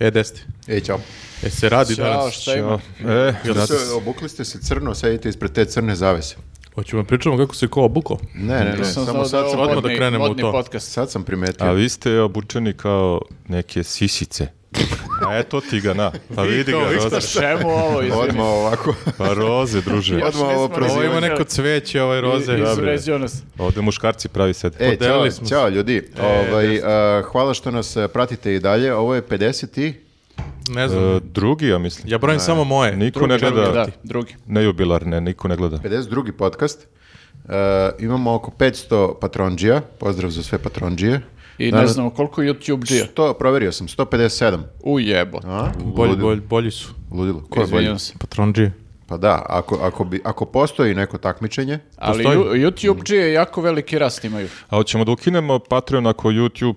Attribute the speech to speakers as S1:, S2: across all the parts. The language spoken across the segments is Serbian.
S1: E, desti.
S2: Ej, čao.
S1: E, se radi
S3: Ćao,
S1: danas.
S3: šta ima?
S1: Ćao. E,
S2: Jel
S1: znate,
S2: se- obukli ste se crno, sedite ispred te crne zavese.
S1: hoćemo pričamo kako se ko obuko.
S2: Ne, ne, ne, samo
S3: Nisam znao da je
S2: sad sam, pa-
S3: ovo
S1: odmah da
S3: modni,
S1: krenemo u
S3: modni
S1: to.
S3: podcast.
S2: sad sam primetio.
S3: A vi
S4: ste obučeni kao neke sisice. A eto ti ga, na. Pa vidi ga, roze.
S3: Čemu ovo, izvini?
S2: Odmah ovako,
S4: Pa roze, druže.
S3: Još
S2: odmah ovo
S3: nismo
S2: prozivanje.
S1: Ovo ima
S3: Prozivanje.
S1: neko cveće, ovaj roze.
S3: I-
S4: Da, bre.
S3: izrezio nas.
S4: Ovde muškarci pravi sed.
S2: E,
S1: Podelili
S2: čao,
S1: smo
S2: čao ljudi. ovaj, a, hvala što nas e, pratite i dalje. Ovo je 50 i...
S1: Ne znam.
S4: E, drugi, ja mislim.
S1: ja brojim samo moje.
S4: Niko ne
S3: Drugi,
S4: gleda.
S3: da, drugi.
S4: Ne jubilarne, niko ne gleda.
S2: 52. podcast. E, imamo oko 500 patronđija. Pozdrav za sve patronđije.
S3: I ne
S2: Danas-
S3: znamo koliko YouTube džija.
S2: 100, proverio sam, 157.
S3: U jebo.
S2: A?
S1: Bolji,
S2: Ludilo.
S1: bolji, bolji su.
S2: Ludilo. Ko je bolji?
S3: Izvinjam se.
S1: Patronđije.
S2: Pa da, ako, ako, bi, ako postoji neko takmičenje,
S3: Ali
S1: Postoji.
S3: ju- YouTube džije jako veliki rast imaju.
S4: A hoćemo da ukinemo Patreon ako YouTube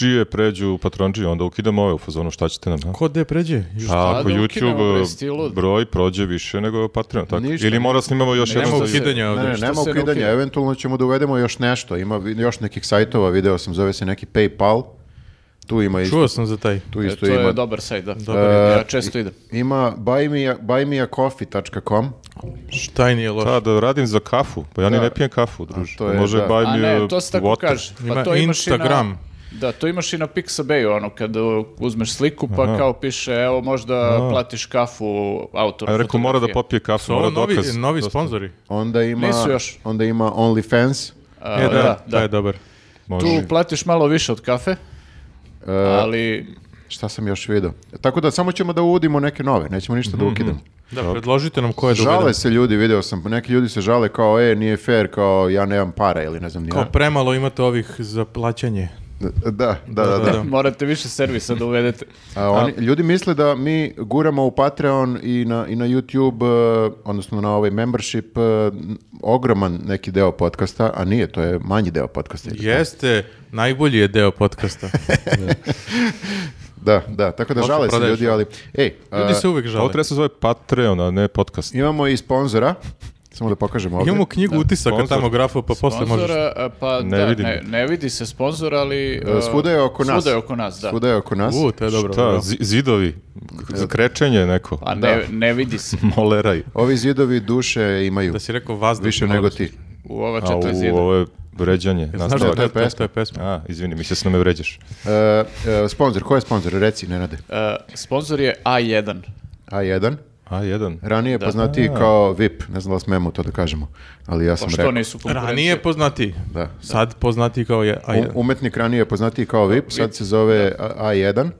S4: džije pređu u Patreon džije, onda ukidamo ove u fazonu, šta ćete nam, ha?
S1: Ko gde pređe? Ju, šta?
S4: A ako
S3: da ukinemo, bre,
S4: YouTube
S3: stilu?
S4: e, broj prođe više nego Patreon, tako?
S2: Ništa.
S4: Ili mora snimamo još
S1: Nema
S4: jedno za
S1: ukidanja
S2: Ne,
S1: ovdje.
S2: ne, nema
S3: Pa se ne
S2: ukidanja,
S3: ukida?
S2: eventualno ćemo da uvedemo još nešto. Ima vi- još nekih sajtova, video sam, zove se neki PayPal. Tu ima
S4: Pa-
S2: isto,
S1: Čuo sam za taj.
S2: tu
S3: E,
S2: isto
S3: to
S2: ima.
S3: je dobar sajt, da.
S2: E,
S3: ja često idem.
S2: Ima buyme- buymeacoffee.com.
S1: Šta nije loš.
S4: Da, Pa da radim za kafu. Pa ja ni
S2: Da.
S4: ne pijem kafu, druže.
S2: to je,
S4: Može
S2: da.
S4: buy
S3: A
S4: me
S3: ne, to se tako
S4: water.
S3: kaže.
S1: Ima
S3: Pa to imaš i na-
S1: Instagram.
S3: Da, to imaš i na Pixabayu, ono, kad uh, uzmeš sliku, pa kao piše, evo, možda platiš kafu autoru.
S4: A ja rekao mora da popije kafu,
S1: Su
S4: mora
S1: ovo novi,
S4: dokaz.
S1: novi
S4: Dosta.
S1: sponzori.
S2: Onda ima,
S3: Nisu još.
S2: onda ima OnlyFans.
S1: E, da, da,
S3: da.
S1: je dobar.
S4: Može.
S3: Tu platiš malo više od kafe,
S2: E,
S3: ali
S2: Šta sam još vidio? Tako da samo ćemo da uvodimo neke nove, nećemo ništa
S3: Mhm.
S2: da ukidamo.
S1: Da, predložite nam ko je da uvedemo.
S2: Žale se ljudi, video sam, neki ljudi se žale kao, e, nije fair, kao, ja nemam para ili ne znam ni ja.
S1: Kao premalo imate ovih za plaćanje.
S2: Da, da, da, da.
S1: da.
S3: morate više servisa da uvedete.
S2: A oni, ljudi misle da mi guramo u Patreon i na, i na YouTube, e, odnosno na ovaj membership, e, n- ogroman neki deo podcasta, a nije, to je manji deo podcasta.
S1: Jeste, najbolji je deo podcasta.
S2: Da, da, tako da
S1: Možda
S2: žale se
S1: prodaješ.
S2: ljudi, ali, ej, a,
S1: Ljudi se uvek
S4: Ovo
S1: žale.
S4: treba se zove Patreon, a ne podcast.
S2: imamo i sponzora, samo da pokažemo ovdje.
S1: Imamo knjigu utisaka
S4: Sponzor.
S1: tamo grafa, pa posle možeš...
S3: Sponzora, a, pa
S4: Ne
S3: da,
S4: vidim.
S3: ne, ne vidi se sponzor, ali...
S2: E, Svuda je oko nas.
S3: Svuda je oko nas, da.
S2: Svuda je oko nas.
S1: U, to je dobro.
S4: Šta,
S1: dobro.
S4: zi- zidovi, K- krečenje neko,
S3: Pa ne, ne vidi se
S4: moleraj.
S2: Ovi zidovi duše imaju
S1: Da si rekao vazduh.
S2: više
S1: moram
S2: nego
S1: da-
S2: ti.
S3: u ova
S4: A
S3: četiri
S4: u,
S3: zida.
S4: ovo je vređanje.
S1: Znaš
S4: nastavak.
S1: da to je
S2: to je
S1: pesma? To je pesma.
S4: A, izvini, mislio sam da me vređaš.
S2: E, e, sponzor, ko je sponzor? Reci, Nenade.
S3: E, sponzor je A1.
S2: A1,
S4: A, jedan.
S2: ranije poznatiji kao VIP, ne znam da li smemo to da kažemo, ali ja sam
S3: Pa što
S2: rekao.
S3: nisu konkurencije?
S1: Ranije poznati.
S2: Da.
S1: Sad poznati kao je... A,
S2: Um- Umetnik ranije poznatiji kao VIP, sad se zove A- A1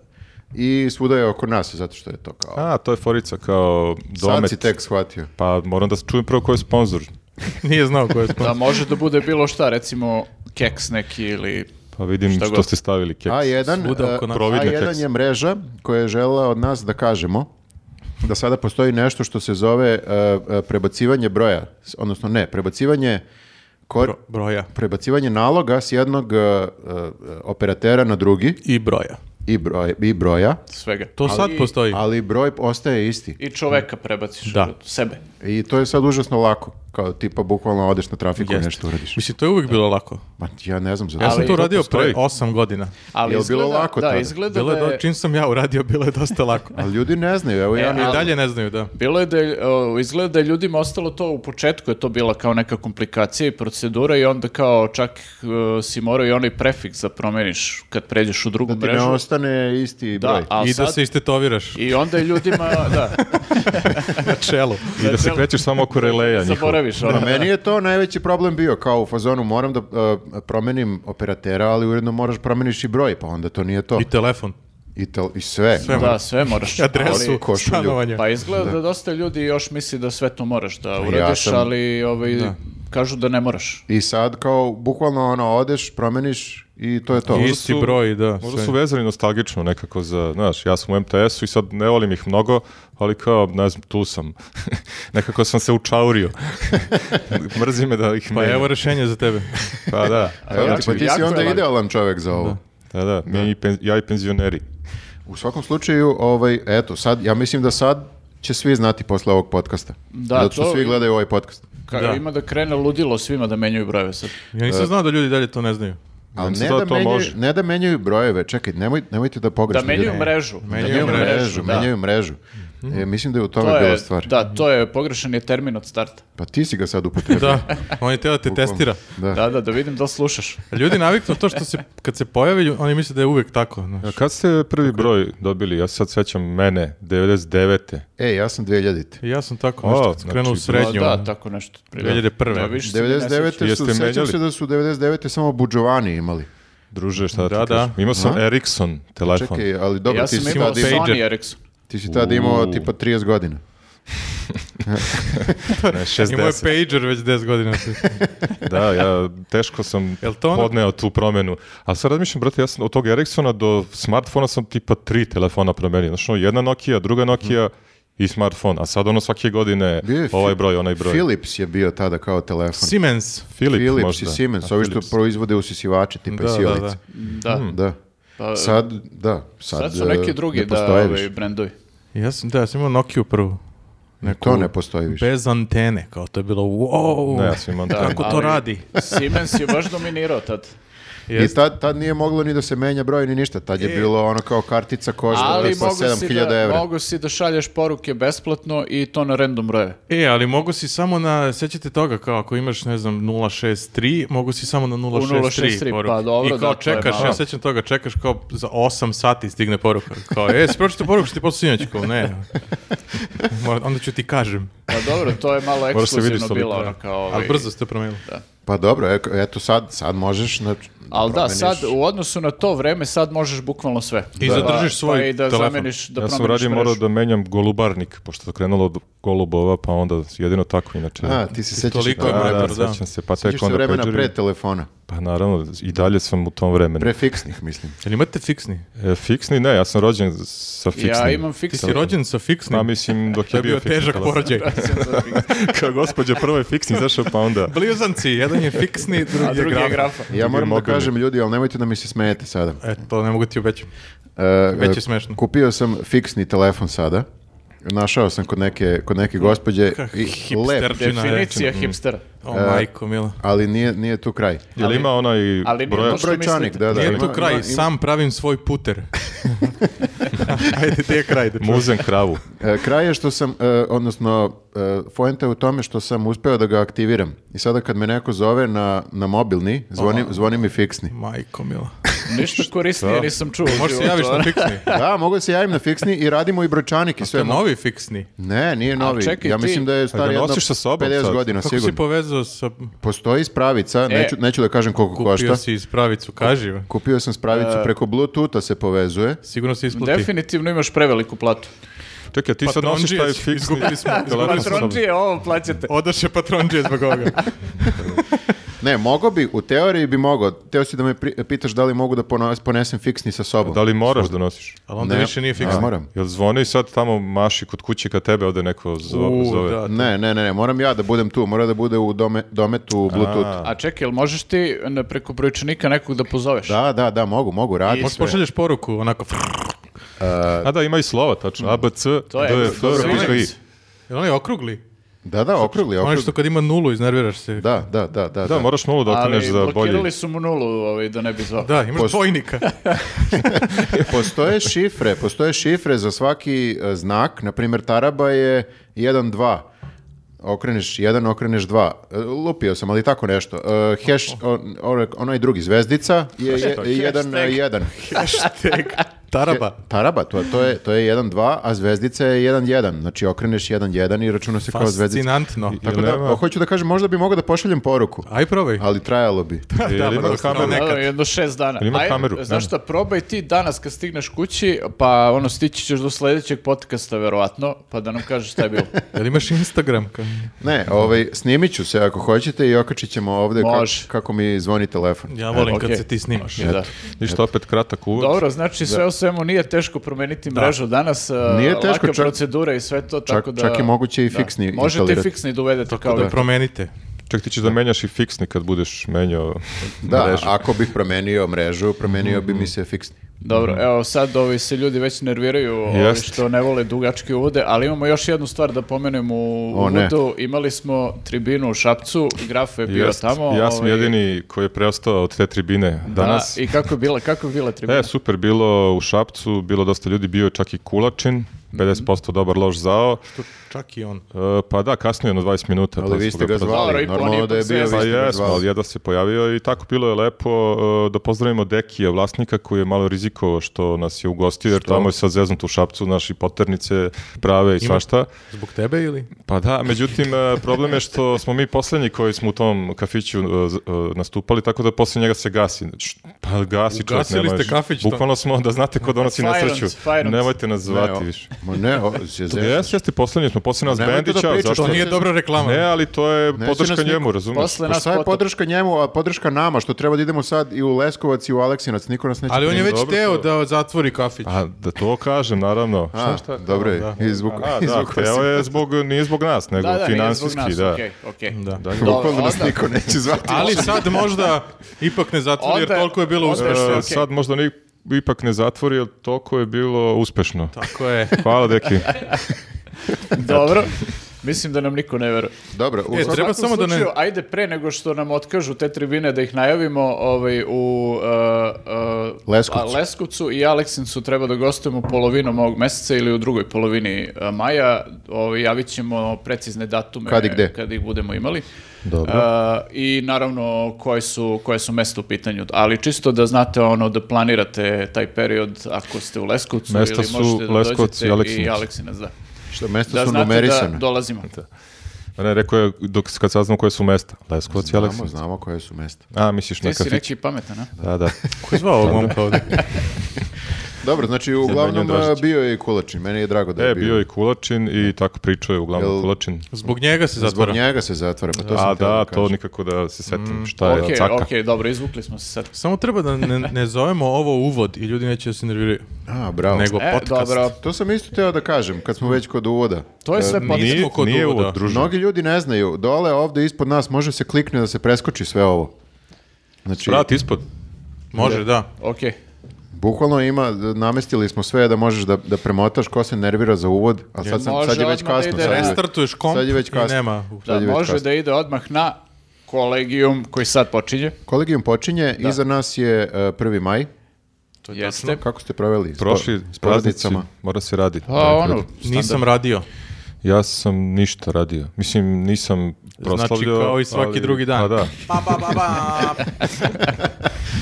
S2: i svuda je oko nas, zato što je to kao...
S4: A, to je forica kao
S2: Sad
S4: domet.
S2: si tek shvatio.
S4: Pa moram da čujem prvo ko je sponsor.
S1: nije znao ko je sponsor.
S3: Da može da bude bilo šta, recimo keks neki ili...
S4: Pa vidim
S3: Šta
S4: što,
S3: god.
S4: ste stavili keks.
S2: A1,
S1: Svuda
S2: e,
S1: oko nas.
S4: Providne
S2: A1
S4: tekste.
S2: je mreža koja je žela od nas da kažemo da sada postoji nešto što se zove e, e, prebacivanje broja, s- odnosno ne, prebacivanje kor-
S1: Bro- broja.
S2: prebacivanje naloga s jednog e, e, operatera na drugi
S1: I broja.
S2: i broja, i broja,
S3: svega.
S1: To sad postoji.
S2: ali broj ostaje isti.
S3: I čoveka prebaciš
S1: Da.
S3: od sebe.
S2: I to je sad užasno lako, kao tipa bukvalno odeš na trafiku i
S1: Jeste.
S2: nešto uradiš.
S1: Mislim, to je uvijek bilo lako.
S2: Ma ja ne znam za
S1: Ja sam
S3: Ali
S1: to
S3: to
S1: radio pre
S4: postoji.
S1: 8 godina.
S3: Ali
S2: Jel bilo
S3: izgleda,
S2: lako
S3: da,
S2: tada?
S3: izgleda
S1: Bilo je,
S3: da
S1: do-
S3: je-
S1: čim sam ja uradio, bilo je dosta lako.
S2: Ali ljudi ne znaju, evo ja
S3: E,
S2: ni...
S1: I
S3: ali-
S1: dalje ne znaju, da.
S3: Bilo je da je, o, izgleda da je ljudima ostalo to u početku, je to bila kao neka komplikacija i procedura i onda kao čak e, si morao i onaj prefiks da promeniš kad pređeš u drugu
S2: Da ti ne
S3: mrežu.
S2: ostane isti broj.
S3: Da, a
S1: I da
S3: sad-
S1: se istetoviraš
S3: I onda je ljudima, da,
S1: na čelu.
S4: I da se krećeš samo oko releja njihova.
S3: zaboraviš ono.
S2: A meni je to najveći problem bio, kao u fazonu moram da e, promenim operatera, ali uredno moraš promeniš i broj, pa onda to nije to.
S1: I telefon.
S2: I, tel- i sve. ono.
S3: Da, sve moraš.
S4: Znači,
S1: Adresu,
S3: Ali-
S2: košulju.
S1: stanovanja.
S3: pa izgleda da dosta ljudi još misli da sve to moraš da
S2: ja
S3: uradiš,
S2: sam-
S3: ali ovaj,
S1: Da.
S3: kažu da ne moraš.
S2: I sad kao, bukvalno ono, odeš, promeniš i to je to.
S1: Isti broj, da.
S4: Možda
S1: sve.
S4: su vezani nostalgično nekako za, znaš, ja sam u MTS-u i sad ne volim ih mnogo, ali kao, ne znam, tu sam. nekako sam se učaurio. Mrzi me da ih
S1: Pa
S4: nema.
S1: evo rešenje za tebe.
S4: Pa da,
S2: Evo,
S3: Ja
S2: ti-
S3: ću-
S2: pa ti
S3: jako
S2: si
S3: je
S2: onda
S3: lako.
S2: idealan čovjek za ovo.
S4: da, da, mi i pen- ja i penzioneri.
S2: U svakom slučaju, ovaj, eto, sad, ja mislim da sad će svi znati posle ovog podcasta.
S3: Da,
S2: Zato što
S3: to-
S2: svi gledaju ovaj podcast.
S3: Ka-
S1: Da.
S3: Ima da krene ludilo svima da menjaju brojeve sad.
S4: E.
S1: Ja nisam znao da ljudi dalje to ne znaju.
S2: Ali
S4: Meni se
S2: ne
S4: to-
S2: da,
S4: to
S2: menjaju,
S4: može.
S2: ne da menjaju brojeve, čekaj, nemoj, nemojte da
S3: Da
S2: pogrešno.
S3: menjaju
S2: idem.
S3: mrežu.
S1: Menjaju
S2: Menjaju mrežu,
S3: da.
S2: menjaju mrežu.
S4: Mhm.
S2: E, mislim da je u tome
S3: To je-
S2: bila stvar.
S3: Da, to je pogrešan je termin od starta.
S2: Pa ti si ga sad upotrebio.
S1: Da, on je teo da te testira.
S2: Da.
S3: Da, da, da vidim da li slušaš.
S1: Ljudi naviknu to što se, kad se pojavi, lju- oni misle da je uvek tako. Znaš.
S4: A Kad ste prvi broj dobili? Ja se sad sećam mene, 99.
S2: E, ja sam 2000-te.
S1: I Ja sam tako
S4: O,
S1: nešto
S4: znači,
S1: krenuo u srednju. ono.
S3: Da, da, tako nešto. otprilike.
S1: 2001.
S3: Da, više se ni ne sećam.
S2: 99.
S4: Jeste
S2: su, sećam
S4: menjali?
S2: se da su 99. samo budžovani imali.
S4: Druže, šta da,
S1: Da,
S4: ti
S1: da.
S4: kažem? Imao sam
S2: Aha.
S4: Ericsson telefon.
S2: Čekaj, ali dobro,
S3: Ja
S2: ti,
S3: sam
S2: si
S3: imao
S2: tad imao,
S1: pager.
S3: Sony Ericsson.
S2: ti si tad imao
S4: Uuu.
S2: tipa 30 godina.
S4: Ne,
S1: Imao je
S4: 60.
S1: pager već 10 godina.
S4: da, ja teško sam
S1: Jel to ono-
S4: podneo tu promenu. A sad razmišljam, brate, ja sam od tog Ericssona do smartfona sam tipa tri telefona promenio. Znaš, ono, jedna Nokia, druga Nokia i smartfon. A sad ono svake godine
S2: Bio je Fi-
S4: ovaj broj, onaj broj.
S2: Philips je bio tada kao telefon.
S1: Siemens.
S4: Filip,
S2: Philips
S4: možda.
S2: i Siemens,
S4: A,
S2: ovi što
S4: Philips.
S2: proizvode usisivače, tipa
S1: Da,
S2: i
S1: da,
S2: sijalice. Hm.
S1: da.
S3: Da.
S2: Da.
S3: Pa, sad,
S2: Sad, da. Sad,
S3: su
S2: e,
S3: neki drugi
S2: ne
S3: da,
S2: postoje više.
S3: ovaj, brendovi.
S1: Ja sam, da, ja sam imao Nokia prvu. Neku
S2: To ne postoji više.
S1: Bez antene, kao to je bilo wow,
S4: Ne, ja sam imao antenu.
S1: kako to
S3: ali-
S1: radi.
S3: Siemens je baš dominirao tad.
S2: I tad, tad nije moglo ni da se menja broj ni ništa. Tad je bilo ono kao kartica košta
S3: E, Ali
S2: tipa
S3: mogu si,
S2: 7000
S3: da,
S2: evra.
S3: mogu si da šalješ poruke besplatno i to na random broje.
S1: E, ali mogu si samo na, sećate toga, kao ako imaš, ne znam, 063, mogu si samo na 063,
S3: 063,
S1: poruku.
S3: pa dobro,
S1: I kao
S3: da, to je
S1: čekaš,
S3: malo.
S1: ja sećam toga, čekaš kao za 8 sati stigne poruka. Kao, e, si pročito poruku što ti posle sinoć, kao, ne. Mora- onda ću ti kažem.
S3: Pa dobro, to je malo
S4: Moraš se vidjeti
S3: ekskluzivno
S4: solidno,
S3: bilo
S4: da.
S3: ono kao... Ovaj,
S1: Ali brzo ste promenili.
S2: Pa dobro, e- eto sad, sad možeš. znači,
S3: Ali da,
S2: promeniš.
S3: sad u odnosu na to vreme sad možeš bukvalno sve.
S1: I
S3: Da.
S1: zadržiš
S3: Pa-
S1: svoj
S3: pa i da
S1: telefon.
S3: zameniš, da
S4: ja sam
S3: promeniš
S4: radio morao
S3: mrežu.
S4: da menjam golubarnik, pošto je krenulo od golubova, pa onda jedino tako inače.
S2: A, ti se sećaš
S1: toliko
S2: toga,
S1: je
S4: da,
S1: majstor, da.
S4: da, sećam se, pa
S2: Sećaš
S4: tek
S2: se
S4: onda
S2: vremena
S4: pađeri.
S2: pre telefona.
S4: Pa naravno, i dalje sam u tom vremenu.
S2: Pre fiksnih, mislim.
S1: Jel imate fiksni?
S4: E, fiksni ne, ja sam rođen sa fiksnim.
S3: Ja imam
S1: Ti
S3: fiksni.
S1: si rođen sa fiksnim?
S4: Pa mislim dok
S1: To
S4: je
S1: je bio
S4: fiksni
S1: težak
S4: telefon.
S1: porođaj.
S4: Kao gospođa prvo je fiksni izašao pa onda.
S1: Blizanci, jedan je fiksni,
S3: A
S1: drugi je
S3: drugi je
S1: graf.
S3: grafa.
S2: Ja moram da
S4: mobilni.
S2: kažem ljudi, ali nemojte da mi se smejete sada.
S1: E, to ne mogu ti obećati.
S2: E,
S1: Već
S2: e,
S1: je smešno.
S2: Kupio sam fiksni telefon sada. Našao sam kod neke, kod neke gospođe. I, lep,
S1: Hipsterčina.
S3: Definicija
S1: reče.
S3: hipstera.
S1: O,
S4: E,
S1: majko, mila.
S2: ali nije, nije tu kraj.
S4: Jel ima onaj
S3: ali nije
S4: brojač?
S3: Što
S2: Brojčanik,
S3: mislite?
S2: da, da.
S1: Nije
S2: ima-
S1: tu kraj,
S2: ima-
S1: sam pravim svoj puter. Ajde, ti je kraj. Da čujem.
S4: Muzen kravu.
S2: E, kraj je što sam, e, odnosno, e, poenta je u tome što sam uspeo da ga aktiviram. I sada kad me neko zove na, na mobilni, zvoni, zvoni mi fiksni.
S1: Majko, mila.
S3: Ništa korisnije nisam čuo. u
S1: Možeš se
S3: životu,
S1: javiš
S3: ono.
S1: na fiksni.
S2: Da, mogu da se javim na fiksni i radimo i brojčanik i
S1: To
S2: sve.
S1: je novi fiksni.
S2: Ne, nije novi.
S3: čekaj,
S2: ja
S3: ti-
S2: mislim da je star
S4: ga
S2: jedno
S4: nosiš sa sobom
S2: 50
S4: sad?
S2: godina,
S1: Kako si
S2: sigurno.
S1: povezao sa...
S2: Postoji
S3: E.
S2: spravica, neću, neću da kažem koliko
S1: Kupio
S2: košta.
S1: si spravicu, kaži.
S2: Kupio sam spravicu preko Bluetootha se povezuje.
S1: Sigurno se isplati.
S3: Definitivno imaš preveliku platu.
S4: Čekaj, ti sad nosiš taj
S1: Patronđijeć,
S4: fiksni
S1: Pa izgubili smo-
S4: telefon sa sobom.
S3: Patronđije, ovo plaćate.
S1: Odoše patronđe zbog ovoga.
S2: Ne, mogo bi, u teoriji bi mogao. Teo si da me pri- pitaš da li mogu da pono- ponesem fiksni sa sobom.
S4: Da li moraš da nosiš?
S1: Ali onda više nije fiksni.
S2: Ne, moram.
S4: Jel zvoni sad tamo maši kod kuće kad tebe ovde neko zvo-
S1: U,
S4: zove?
S1: da.
S2: Ne, ne, ne, ne, moram ja da budem tu, mora da bude u dome, dometu Bluetooth.
S3: A čekaj, jel možeš ti na- preko brojčanika nekog da pozoveš?
S2: Da, da, da, mogu, mogu, radi
S1: Možeš
S2: sve.
S1: pošalješ poruku, onako...
S4: A da, ima i slova, tačno. A, B, C,
S3: To je
S4: D, F,
S3: dobro,
S4: R, I,
S1: dobro.
S4: I.
S1: Jel onaj okrugli?
S2: Da, da, okrugli,
S1: Onaj
S2: okrugli.
S1: što kad ima nulu, iznerviraš se. Da,
S2: Da, da, da, da.
S4: Da, moraš nulu da
S3: Ali
S4: okreneš za bolji.
S3: blokirali su mu nulu ovaj, da ne bi zvao.
S1: imaš
S2: Post-
S1: dvojnika.
S2: Postoje šifre, postoje šifre za svaki e, znak, na primjer taraba je 1 2. Okreneš 1, okreneš 2. Lupio sam, ali tako nešto. E, hash on- on- onaj drugi zvezdica je 1 1.
S1: Hashtag. Taraba.
S2: Taraba, to, to je to je 1 2, a zvezdica je 1 1. Znači okreneš 1 1 i računa se kao zvezdica.
S1: Fascinantno.
S2: Tako da,
S4: Nema-
S2: hoću da kažem, možda bi mogao da pošaljem poruku,
S1: Aj probaj.
S2: ali trajalo bi.
S4: Jel ima
S1: mora
S4: kameru?
S1: strane.
S3: Da,
S1: nekad.
S3: jedno šest dana.
S4: Ali ima
S3: Ajde,
S4: kameru, nema.
S3: Znaš šta, probaj ti danas kad stigneš kući, pa ono, stići ćeš do sljedećeg podcasta verovatno, pa da nam kažeš šta je bilo.
S1: Jel imaš Instagram? Ka-
S2: Ne, ovaj, snimit ću se ako hoćete i okačit ćemo ovdje kako,
S3: Može.
S2: kako mi zvoni telefon.
S1: Ja volim
S3: Okej.
S1: kad se ti snimaš.
S3: Da.
S4: Ništa, opet kratak uvod.
S3: Dobro, znači sve u svemu nije teško promeniti mrežu danas, a,
S2: Nije teško,
S3: laka
S2: čak-
S3: procedura i sve to,
S2: Čak,
S3: tako da...
S2: čak je moguće i
S3: Da.
S2: fiksni
S3: Možete i
S2: instalirati.
S3: fiksni da uvedete kao
S1: Da promenite.
S4: Čak ti ćeš da menjaš i fiksni kad budeš menjao
S2: Da,
S4: mrežu.
S2: ako bih promenio mrežu, promenio bi mi se fiksni.
S3: Dobro, evo sad ovi se ljudi već nerviraju ovi
S4: Jest.
S3: što ne vole dugačke uvode, ali imamo još jednu stvar da pomenem u
S2: O, ne.
S3: uvodu. Imali smo tribinu u Šapcu, Graf je bio
S4: Jest,
S3: tamo.
S4: ja sam
S3: ovaj,
S4: jedini koji je preostao od te tribine
S3: da,
S4: danas.
S3: I kako je bila, kako je bila tribina?
S4: E, super, bilo u Šapcu, bilo dosta ljudi, bio je čak i Kulačin,
S3: Mhm.
S4: 50% dobar loš zao.
S1: To čak i on.
S4: E, pa da, kasnio je na 20 minuta.
S2: Ali
S4: pa
S2: vi
S4: smo
S2: ste ga
S4: prozvali.
S3: Dobro,
S2: zvali,
S3: ipak on
S2: normalno
S3: je
S2: da je bio, vi
S3: ipak
S2: ste
S4: Pa
S2: ga
S4: jesmo, ali
S2: zvali.
S4: jedva se pojavio i tako bilo je lepo e, da pozdravimo Dekija, vlasnika koji je malo rizikovao što nas je ugostio, jer tamo je sad zeznut u šapcu, naši poternice prave i svašta.
S1: Zbog tebe ili?
S4: Pa da, međutim, e, problem je što smo mi poslednji koji smo u tom kafiću e, z- e, nastupali, tako da posle njega se gasi. Š- Pa gasi čovjek,
S1: Ugasili
S4: nema
S1: ste
S4: još-
S1: kafić, šta?
S4: Bukvalno smo, da znate ko donosi
S3: Fire
S4: nesreću.
S3: ons, fire ons.
S4: Nemojte nas
S2: Ne,
S4: zvati
S2: o-
S4: više.
S2: Ma ne, o, se zezam.
S4: Jes, jeste, poslednji smo, posle nas
S2: Nemojte da
S4: Bendića.
S2: pričaš,
S4: zato-
S1: To
S2: Što
S1: nije
S2: se-
S1: dobra reklama.
S4: Ne, ali to je
S2: Neće
S4: podrška
S2: nas niko-
S4: njemu, razumiješ?
S3: Posle
S2: Pa
S3: nas
S2: šta je
S3: potom-
S2: podrška njemu, a podrška nama, što treba da idemo sad i u Leskovac i u Aleksinac, niko nas neće...
S1: Ali on je već
S4: Dobro,
S1: teo
S4: to- Pa,
S1: da zatvori kafić.
S4: A, da to kažem, naravno.
S2: A, dobro je, izvuk,
S4: A, da,
S2: izvuk.
S4: hteo je zbog, nije zbog nas, nego
S3: da, da, nije zbog
S4: finansijski,
S3: nas,
S4: da.
S3: okej, okej.
S1: Da.
S3: Dobro,
S2: Bukvalno nas
S3: onda-
S2: niko neće zvati.
S1: Ali sad možda ipak ne zatvori jer
S3: Onda-
S1: toliko je bilo
S3: onda-
S1: uspešno.
S4: E,
S3: okej.
S4: Sad možda ni, ipak ne zatvori, jer toliko je bilo uspešno.
S1: Tako je.
S4: Hvala, deki.
S3: Dobro. Mislim da nam niko ne veruje.
S2: Dobro, u
S1: E,
S3: U
S1: treba
S3: svakom
S1: samo da ne-
S3: slučaju, ajde pre nego što nam otkažu te tribine da ih najavimo ovaj, u uh, uh,
S2: Leskovcu.
S3: a, Leskovcu i Aleksincu treba da gostujemo polovinom ovog meseca ili u drugoj polovini uh, maja. Ovaj, javit ćemo precizne datume
S2: Kad i gde.
S3: kad ih budemo imali.
S4: Dobro.
S3: Uh, I naravno koje su, koje su mesta u pitanju. Ali čisto da znate ono da planirate taj period ako ste u Leskovcu
S4: Mesta
S3: ili
S4: su
S3: možete da
S4: Leskovac
S3: dođete
S4: i Aleksinac.
S3: i Aleksinac. Da,
S2: što mesta
S3: da
S2: su
S3: znate da
S2: numerisane.
S3: dolazimo.
S4: Ne, rekao je, dok, kad saznam koje su mesta. Leskovac i
S2: Znamo,
S4: Aleksin.
S2: znamo koje su mesta.
S4: A, misliš na
S3: Ti si
S4: kafić?
S3: neki pametan, a?
S4: Da, da.
S1: Ko je zvao ovog momka ovde?
S2: Dobro, znači uglavnom
S4: Zemanja Dražić.
S2: a, bio je i Kulačin, meni je drago da je
S4: E, bio je Kulačin i tako pričao je uglavnom
S2: Jel-
S4: Kulačin.
S1: Zbog njega se
S2: Zbog
S1: zatvara.
S2: njega se zatvara, pa to sam
S4: A,
S2: htio
S4: da,
S2: kažem.
S4: to nikako da se
S1: Mm,
S4: setim šta je
S3: Ok,
S4: od caka.
S3: ok, dobro, izvukli smo se sad.
S1: Samo treba da ne, ne zovemo ovo uvod i ljudi neće da se nerviraju.
S2: A, bravo.
S1: Nego
S3: E,
S1: podcast.
S3: dobro,
S2: To sam isto teo da kažem, kad smo već kod uvoda.
S3: to je sve
S1: E, Nije-
S3: podcast.
S4: Pa Nije,
S1: Nismo kod
S4: nije
S1: uvoda.
S4: ovo, druže.
S2: Mnogi ljudi ne znaju, dole ovde ispod nas može se klikne da se preskoči sve ovo. Znači,
S4: Vrat ispod.
S1: Može, da.
S3: Ok,
S2: bukvalno ima, namestili smo sve da možeš da, da premotaš ko se nervira za uvod, a sad, sam,
S3: Može
S2: sad je već
S3: odmah da
S2: kasno.
S3: ide
S2: sad je-
S1: Restartuješ komp
S2: sad je već
S1: i
S2: kasno.
S1: nema.
S2: Sad
S3: da,
S2: je već
S3: može
S2: kasno.
S3: da ide odmah na kolegijum koji sad počinje.
S2: Kolegijum počinje, iza nas je uh, 1. maj.
S3: Jeste.
S2: Kako ste proveli? S po-
S4: Prošli
S2: s
S4: s praznici,
S2: praznicama?
S4: mora se raditi.
S3: Pa ono,
S1: Nisam radio.
S4: Ja sam ništa radio. Mislim, nisam proslavljao.
S1: Znači, kao i svaki
S4: ali-
S1: drugi dan.
S4: Pa da.
S1: Pa, pa, pa, pa.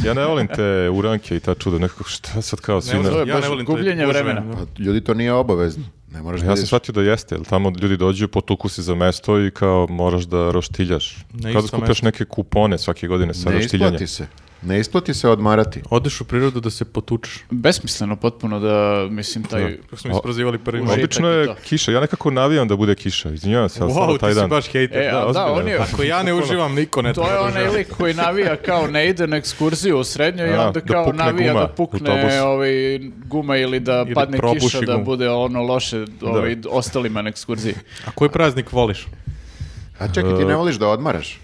S4: Ja ne volim te uranke i ta čuda. Nekako, šta sad kao svi
S1: Ne
S4: na-
S1: volim, ja
S3: baš
S1: ne volim
S3: gubljenje
S1: gužve.
S3: vremena.
S2: Pa, ljudi, to nije obavezno. Ne moraš da
S4: Ja sam
S2: ideš.
S4: shvatio da jeste, jer tamo ljudi dođu, potuku se za mesto i kao moraš da roštiljaš.
S1: Na
S4: Kao da
S1: isto
S4: skupljaš
S1: mesto.
S4: neke kupone svake godine sa
S2: Ne
S4: roštiljanjem.
S2: isplati se. Ne isplati se odmarati.
S1: Odeš u prirodu da se potučeš.
S3: besmisleno potpuno da, mislim, taj...
S1: Kako smo isprozivali prvi
S3: Užitak
S4: Pa, Obično
S3: i
S4: je
S3: to.
S4: kiša, ja nekako navijam da bude kiša, izvinjavam se, ali samo
S1: Wow,
S4: taj
S1: ti si
S4: dan.
S1: baš hejter.
S3: E,
S1: da.
S3: a da,
S4: ozbiljno
S3: on
S4: je.
S3: je...
S1: Ako ja ne uživam, niko ne
S3: ono- To je
S1: treba da
S3: onaj
S1: uživa.
S3: lik koji navija kao ne ide na ekskurziju u srednjoj i
S4: Da,
S3: onda
S4: da
S3: kao
S4: pukne
S3: navija
S4: guma
S3: da
S4: autobus.
S3: pukne ovaj, guma ili da
S1: Ili
S3: padne
S1: propuši
S3: kiša da
S1: gumu.
S3: bude ono loše ovaj, ostalima na ekskurziji.
S1: A koji praznik voliš?
S2: A čekaj, ti ne voliš da odmaraš?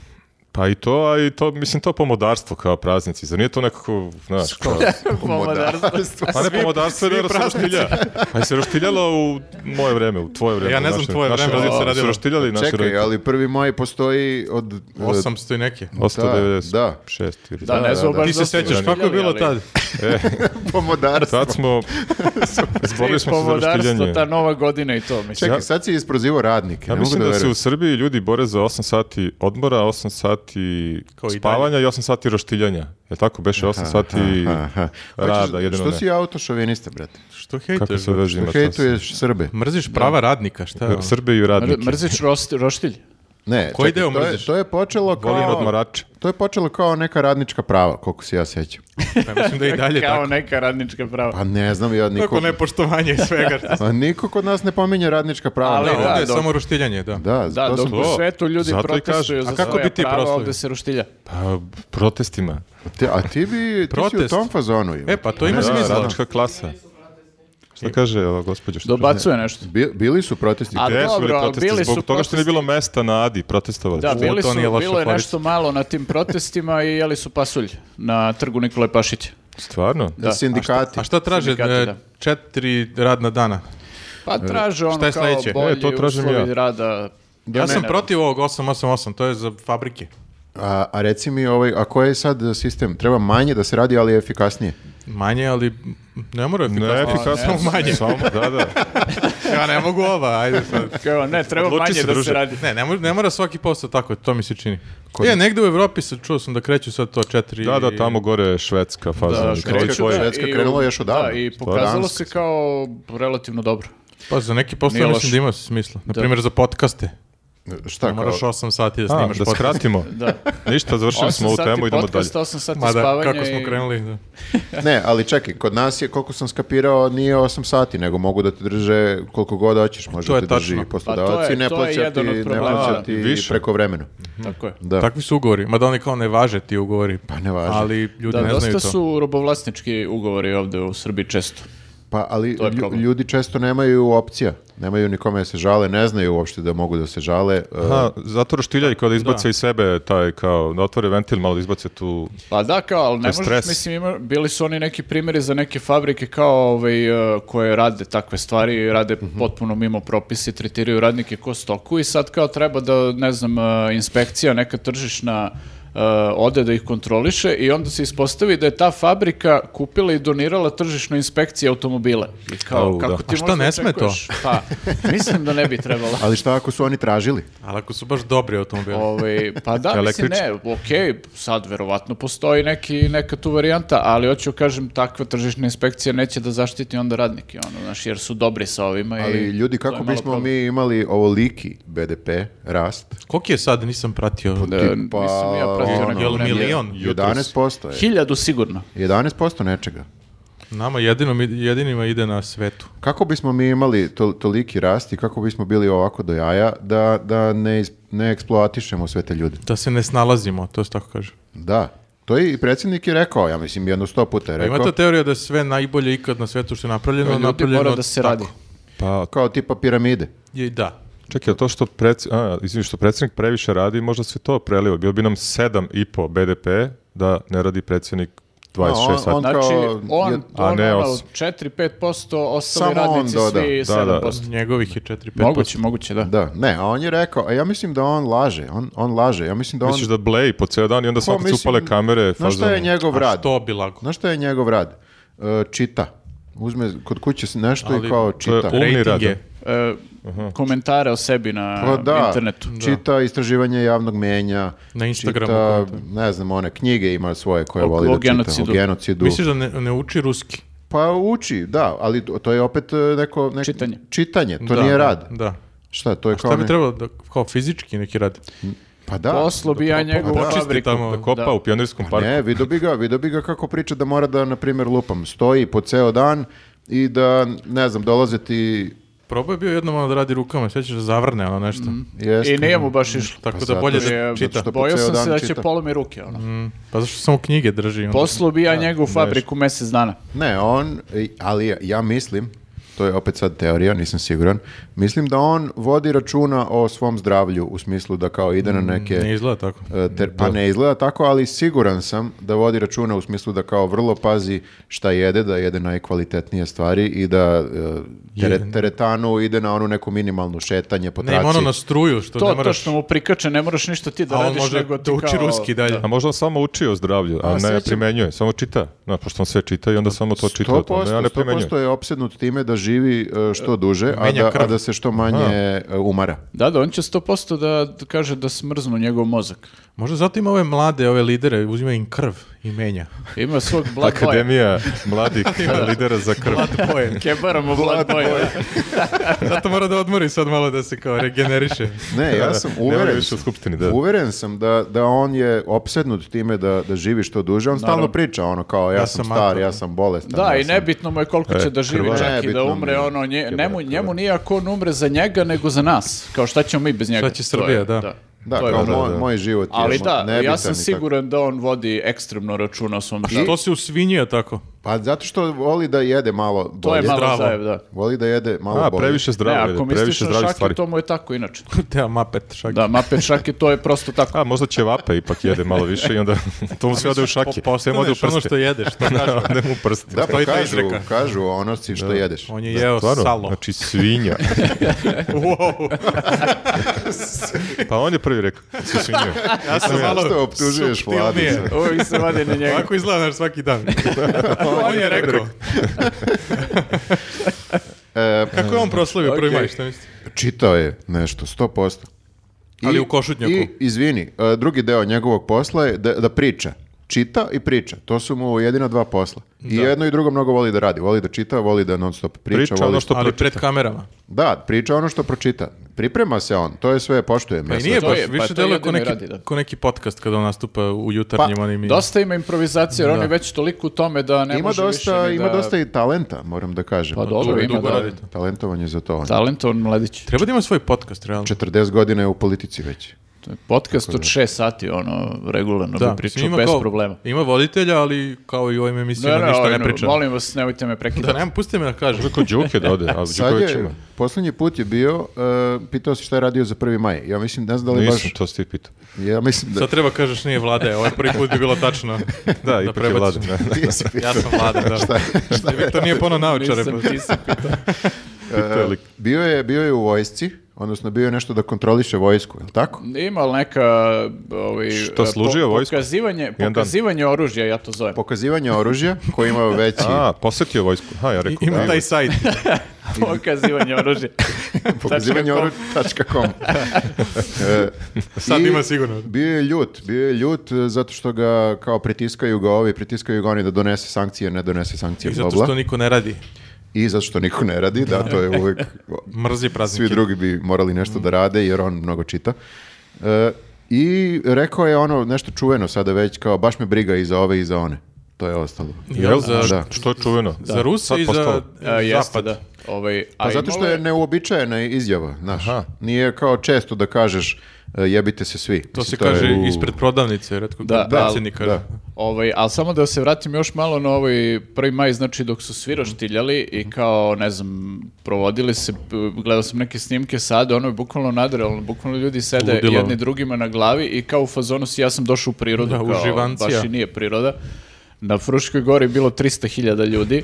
S4: Pa i to, a i to, mislim, to pomodarstvo kao praznici. Zar nije to nekako, znaš, kao...
S3: Pomodarstvo.
S4: Pa ne pomodarstvo je da
S1: svi
S4: se roštilja. Pa je se roštiljalo u moje vreme, u tvoje vreme.
S1: Ja ne znam
S4: naše-
S1: tvoje
S4: naše
S1: vreme,
S4: roditelji
S1: ali se
S4: su
S1: radilo.
S4: roštiljali naši
S2: Čekaj,
S4: roditelji.
S2: ali 1. maj postoji od... e,
S1: 800 i neke.
S2: Da.
S4: 196 ili
S3: Da, ne znam
S2: da.
S3: baš
S1: Ti se
S3: zašto su
S1: sećaš kako je
S3: željeli,
S1: bilo
S3: ali-
S1: tad?
S2: Pomodarstvo.
S4: Tad smo, izborili smo se za
S3: Pomodarstvo,
S4: roštiljanje.
S3: ta nova godina i to, mislim.
S2: Čekaj, sad si isprozivo radnike.
S4: Ja
S2: ne
S4: mislim
S2: mogu
S4: da,
S2: da,
S4: se
S2: verujem.
S4: u Srbiji ljudi bore za 8 sati odmora, 8 sati
S1: Kao i
S4: spavanja i 8 sati roštiljanja. Je tako? Beše 8 sati
S2: Aha.
S4: rada,
S2: Hoćeš-
S4: jedino
S2: Što
S4: ne.
S2: si autošovinista, brate?
S1: Što
S4: Kako
S1: hejtuješ?
S4: se
S1: brate?
S4: vezi ima
S2: Što
S4: to?
S2: hejtuješ Srbe?
S1: Mrziš prava radnika, šta je
S4: sve?
S1: ono?
S4: Srbe i radnike.
S3: Mrzić rosti- roštilj.
S2: Ne,
S1: Koji
S2: čekaj,
S1: deo
S2: to je,
S1: mrziš?
S2: to je počelo
S4: Volim
S2: kao...
S4: odmarače.
S2: To je počelo kao neka radnička prava, koliko se ja sjećam.
S1: Ja mislim da je i dalje
S3: Kao
S1: tako.
S3: neka radnička prava.
S2: Pa ne znam, ja
S1: Kako
S2: niko...
S1: nepoštovanje i svega. šta-
S2: Pa niko kod nas ne pominje radnička prava.
S3: Ali
S1: Da,
S2: da,
S1: ovdje je
S3: dok-
S1: samo roštiljanje, da.
S2: da,
S3: Da,
S2: to
S3: dok
S2: sam...
S3: u svetu ljudi
S4: Zato i
S3: protestuju
S4: kažem.
S3: za
S1: A kako
S3: svoja
S1: bi ti
S3: prava,
S1: proslavio?
S3: ovde se roštilja.
S4: Pa, protestima.
S2: Te- a pa ti bi... Ti si u
S1: Protest.
S2: tom fazonu. Ivo.
S1: E, pa to ima
S4: Da,
S1: smisla.
S4: radnička klasa. Šta kaže ova gospođa? Što
S3: Dobacuje nešto.
S2: Bi- bili su protesti.
S4: kaže?
S3: A-
S4: Gde su bili
S3: dobro, ali
S4: protesti?
S3: bili
S4: Zbog
S3: su
S4: toga što nije
S3: protesti.
S4: bilo mesta na Adi, protestovali.
S3: Da,
S4: su.
S1: bi-
S3: bili
S1: to
S3: su,
S1: nije loša
S3: bilo je
S1: stvar.
S3: nešto malo na tim protestima i jeli su pasulj na trgu Nikole Pašića.
S4: Stvarno?
S3: Da, a šta-
S2: Sindikati.
S1: A šta traže?
S3: Sindikati,
S1: e,
S3: da.
S1: četiri radna dana.
S3: Pa traže ono
S1: šta je
S3: kao
S1: sledeće? E,
S3: bolji
S4: to tražim
S3: uslovi
S4: ja.
S3: rada.
S1: Ja sam
S3: ne-
S1: protiv ovog 888, to je za fabrike.
S2: A, a reci mi, ovaj, a koji je sad sistem? Treba manje da se radi, ali efikasnije.
S1: Manje, ali ne mora
S4: Ne,
S1: efikasno.
S4: efikasno
S1: samo manje.
S4: Samo, da, da.
S1: ja ne mogu ova, ajde sad.
S3: Kao, ne, treba
S4: Odluči
S3: manje
S4: se,
S3: da
S4: druže.
S3: se radi.
S1: Ne, ne, mora, ne mora svaki posao tako, to mi se čini. Je, negde u Evropi se čuo sam da kreću sad to četiri...
S4: Da, da, tamo gore je švedska faza.
S3: Znači, Da,
S4: neki
S2: kreću
S4: tvoj-
S2: da- Švedska krenula još odavno.
S3: Da, i
S2: Stvarno.
S3: pokazalo
S2: Danska.
S3: se kao relativno dobro.
S1: Pa za neki
S3: Nije
S1: posao mislim
S3: loše.
S1: da ima smisla. Naprimjer za podcaste.
S2: Šta kao?
S1: Moraš 8 sati da
S4: A,
S1: snimaš
S4: da
S1: podcast.
S4: skratimo.
S3: Da.
S4: Ništa, završili smo ovu temu, idemo dalje.
S3: 8 sati
S1: Ma da,
S3: spavanja
S1: kako smo
S3: i-
S1: krenuli. Da.
S2: Ne, ali čekaj, kod nas je, koliko sam skapirao, nije 8 sati, nego mogu da te drže koliko god hoćeš. Može
S1: To
S2: da
S1: je
S2: te drži
S1: tačno.
S2: poslodavac
S3: Pa to je-
S2: i ne
S3: to je
S2: plaća ti,
S3: jedan od
S2: ne
S3: problema.
S2: plaća
S4: A,
S2: ti
S4: više.
S2: preko vremena.
S3: Tako je.
S2: Da.
S1: Takvi su ugovori. Mada oni kao ne važe ti ugovori. Pa
S2: ne važe.
S1: Ali ljudi
S3: Da,
S1: ne znaju
S3: dosta
S1: to.
S3: su robovlasnički ugovori ovde u Srbiji često.
S2: Pa, ali
S3: je
S2: lju-
S3: problem.
S2: ljudi često nemaju opcija. Nemaju nikome da se žale, ne znaju uopšte da mogu da se žale. e,
S4: Aha, zato roštiljaj kao da izbace iz sebe taj kao, da otvore ventil, malo da izbace tu...
S3: Pa da, kao, ali ne
S4: je
S3: možeš,
S4: stres.
S3: mislim, ima, bili su oni neki primjeri za neke fabrike kao ovaj, e, koje rade takve stvari, rade potpuno mimo propisi, tretiraju radnike ko stoku i sad kao treba da, ne znam, e, inspekcija neka tržišna e, ode da ih kontroliše i onda se ispostavi da je ta fabrika kupila i donirala tržišnoj inspekciji automobile. I kao,
S4: Au, da.
S3: kako
S1: A
S3: ti
S1: šta,
S3: možda
S1: ne sme to?
S3: očekuješ? Pa, mislim da ne bi trebalo.
S2: Ali šta ako su oni tražili?
S1: Ali ako su baš dobri automobili.
S3: Ovaj, pa da, mislim, ne, okej, sad verovatno postoji neki, neka tu varijanta, ali hoću kažem, takva tržišna inspekcija neće da zaštiti onda radnike, ono, znaš, jer su dobri sa ovima.
S2: Ali
S3: i
S2: ljudi,
S3: E, to je
S2: kako
S3: malo
S2: bismo
S3: problem.
S2: mi imali ovoliki BDP, rast,
S1: Koliki je sad? Nisam pratio.
S3: Da,
S2: tipa,
S3: nisam ja pratio
S2: ono,
S3: neko
S1: jel
S3: vreme.
S1: milion?
S2: 11% je.
S3: Hiljadu sigurno.
S2: 11% nečega.
S1: Nama jedino, jedinima ide na svetu.
S2: Kako bismo mi imali to, toliki rast i kako bismo bili ovako do jaja da, da ne, is- ne eksploatišemo sve te ljude?
S1: Da se ne snalazimo, to se tako kaže.
S2: Da. To je i predsjednik je rekao, ja mislim jedno sto puta je
S1: Ima
S2: rekao.
S1: ta teorija da je sve najbolje ikad na svetu što je napravljeno,
S3: Ljudi
S1: napravljeno
S3: mora da se
S1: tako.
S3: radi.
S4: Pa,
S2: Kao tipa piramide.
S1: I da.
S4: čekaj, to što, preds... A, izvini, što predsjednik previše radi, možda se to preliva. Bilo bi nam 7,5 BDP da ne radi predsjednik 26
S2: A, on-
S4: sati.
S2: on-
S3: Znači,
S2: Kao
S3: on,
S2: jed-
S4: A
S3: on,
S4: ne
S3: ono,
S4: osam.
S3: 4-5%,
S2: Samo
S3: ostali
S2: on
S3: radnici
S2: doda.
S3: svi
S4: Da, da.
S3: 7%.
S1: Njegovih je 4-5%.
S3: Moguće, moguće, da.
S2: Da, ne, a on je rekao, a ja mislim da on laže, on, on laže, ja mislim da on...
S4: Misliš da bleji po ceo dan i onda
S2: Pa,
S4: svako
S2: mislim,
S4: cupale kamere.
S2: Znaš šta je
S4: fazon-
S2: njegov
S1: A
S2: rad?
S1: što bi lago?
S2: Znaš šta je njegov rad? E, čita. Uzme kod kuće nešto
S1: Ali-
S2: i kao
S4: To je
S2: čita.
S4: umni
S1: Rating
S4: rad.
S1: je.
S3: E, komentare o sebi na
S2: Pa da,
S3: internetu.
S2: čita istraživanje javnog menja.
S1: Na Instagramu,
S2: Čita,
S1: kako
S2: ne znam, one knjige ima svoje koje
S3: O-
S2: voli
S3: o
S2: da čita.
S3: genocidu.
S2: O genocidu.
S1: Misliš da ne, ne uči ruski?
S2: Pa uči, da, ali to- to je opet e, neko... neko
S3: Čitanje.
S2: Čitanje, to
S1: Da,
S2: nije
S1: da,
S2: rad.
S1: Da.
S2: Šta, to je kao...
S1: Šta bi
S2: ne-
S1: trebalo da, kao fizički neki radi?
S2: Pa da.
S3: Poslo bi ja njegovu
S2: da,
S1: počisti
S3: fabriku.
S1: tamo.
S4: Da kopa
S3: Da.
S4: u pionirskom parku.
S2: Pa Ne, vidio bi ga, vidio bi ga kako priča da mora da, na primjer, lupam, stoji po ceo dan i da, ne znam, dolaze ti...
S1: Probao je bio jednom ono da radi rukama, sjećaš da zavrne ono nešto.
S2: Jeste,
S3: I nije mu baš išlo.
S1: Tako
S2: Pa
S1: da bolje
S2: zato
S1: da
S3: Je,
S1: čita.
S2: što- po
S3: Bojao
S2: ceo
S3: sam se
S2: dan
S3: da
S2: čita.
S3: će polomi ruke, ono.
S1: Pa zašto samo knjige drži? Onda?
S3: Poslu bi ja njegovu fabriku mjesec dana.
S2: Ne, on, i- ali ja- ja mislim, to je opet sad teorija, nisam siguran, mislim da on vodi računa o svom zdravlju u smislu da kao ide na neke...
S1: Ne izgleda tako.
S2: e, ter- pa ne izgleda tako, ali siguran sam da vodi računa u smislu da kao vrlo pazi šta jede, da jede najkvalitetnije stvari i da e, tere-
S1: Jede.
S2: teretanu ide na onu neku minimalnu šetanje po
S1: Ne, ima ono
S2: traci.
S1: na struju što
S3: To,
S1: ne
S3: to
S1: moraš...
S3: što mu prikače, ne moraš ništa ti da
S1: a on
S3: radiš,
S1: može
S3: nego ti
S1: da uči
S3: kao...
S1: ruski dalje.
S4: A možda on samo uči o zdravlju, a,
S2: A, Pa
S4: ne
S2: srećem.
S4: primenjuje, samo čita. No, pošto on sve čita i onda samo to čita. o tome,
S2: 100%,
S4: a ne primenjuje.
S2: 100% je opsednut time da živi e, što duže, a
S1: Menja
S2: da,
S1: krv.
S2: a da se što manje e, umara.
S3: Da, da, on će 100% da d- kaže da smrznu njegov mozak.
S1: Možda zato ima ove mlade, ove lidere, uzima im krv i menja.
S3: Ima svog Blood Boya.
S4: Akademija mladih lidera za krv.
S3: Kebaramo Blood Boya.
S1: Zato mora da odmori sad malo da se kao regeneriše.
S2: Ne, ja sam
S4: Ne mora
S2: uveren,
S4: više u skupštini, da.
S2: uveren sam da, da on je opsednut time da, da živi što duže. On stalno
S3: Naravno.
S2: priča ono kao ja,
S1: Ja
S2: sam
S1: sam
S2: star,
S1: mator.
S2: ja sam bolestan.
S3: Da,
S2: ja
S3: i
S2: sam-
S3: nebitno mu je koliko će da živi,
S4: krvar.
S3: čak i da
S2: Nebitno mu
S3: umre,
S2: je.
S3: ono, nje- njemu, njemu nije ako on umre za njega, nego za nas. Kao šta ćemo mi bez njega?
S1: Šta će
S3: To je-
S1: Srbija, da.
S2: Da,
S3: To je ono.
S2: kao
S4: da,
S2: moj,
S4: da.
S2: moj život je
S3: Ali
S2: mo-
S3: da,
S2: nebitan
S3: ja
S2: i tako.
S3: sam siguran da on vodi ekstremno računa o svom životu.
S1: Što si usvinjio tako?
S2: Pa zato što voli da jede malo bolje.
S3: To je malo
S1: Zdravo.
S3: zajeb, da.
S2: Voli da jede malo
S4: A,
S2: bolje.
S4: previše
S3: Ne,
S4: zdravo,
S3: ako
S4: jede, previše
S3: misliš na
S4: zdravih
S3: šake,
S4: stvari.
S3: to mu je tako inače.
S1: Te mapet šak.
S3: Da, mape šake, to je prosto tako.
S4: A, možda će vape ipak jede malo više i onda to mu sve ode u šake.
S1: Po,
S4: sve mu ode u
S1: postaneš ono što
S4: prste.
S1: jedeš. To
S4: Da, ode mu u prste.
S2: Da,
S1: To
S2: pa
S1: je ta
S2: kažu,
S1: izreka.
S2: kažu o onoci što jedeš.
S1: On je jeo
S4: Stvarno,
S1: salo.
S4: znači svinja.
S1: wow.
S4: Pa on je prvi rekao, si svinja.
S1: Ja sam
S2: ja. Što optužuješ
S1: suptilnije.
S2: vladu
S3: Uvijek se vadi na njega.
S1: Ovako izgleda naš svaki dan. On je rekao.
S2: E,
S1: Kako je on proslavio prvi
S3: Ok.
S1: maj, šta mislite?
S2: čitao je nešto, 100%.
S1: Ali u košutnjaku.
S2: I, izvini, e, drugi deo njegovog posla je da, da priča. Čita i priča. To su mu jedina dva posla. I jedno i drugo mnogo voli da radi. Voli da čita, voli da non stop priča.
S4: Priča
S2: voli
S4: ono što-
S1: Ali
S4: pročita.
S1: pred kamerama.
S4: E,
S2: Da, priča ono što pročita. Priprema se on, to je sve, poštujem.
S1: Pa
S2: ja
S1: i
S2: sad.
S1: nije
S3: to
S1: baš,
S3: je- pa
S1: više
S3: to
S1: deluje ko
S3: jedino i
S1: neki,
S3: radi, da.
S1: ko neki podcast kada on nastupa u jutarnjim
S2: Pa,
S1: onim. i-
S3: Dosta ima improvizacije, jer on je već toliko u tome da ne
S2: Ima
S3: može
S2: dosta,
S3: više ni
S2: ima
S3: da...
S2: dosta i talenta, moram da kažem.
S3: Pa dobro, ima
S1: dugo
S3: da...
S1: radite.
S2: Talentovan je za to. on.
S3: Talentovan mladić.
S1: Treba da ima svoj podcast, realno.
S2: 40 godina je u politici već.
S3: To je podcast od 6 sati, ono, regularno
S1: Da,
S3: bi pričao
S1: mislim, ima
S3: bez
S1: kao-
S3: problema.
S1: Ima voditelja, ali kao i u ovim emisijama ništa
S3: ono,
S1: ne priča.
S3: molim vas, nemojte me
S1: Da,
S3: prekidati.
S1: nema, pusti me da kažem.
S4: Kako Đuke da ode, a
S2: Sad
S4: Đuković
S2: je,
S4: ima.
S2: posljednji put je bio, e, pitao si šta je radio za 1. maj. Ja mislim, ne znam da li
S4: Nisam,
S2: baš...
S4: to si ti pitao.
S2: Ja mislim da...
S1: Sad treba kažeš nije vlade, ovaj prvi put bi bilo tačno.
S4: Da, ipak je
S1: prebaciš.
S4: vladan. da, da.
S2: Ti si
S1: Ja sam vlada, da. šta Viktor nije pono naočare.
S3: Nisam,
S1: pa-
S3: nisam pitao.
S2: E,
S4: To je lik.
S2: Bio je, bio je u vojsci, odnosno bio je nešto da kontroliše vojsku, je li tako?
S3: Ima li neka... Ovaj,
S4: Što, služio vojsku?
S3: Pokazivanje,
S4: dan.
S3: pokazivanje oružja, ja to zovem.
S2: Pokazivanje oružja koje ima veći
S4: A, posetio vojsku. Ha, ja rekao.
S1: Ima
S4: da.
S1: taj sajt.
S3: Pokazivanje oružja.
S2: pokazivanje
S3: tačka
S2: oružja.com. E,
S1: Sad
S2: i
S1: ima sigurno.
S2: Bio je ljut, bio je ljut e, zato što ga kao pritiskaju ga ovi, pritiskaju ga oni da donese sankcije, ne donese sankcije,
S1: I
S2: bla,
S1: zato
S2: bla.
S1: što niko ne radi.
S2: I zato što niko ne radi, da, to je uvek...
S1: Mrzi
S2: Svi
S1: praznike.
S2: drugi bi morali nešto
S1: Mm.
S2: da rade, jer on mnogo čita. E, I rekao je ono nešto čuveno sada već, kao baš me briga i za ove i za one. To je ostalo.
S1: Jel, za,
S2: Da.
S4: Što je čuveno?
S1: za Ruse
S4: Sad
S1: i za
S4: postalo.
S3: A,
S1: e,
S3: jeste,
S1: Zapad.
S3: da. Ovaj,
S2: Pa
S3: a
S2: zato što
S3: imalo
S2: je neuobičajena izjava, znaš.
S4: Aha.
S2: Nije kao često da kažeš e, jebite se svi.
S1: To se
S2: Mislim,
S1: kaže
S2: je u-
S1: ispred prodavnice, redko
S3: Da,
S1: da,
S3: da,
S1: predsjednik kaže.
S2: da.
S3: Ovaj, ali samo da se vratim još malo na ovaj prvi maj, znači dok su svi roštiljali i kao, ne znam, provodili se, p- gledao sam neke snimke sada, ono je bukvalno nadrealno, bukvalno ljudi sede
S1: Ludilo.
S3: jedni drugima na glavi i kao u fazonu si, ja sam došao u prirodu,
S1: Da,
S3: kao,
S1: uživancija.
S3: baš i nije priroda. Na Fruškoj gori je bilo 300.000 ljudi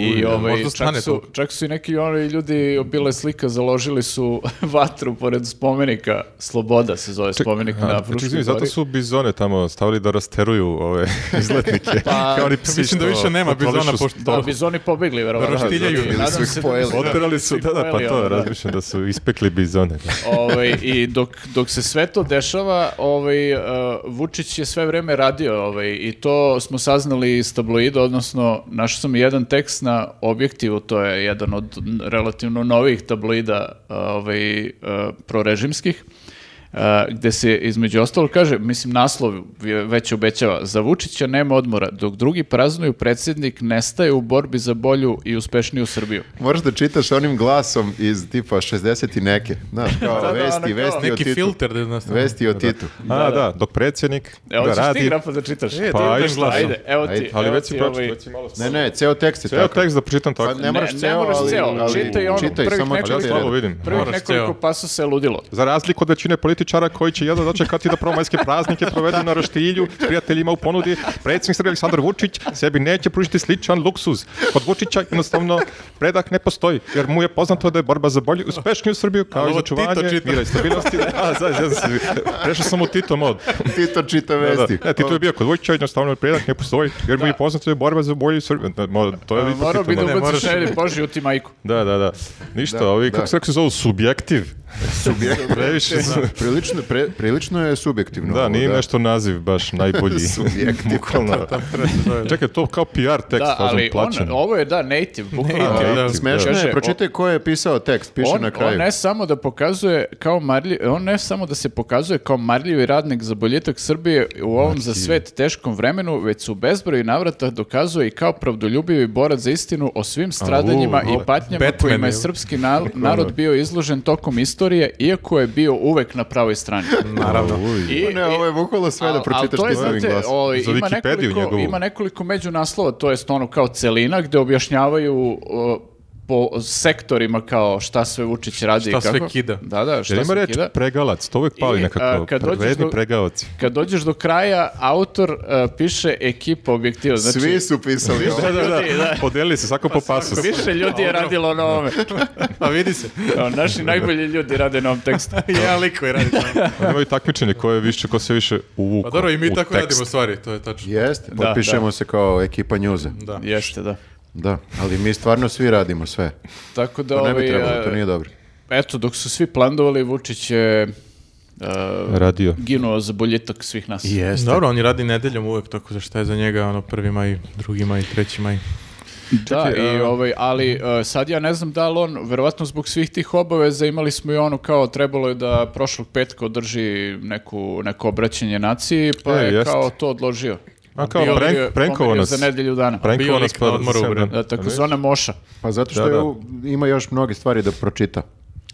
S3: i
S1: da,
S3: ovaj,
S1: možda
S3: čak,
S1: stane
S3: su,
S1: toliko.
S3: čak su i neki oni ljudi obile slika, založili su vatru pored spomenika, Sloboda se zove spomenik na
S4: A,
S3: Fruškoj gori.
S4: čekaj, zato su bizone tamo stavili da rasteruju ove izletnike.
S3: Pa,
S4: Kao oni psi
S1: Mislim da
S4: što
S1: više nema
S4: kontrolišu
S1: bizona, pošto
S3: Da, bizoni pobegli, verovatno. Znači,
S1: Roštiljaju
S3: I
S1: ili
S3: nadam
S2: su ih
S3: se da
S2: pojeli.
S3: nisu-
S4: Oterali su, da, da, pa
S3: pojeli, ono,
S4: to
S3: da.
S4: razmišljam da su ispekli bizone. da.
S3: Ovaj, I dok, dok se sve to dešava, ovaj, eh, Vučić je sve vreme radio ovaj, i to smo saznali iz tabloida, odnosno našao sam jedan tekst na objektivu, to je jedan od n- relativno novih tabloida ovaj, eh, prorežimskih, eh, gde se između ostalo kaže, mislim naslov je- već obećava, za Vučića nema odmora, dok drugi praznuju predsjednik nestaje u borbi za bolju i uspešniju Srbiju.
S2: Moraš da čitaš onim glasom iz tipa 60 i neke. Znaš, kao
S3: da,
S2: vesti,
S3: ono kao-
S2: vesti o
S1: Neki
S2: Titu.
S1: filter da nas...
S2: Vesti o Titu.
S4: A, da, dok predsjednik
S3: Evo,
S4: da
S3: ćeš E, ti
S4: radi,
S3: grafa da čitaš.
S1: E,
S4: Pa,
S1: to je
S4: ajde,
S1: taj
S4: šta
S1: glas.
S4: sam.
S3: Ajde, evo ti,
S2: Ajde,
S4: ali
S3: evo
S4: već si
S3: ti
S4: pročito,
S3: ovaj-
S4: već si malo...
S2: Ne, ne, ceo tekst je
S4: Ceo
S2: tako.
S4: tekst da pročitam tako.
S2: Pa ne moraš
S3: ne
S2: ceo,
S3: moraš
S2: ali,
S3: ceo,
S2: ali
S3: čitaj ono,
S2: čitaj
S3: prvih
S2: samo
S3: nekoliko-
S4: Ali ja
S2: četiri
S4: slabo
S2: reda.
S4: vidim.
S3: Prvih
S1: Moraš
S3: nekoliko
S1: ceo.
S3: pasusa je ludilo.
S4: Za razliku od većine političara koji će jedno dočekati da prvomajske praznike provedu na roštilju s prijateljima u ponudi, predsjednik Srbije Aleksandar Vučić sebi neće pružiti sličan luksuz. Kod Vučića jednostavno predak ne postoji, jer mu je poznato da je borba za bolju uspešniju Srbiju kao i
S1: Ovo
S4: za čuvanje
S1: Tito čita.
S4: mira i stabilnosti. A, za, za, za, prešao sam u Tito mod.
S2: Tito čita
S4: Da,
S2: vesti.
S4: da. Ne, Tito je bio kod Vučića, jednostavno predak ne postoji, jer mu je poznato da je borba za bolju Srbiju. Da, mo- To je ipak
S3: Morao
S4: Tito
S3: bi da
S4: mod.
S3: ubaciš ajde, poži u ti majku.
S4: Da, da, da. Ništa,
S2: Da,
S4: ovi,
S2: da.
S4: kako se rekao, se zovu subjektiv. Previše su-
S2: Prilično, pre- prilično je subjektivno.
S4: Da,
S2: ovo,
S4: nije nešto naziv baš najbolji.
S2: Subjektiv.
S4: Bukvalno. Čekaj, to kao PR tekst,
S3: Da, ali ono, on,
S4: plaćen.
S3: ovo je da, native, bukvalno.
S1: Native,
S2: Da,
S1: Da,
S2: smešno
S3: kaže,
S2: je,
S3: o-
S2: pročitaj ko je pisao tekst, piše
S3: On,
S2: na kraju.
S3: on ne samo da pokazuje kao marljiv, on ne samo da se pokazuje kao marljivi radnik za boljitak Srbije u ovom za svet teškom vremenu, već su u bezbroj navrata dokazuje i kao pravdoljubivi borac za istinu o svim stradanjima
S4: Au,
S3: i patnjama
S1: Batman
S3: kojima je
S1: je.
S3: srpski nar- narod bio izložen tokom istorije, iako je bio uvek na pravoj strani.
S1: Naravno.
S3: I-
S2: ne, ovo je bukvalo sve
S3: Al-
S2: da
S3: al
S2: pročitaš
S3: to je,
S2: ti ovim
S3: znate,
S2: glasom.
S3: ovaj,
S4: Za
S3: ima,
S4: Wikipediju
S3: nekoliko,
S4: njegovu.
S3: ima nekoliko međunaslova, to jest ono kao celina gde objašnjavaju uh, po sektorima kao šta sve Vučić radi i
S1: Šta
S3: kako.
S1: sve kida.
S3: Da, da, šta
S4: Jer ima
S3: sve
S4: reč
S3: kida.
S4: pregalac, to uvijek pali
S3: I, a,
S4: nekako.
S3: kad dođeš
S4: Vredni
S3: do-
S4: pregaoci.
S3: Kad dođeš do kraja, autor uh, piše ekipa objektiva. Znači,
S2: Svi su Pa pisali ovo.
S4: Da, da, da.
S3: Ljudi, da.
S4: Podelili se
S3: Pa
S4: svako po pasus.
S3: Više ljudi je radilo na ovome.
S1: A Pa vidi se.
S3: Kao, naši najbolji ljudi rade na ovom tekstu.
S1: Jedan lik koji radi tamo.
S4: Oni imaju takmičenje ko je više, ko se više uvuka
S1: Pa dobro, i mi
S4: u
S1: tako
S4: tekst.
S1: radimo stvari, to je tačno.
S2: Jeste, potpišemo se kao ekipa njuze.
S1: Da.
S3: Jeste, da.
S2: Da, ali mi stvarno svi radimo sve.
S3: Tako da,
S2: To Pa ne
S3: ovaj,
S2: bi trebalo,
S3: uh,
S2: to nije dobro.
S3: eto, dok su svi plandovali, Vučić je uh,
S4: Radio.
S3: ginuo za boljitak svih nas.
S2: Jeste.
S1: Dobro, on i radi nedeljom uvek, tako da šta je za njega ono prvi maj, drugi maj, treći maj.
S3: Da,
S4: Čekaj,
S3: i
S4: a-
S3: ovaj, ali e, sad ja ne znam da li on, verovatno zbog svih tih obaveza imali smo i ono kao trebalo je da prošlog petka održi neku, neko obraćanje naciji, pa
S4: E,
S3: je
S4: jeste.
S3: kao to odložio.
S4: A kao
S3: Bio-
S4: prank-
S3: bio-
S4: prankovao
S3: pomerio
S4: nas.
S3: Za nedelju dana.
S4: Prankovan
S1: Bio lik na
S4: pa-
S1: odmoru u Brendu.
S3: Da, takozvana moša.
S2: Pa zato što
S4: Da,
S2: je
S4: da.
S2: u- ima još mnoge stvari da pročita.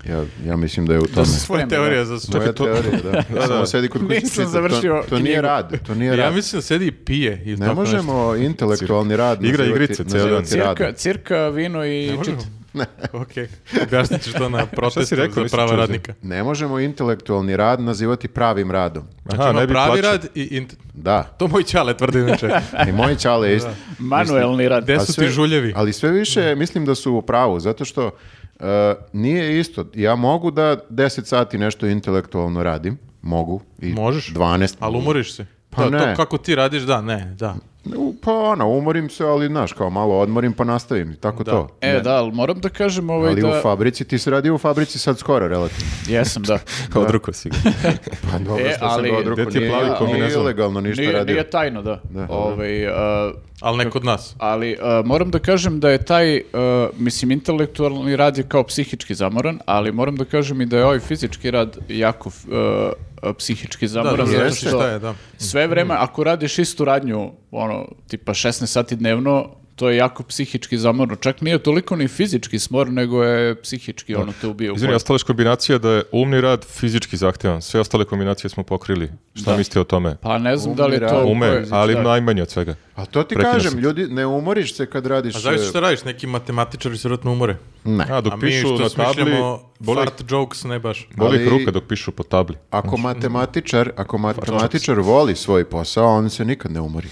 S2: Ja, ja mislim da je u tome.
S1: Svoja
S3: Spremno,
S1: teorija
S3: da.
S1: za sve.
S2: Moja
S4: to-
S2: teorija, da. Samo sedi kod kuće
S3: Nisam
S2: čita. To-
S3: završio
S2: To, nije
S3: knjigu.
S2: rad, to nije
S1: Ja
S2: rad.
S1: mislim da sedi i pije. Ili
S2: Ne
S1: tako
S2: možemo intelektualni rad
S4: Igra
S2: nazivati-
S4: igrice cijeli dan.
S2: nazivati radom.
S3: Cirka, cirka, vino i
S1: Nešto. Ne
S3: čit.
S1: možemo? Okej. Objasnit ćeš to na protestu
S4: rekao,
S1: za
S4: nisam
S1: prava
S4: čuo za-
S1: radnika.
S2: Ne možemo intelektualni rad nazivati pravim radom.
S3: Znači, ono
S4: Aha,
S1: Ima
S4: ne bi
S1: Znači ono pravi
S4: plaćao.
S1: rad i... int-
S2: Da,
S1: To moj čale tvrdi inače.
S2: i moji čale je isto.
S3: Manuelni rad.
S1: Gde
S2: A
S1: su
S2: sve-
S1: ti žuljevi?
S2: Ali sve više mislim da su u pravu, zato što e, nije isto. Ja mogu da 10 sati nešto intelektualno radim, mogu, i
S1: Možeš. um-
S2: 12.
S1: Ali umoriš se.
S2: Pa
S1: Da,
S2: ne.
S1: To kako ti radiš, da, ne, da.
S2: U, Pa ono, umorim se, ali znaš, kao malo odmorim pa nastavim i tako to.
S3: E, da, ali moram da kažem ovaj
S2: Ali u
S3: da...
S2: fabrici, ti se radi u fabrici sad skoro, relativno.
S3: Jesam, da.
S4: Kao drugo sigurno.
S2: Pa dobro,
S3: E,
S2: što
S3: ali-
S2: sam ga odrukao,
S4: Gde ti je
S2: nije,
S4: plavi
S2: nije
S4: kombinezon?
S2: ilegalno ništa
S3: Nije,
S2: radio.
S3: nije tajno, da. Ovaj, a,
S1: Ali ne kod nas.
S3: Ali e, moram da kažem da je taj, e, mislim, intelektualni rad je kao psihički zamoran, ali moram da kažem i da je ovaj fizički rad jako f- e, e, psihički zamoran,
S1: da,
S3: zato
S1: jeste,
S3: što
S1: šta je, da.
S3: sve vreme, ako radiš istu radnju, ono, tipa 16 sati dnevno, to je jako psihički zamorno. Čak nije toliko ni fizički smor, nego je psihički, ono, te ubije. u
S4: Izvini,
S3: kojem-
S4: ostala je kombinacija da je umni rad fizički zahtevan. Sve ostale kombinacije smo pokrili. Šta mislite o tome?
S3: Pa ne znam da li je
S2: Umire,
S3: to...
S2: ali-
S3: u
S4: Ume,
S3: kojoj-
S4: ali
S3: da. Pa
S4: najmanje od svega.
S2: A Pa to ti
S4: Prekidao
S2: kažem,
S4: sam.
S2: ljudi, ne umoriš se kad radiš...
S1: A zavisi
S2: e,
S1: šta radiš, neki matematičari se vjerojatno umore.
S2: Ne.
S4: A, dok
S1: A mi
S4: pišu
S1: što
S4: na tabli,
S1: smišljamo
S4: boli,
S1: fart jokes, ne baš.
S4: boli ih
S2: Ali-
S4: ruka dok pišu po tabli.
S2: Ako matematičar, ako matematičar voli svoj posao, on se nikad ne umori.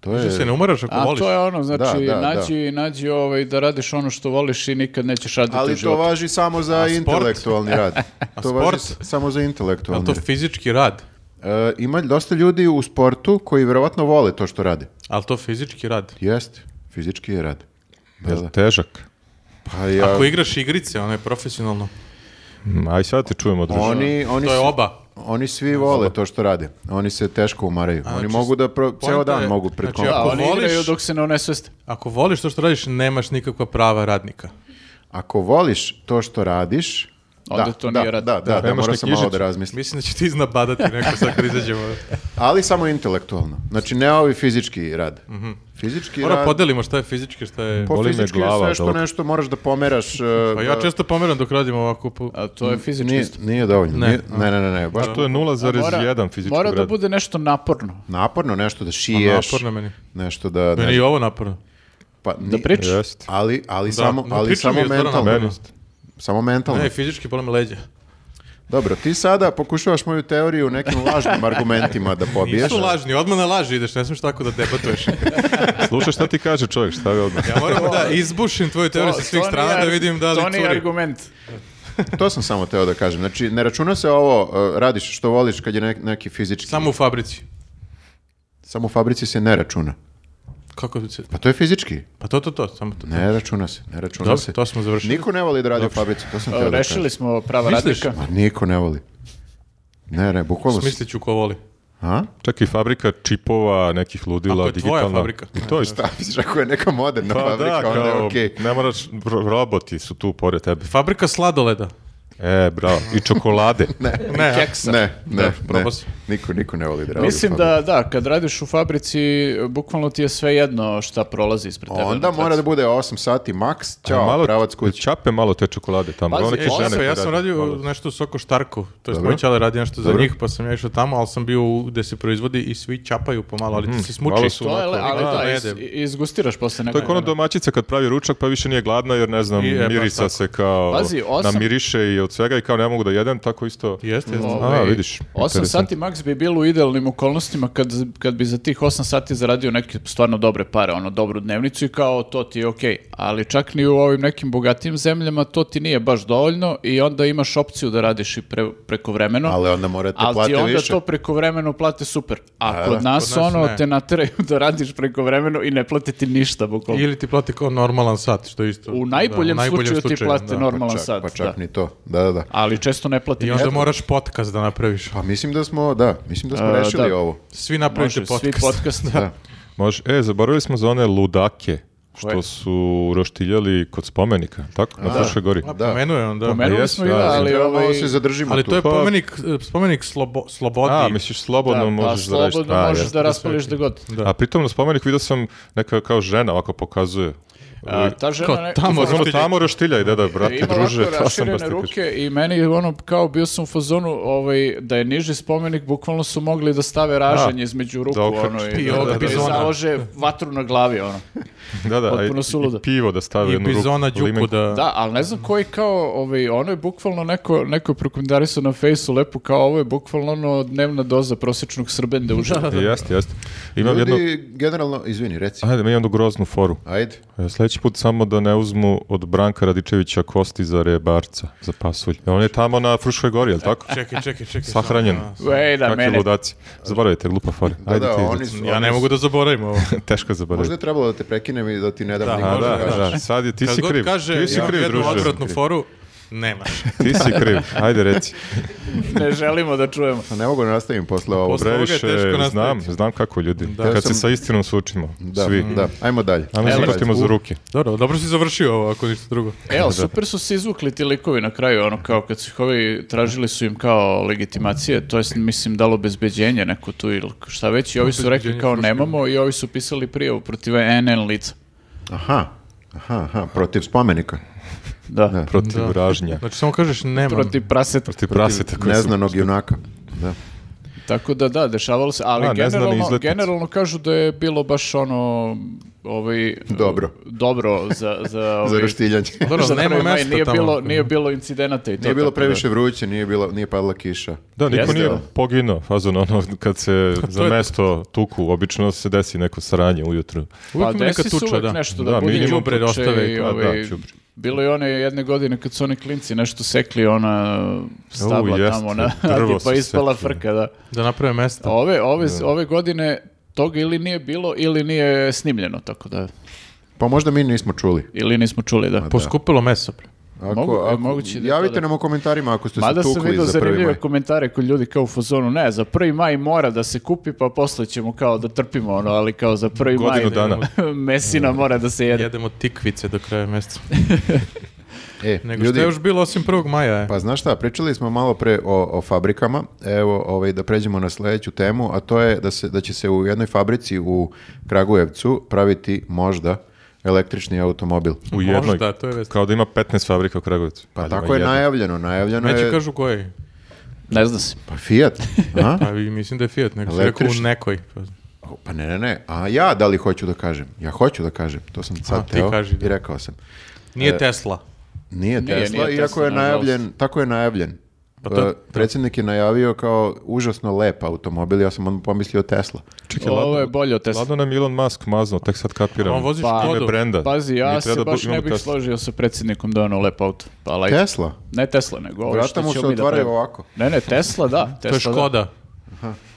S2: To
S1: Što se
S2: je
S1: ne umaraš ako
S3: A
S1: voliš?
S3: to je ono, znači,
S2: Da, da, da.
S3: nađi, nađi ovaj, da radiš ono što voliš i nikad nećeš raditi u
S2: ali to
S3: životu.
S2: važi samo za
S1: sport?
S2: intelektualni rad. to važi
S1: sport?
S2: s- samo za
S1: Je li
S2: intelektualni.
S1: to
S2: rad.
S1: fizički rad?
S2: E, ima dosta ljudi u sportu koji vjerovatno vole to što rade.
S1: Ali to fizički rad?
S2: Jeste, fizički je rad. Da, da.
S4: Jel težak?
S2: Pa ja,
S1: Ako igraš igrice, ono je profesionalno.
S4: Mm, Aj sad te čujemo, druže.
S2: oni, oni,
S1: To je
S2: s-
S1: oba.
S2: oni svi vole to što rade. Oni se teško umaraju. oni mogu da pro, ceo
S1: znači poenta
S2: dan
S1: je-
S2: mogu pred
S1: znači,
S2: kompom.
S3: Da,
S1: Ako
S3: oni
S1: voliš-
S3: igraju dok se ne onesveste.
S1: Ako voliš to što radiš, nemaš nikakva prava radnika.
S2: Ako voliš to što radiš,
S3: Onda
S2: da,
S3: to
S2: da,
S3: nije rad.
S2: Da, da, da,
S4: nemaš
S2: morao
S4: ni
S2: sam malo
S4: knjižicu.
S2: da razmislim.
S1: Mislim da će ti iznabadati neko sad kad izađemo.
S2: Ali samo intelektualno. Znači, ne ovi fizički rad.
S1: Mhm.
S2: Fizički
S1: Mora
S2: rad...
S1: podelimo šta je fizički, šta je...
S2: Po
S4: Boli me
S2: fizički je
S4: glava
S2: sve
S4: od
S2: što
S4: ovog.
S2: nešto moraš da pomeraš...
S1: Pa ja često pomeram dok radim ovako. Po...
S3: A to je fizički
S2: Nije,
S3: isto.
S2: nije dovoljno.
S1: Ne.
S2: Nije- Ne, ne, ne, ne, baš
S4: To je
S3: Mora-
S4: 0,1 fizičkog
S3: Mora da
S4: rada.
S3: bude nešto naporno.
S2: naporno nešto da šiješ,
S1: Pa Naporno meni.
S2: nešto da...
S1: Meni je i ovo naporno.
S2: pa, ni-
S3: Da pričaš?
S4: Jeste.
S2: Ali, ali
S1: Da,
S2: samo,
S1: da,
S2: ali
S1: priča
S2: samo
S1: mi je stvarno
S2: mentalno.
S1: naporno.
S4: Meni.
S2: Samo mentalno.
S1: Ne, fizički boli me leđa.
S2: Dobro, ti sada pokušavaš moju teoriju nekim lažnim argumentima da pobiješ.
S1: Nisu lažni, odmah na laži ideš, ne smiješ tako da debatuješ.
S4: Slušaj šta ti kaže čovjek, šta je odmah.
S1: Ja moram da izbušim tvoju teoriju sa
S3: To-
S1: svih
S3: to
S1: strana
S3: nije-
S1: da vidim da li
S3: To nije
S1: curi.
S3: argument.
S2: To sam samo teo da kažem. Znači, ne računa se ovo, uh, radiš što voliš kad je nek- neki fizički...
S1: Samo u fabrici.
S2: Samo u fabrici se ne računa.
S1: Kako bi se...
S2: Pa to je fizički.
S1: Pa to, to, to, samo to.
S2: Ne računa se, ne računa
S1: Dobro,
S2: se.
S1: to smo završili.
S2: Niko ne voli da radi u fabrici, to sam teo da kažem.
S3: Rešili smo prava
S1: Misliš?
S3: radnika.
S2: Ma Pa niko ne voli. Ne, ne, bukvalno... se-
S1: Smislit ću ko voli.
S2: A?
S4: Čak i fabrika čipova, nekih ludila,
S1: Ako je tvoja
S4: digitalna.
S1: fabrika.
S4: I to isto.
S2: Šta Pa, misliš, ako je neka moderna
S4: Pa
S2: fabrika,
S4: da,
S2: onda je
S4: kao,
S2: okej.
S4: ne moraš, ro- roboti su tu pored tebe.
S1: Fabrika sladoleda.
S4: E, bravo, i čokolade.
S1: Ne, a?
S3: Keksa.
S2: Ne, ne,
S1: Da,
S2: ne.
S1: probao sam.
S2: Niko, niko ne voli da radi. u
S3: Mislim
S2: fabrici.
S3: da, da, kad radiš u fabrici, bukvalno ti je sve jedno šta prolazi ispred tebe. Dakle,
S2: Onda
S3: na traci.
S2: mora da bude 8 sati maks,
S4: A
S2: ćao, pravac kući.
S4: Čape malo te čokolade tamo.
S3: Pazi,
S4: Ono
S1: E,
S4: neke žene
S1: osa,
S4: koje
S1: ja sam
S4: rade
S1: radio
S4: malo.
S1: nešto u Soko Štarku, to je
S2: Dobro.
S1: moj čale radi nešto za
S2: Dobro.
S1: njih, pa sam ja išao tamo, ali sam bio u- gde se proizvodi i svi čapaju pomalo, ali ti se smuči.
S4: malo su
S3: To je, le- ali
S1: Niko
S3: da,
S1: ne
S3: iz-
S1: jede.
S3: izgustiraš posle nekog
S4: To je
S1: ono
S4: kao ona
S3: vremena.
S4: Pa domaćica kad pravi ručak pa više nije gladna jer ne znam,
S1: I, e, baš
S4: mirica
S1: tako.
S4: se kao
S3: Pazi, osam-
S4: namiriše i od svega i kao ne mogu da jedem, tako isto.
S1: Jeste, jeste.
S3: Ovo.
S4: A,
S3: Ovaj,
S4: vidiš.
S3: 8
S4: interesantno.
S3: sati maks bi bilo u idealnim okolnostima kad, kad bi za tih 8 sati zaradio neke stvarno dobre pare, ono dobru dnevnicu i kao to ti je okej. Ali čak ni u ovim nekim bogatijim zemljama to ti nije baš dovoljno i onda imaš opciju da radiš i pre, preko vremeno.
S2: Ali onda morate
S3: Ali ti
S2: plate
S3: onda
S2: više.
S3: to preko vremeno plate super. A, kod, nas
S1: kod nas
S3: ono
S1: ne.
S3: te nateraju da radiš preko vremeno i ne plate ti ništa bukvalno.
S1: Ili ti plati kao normalan sat, što je isto.
S3: U najboljem,
S1: da,
S3: slučaju, ti plate
S1: da.
S3: normalan
S2: čak,
S3: sat.
S2: pa čak
S3: da.
S2: ni to. Da, da, da.
S3: Ali često ne plate
S1: I
S3: ništa.
S1: onda moraš podcast da napraviš.
S2: Pa mislim da smo, da, mislim da smo
S3: A,
S2: rešili
S3: da.
S2: ovo.
S1: Svi napravite
S3: Može,
S1: podcast.
S3: svi podcast.
S2: Da.
S4: Može. E, zaboravili smo za one ludake što
S3: Koje?
S4: su roštiljali kod spomenika, tako? Na Fruškoj gori.
S1: A,
S2: Da.
S1: pomenuo je on, da.
S3: Pomenuli
S4: Jesu,
S3: smo i
S4: da,
S3: da, ali
S2: Ali ovo
S3: ovaj...
S2: se zadržimo
S1: Ali
S2: tu.
S1: to je
S4: Pa-
S1: spomenik, spomenik slobo- slobodi.
S4: A, misliš slobodno
S3: da,
S4: možeš
S3: pa
S4: da radiš.
S3: slobodno
S4: A,
S3: možeš
S4: jeste.
S3: da raspališ da god.
S1: Da.
S4: A pritom na spomenik vidio sam neka kao žena ovako pokazuje.
S3: A, ta žena
S1: Kao
S3: ne- E,
S1: tamo,
S4: Ono
S1: roštiljaj.
S4: tamo roštilja i da, da, brate,
S3: Ima
S4: druže,
S3: ovako
S4: ta sam baš
S3: raširene
S4: ti kažem.
S3: ruke i meni ono kao bio sam u fazonu ovaj, da je niži spomenik, bukvalno su mogli da stave raženje između ruku
S4: da okrepiš.
S3: ono, i
S1: I
S3: da,
S1: ovoga
S3: da, da,
S1: bizona.
S3: založe vatru na glavi. Ono.
S4: Da, da, a i,
S3: Potpuno suludo.
S4: i pivo da stavi u
S1: I
S4: jednu ruku.
S1: Bizona Đuku
S4: limenku.
S1: da...
S3: Da, ali ne znam koji kao, ovaj, ono je bukvalno neko, neko je prokomentarisao na fejsu lepo kao ovo je bukvalno ono dnevna doza prosječnog srbende u ženu.
S4: Jeste, jeste. Imam
S2: Ljudi,
S4: jednu...
S2: generalno, izvini, reci.
S4: Ajde, imam jednu groznu foru.
S2: Ajde.
S4: E, Sljedeći put samo da ne uzmu od Branka Radičevića kosti za rebarca, za pasulj. E, On je tamo na Fruškoj gori, jel tako?
S1: Čekaj, čekaj, čekaj. samo,
S4: Sahranjen.
S1: da.
S3: Ej, da,
S4: Kakvi
S3: mene.
S4: ludaci. Zaboravite, glupa fora.
S2: Da,
S4: Ajde
S2: da,
S4: ti,
S2: oni
S4: Luci.
S2: su...
S1: Ja
S2: oni
S1: ne
S2: su-
S1: mogu da zaboravim ovo.
S4: Teško zaboraviti.
S2: Možda je trebalo da te prekinem i da ti ne dam
S1: Da,
S2: nikom
S4: A,
S1: možda
S4: da,
S2: da kažeš.
S4: da, sad je, ti
S1: Kad
S4: si
S1: god
S4: kriv.
S1: kaže
S4: ti si
S1: imam
S4: kriv,
S1: jednu
S4: druže.
S1: odvratnu foru, nemaš.
S4: Ti si kriv. Ajde, reci.
S3: Ne želimo da čujemo.
S2: Ne mogu da nastavim posle ovo.
S1: Posle- Ovoga je
S4: Previše,
S1: teško nastaviti.
S4: znam, znam kako ljudi.
S1: Da.
S4: Kad
S2: Ja sam-
S4: se sa istinom sučimo,
S2: Da,
S4: svi.
S2: da. Ajmo dalje.
S4: Ajmo se
S2: Ajmo
S4: uhvatimo
S2: dalje.
S4: za ruke.
S1: Dobro, dobro si završio ovo, ako ništa drugo.
S3: E, ali super su se izvukli ti likovi na kraju, ono kao kad su ih ovi tražili su im kao legitimacije, to jest mislim dalo obezbeđenje neko tu ili šta već i ovi su rekli
S1: Obezbeđenje
S3: kao
S1: fruškirano.
S3: nemamo i ovi su pisali prijavu protiv NN lica.
S2: Aha. Aha, aha, protiv spomenika.
S3: Da.
S4: Protiv
S1: Da.
S4: ražnja.
S1: Znači, samo kažeš nemam.
S3: Protiv praseta.
S4: Protiv praseta koji su...
S2: Neznanog junaka. Da.
S3: Tako da da, dešavalo se, ali
S4: A, neznani
S3: generalno,
S4: izletnici.
S3: generalno kažu da je bilo baš ono ovaj
S2: Dobro.
S3: dobro za za
S2: Za
S3: ovaj,
S2: roštiljanje.
S1: Dobro,
S3: za
S1: nema
S3: prvi maj,
S1: mesta
S3: nije
S1: tamo.
S3: bilo nije bilo incidenata i to.
S2: Nije bilo
S3: tako da-
S2: previše vruće, nije, bilo, nije padala kiša.
S4: Da, niko
S3: Jeste,
S4: nije
S2: da.
S4: poginuo, fazon ono, kad se za
S1: je-
S4: mesto tuku, obično se desi neko sranje ujutru.
S1: Uvijek mi
S3: pa
S1: neka
S3: desi se
S1: tuča,
S3: uvek
S1: da.
S3: nešto da,
S4: Da,
S3: bude
S4: minimum
S3: đubre
S1: tuče
S3: ostave i
S1: i-
S4: da,
S3: ovaj,
S4: da, đubre.
S3: Bilo je one jedne godine kad su oni klinci nešto sekli, ona stabla
S4: jeste,
S3: tamo, na,
S4: drvo
S3: pa
S4: su
S3: ispala
S4: sekli.
S3: frka, da.
S1: Da naprave mesta.
S3: Ove, ove, ove godine toga ili nije bilo, ili nije snimljeno, tako da,
S2: Pa možda mi nismo čuli.
S3: ili nismo čuli, da.
S1: Poskupilo meso. bre.
S2: Ako,
S3: Mogu-
S2: ako-
S3: moguće da je to
S2: javite
S3: da-
S2: nam u komentarima ako ste
S3: Mada
S2: se
S3: sam vidio
S2: tukli za prvi maj.
S3: zanimljive komentare kod ljudi kao u fazonu, ne, za prvi maj mora da se kupi, pa posle ćemo kao da trpimo ono, ali kao za prvi
S4: Godinu
S3: maj
S4: dana.
S3: mesina mora da se jede.
S1: Jedemo tikvice do kraja mjeseca.
S2: E,
S1: Nego
S2: ljudi,
S1: što je još bilo osim 1. maja, e?
S2: Pa znaš šta, pričali smo malo pre o, o fabrikama, evo ovaj, da pređemo na sljedeću temu, a to je da, se, da će se u jednoj fabrici u Kragujevcu praviti možda električni automobil.
S4: U jednoj,
S1: Možda, to je vest.
S4: kao da ima 15 fabrika u Kragovicu.
S2: Pa
S4: Ali
S2: tako
S3: ovaj
S4: ima
S2: je
S4: jedna.
S2: najavljeno, najavljeno
S1: Neće
S2: je...
S1: kažu koji.
S3: Ne zna se.
S2: Pa Fiat, a?
S1: Pa i mislim da je Fiat, nego si rekao u
S2: Električni.
S1: nekoj. Pa,
S2: Pa ne, ne, ne, a ja da li hoću da kažem? Ja hoću da kažem, to sam sad
S1: A, ti
S2: teo
S1: kaži, da.
S2: i rekao sam.
S1: Nije Tesla.
S2: Nije
S3: Nije,
S2: Tesla,
S3: nije
S2: iako je
S3: Tesla, nažalost.
S2: najavljen, tako je najavljen.
S1: Pa to-
S2: E, predsjednik je najavio kao užasno lep automobil, ja sam onda pomislio Tesla.
S4: Čekaj,
S3: Ovo
S4: ladno,
S3: je bolje od Tesla.
S4: ladno nam je Elon Musk mazno, tek sad kapiram.
S1: On voziš
S3: Pa-
S4: Ime
S1: Škodu.
S4: brenda.
S3: Pazi,
S4: Mi
S3: ja
S4: treba ono
S3: se
S4: da bu-
S3: baš ne
S4: imamo
S3: bih
S4: Tesla.
S3: složio sa predsjednikom da je ono lep auto. Pa like.
S2: Tesla?
S3: Ne Tesla, nego ovo
S2: Vrata
S3: što
S2: mu
S3: ćemo
S2: se
S3: mi da
S2: otvaraju
S3: pravimo.
S2: ovako.
S3: Ne, ne, Tesla da.
S1: To je
S3: Tesla, da.
S1: Škoda.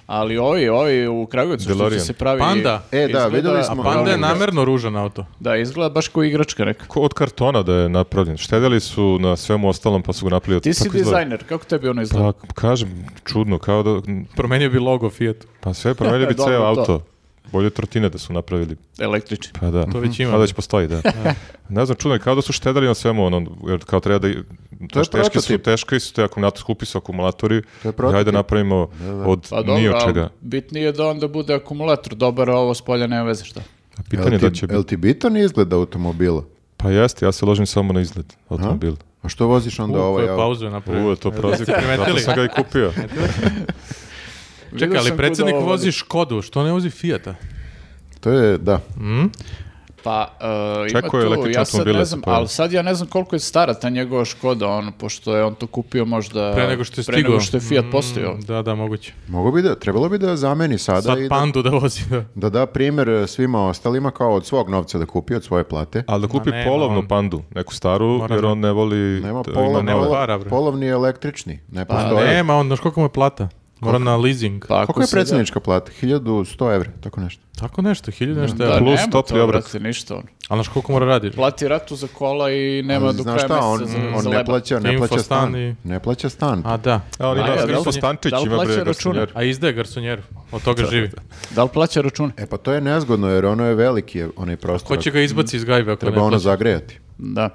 S3: Ali ovi, ovi u Kragujevcu što će
S4: DeLorean.
S3: se pravi...
S1: Panda.
S2: E, da,
S3: izgleda- Pa,
S2: videli smo.
S1: Panda je
S2: Volim ga.
S1: namjerno ružan auto.
S3: Da, izgleda baš kao igračka neka.
S4: Ko od kartona da je napravljen. Štedeli su na svemu ostalom pa su ga napravili. od-
S3: Ti si
S4: tako izgleda.
S3: dizajner, kako tebi ono izgleda?
S4: Pa, kažem, čudno, kao da...
S1: Promenio bi logo Fiat.
S4: Pa sve, promenio bi
S3: Dobro,
S4: ceo
S3: to.
S4: auto. Bolje trotine da su napravili.
S3: električni.
S4: Pa da.
S1: To već ima.
S4: Pa da već postoji, da. ne znam, čudno je kao da su štedali na svemu, ono, jer kao treba da... To
S2: je
S4: teške su,
S2: prototip.
S4: teške su te akumulator, skupi su akumulatori,
S2: To je
S4: i
S2: prototip.
S4: ajde napravimo od
S3: Pa
S4: ni
S3: dobro,
S4: od čega.
S3: ali bitnije je da onda bude akumulator dobar, a ovo s polja nema veze šta.
S4: A Pitanje je da će
S2: Jel
S4: biti.
S2: ti bitan izgled automobila?
S4: Pa jeste, ja se ložim samo na izgled automobila.
S2: A što voziš onda
S1: U,
S2: ovaj
S1: koju
S2: auto?
S1: pauzu je napravio.
S4: U, je to prozir. Zato
S1: E, primetili?
S4: sam ga i kupio.
S1: Čekaj,
S3: Vidio sam
S1: ali
S3: kuda
S1: predsjednik
S3: ovo
S1: vozi
S3: vodi.
S1: Škodu, što ne vozi Fijata?
S2: To je, da.
S3: Pa, e, ima
S4: Čekao je
S3: tu,
S4: električne
S3: ja sad
S4: automobile
S3: ne
S4: se
S3: znam,
S4: pojavljuju.
S3: ali sad ja ne znam koliko je stara ta njegova Škoda, on, pošto je on to kupio možda...
S1: Pre nego što je
S3: Pa, pre nego
S1: stigao.
S3: što je Fiat postojao.
S1: Mm, Da, da, moguće.
S2: Mogu bi da, trebalo bi da zameni sada
S1: Sad
S2: i Pa da,
S1: Pandu da vozi. da.
S2: da da primjer e, svima ostalima kao od svog novca da kupi, od svoje plate.
S4: Ali da kupi
S1: nema
S4: polovnu
S1: on.
S4: pandu, neku staru,
S1: Mora
S4: jer
S1: da-
S4: on ne voli...
S2: Nema
S4: da ima
S2: pola,
S1: nema
S4: nova.
S2: pola-
S1: para, bre. Pa
S2: polovni je električni, ne postoje.
S1: Nema, on, znaš koliko mu je plata? Mora na leasing.
S3: Pa, ako
S2: Koliko je
S3: se da-
S2: predsjednička plata? 1100 evra, tako nešto.
S1: Tako nešto, hiljada nešto.
S3: Da,
S1: evra.
S4: Plus
S3: nema
S4: topli
S3: to,
S4: obrok.
S3: brate, ništa on.
S1: Ali znaš koliko mora raditi?
S3: Plati ratu za kola i nema do kraja
S2: Znaš šta, on,
S3: mjeseca za,
S2: on
S3: za
S2: ne
S3: leba.
S2: plaća, ne
S1: Info
S2: plaća
S1: stan
S2: stan.
S1: i-
S2: Ne plaća stan.
S1: A, da.
S4: A on
S3: A,
S4: E, ima
S3: ja, da li-
S4: Filipo Stančić,
S3: da li
S4: ima bre
S3: plaća račune?
S4: garsonjer.
S1: A izdaje garsonjeru. Od toga živi.
S3: Da li plaća račune?
S2: E pa to je nezgodno jer ono je veliki je onaj prostor.
S1: Ko će ga izbaci iz gajbe ako ne
S2: Treba ono
S1: plaća?
S2: zagrejati.
S3: Da.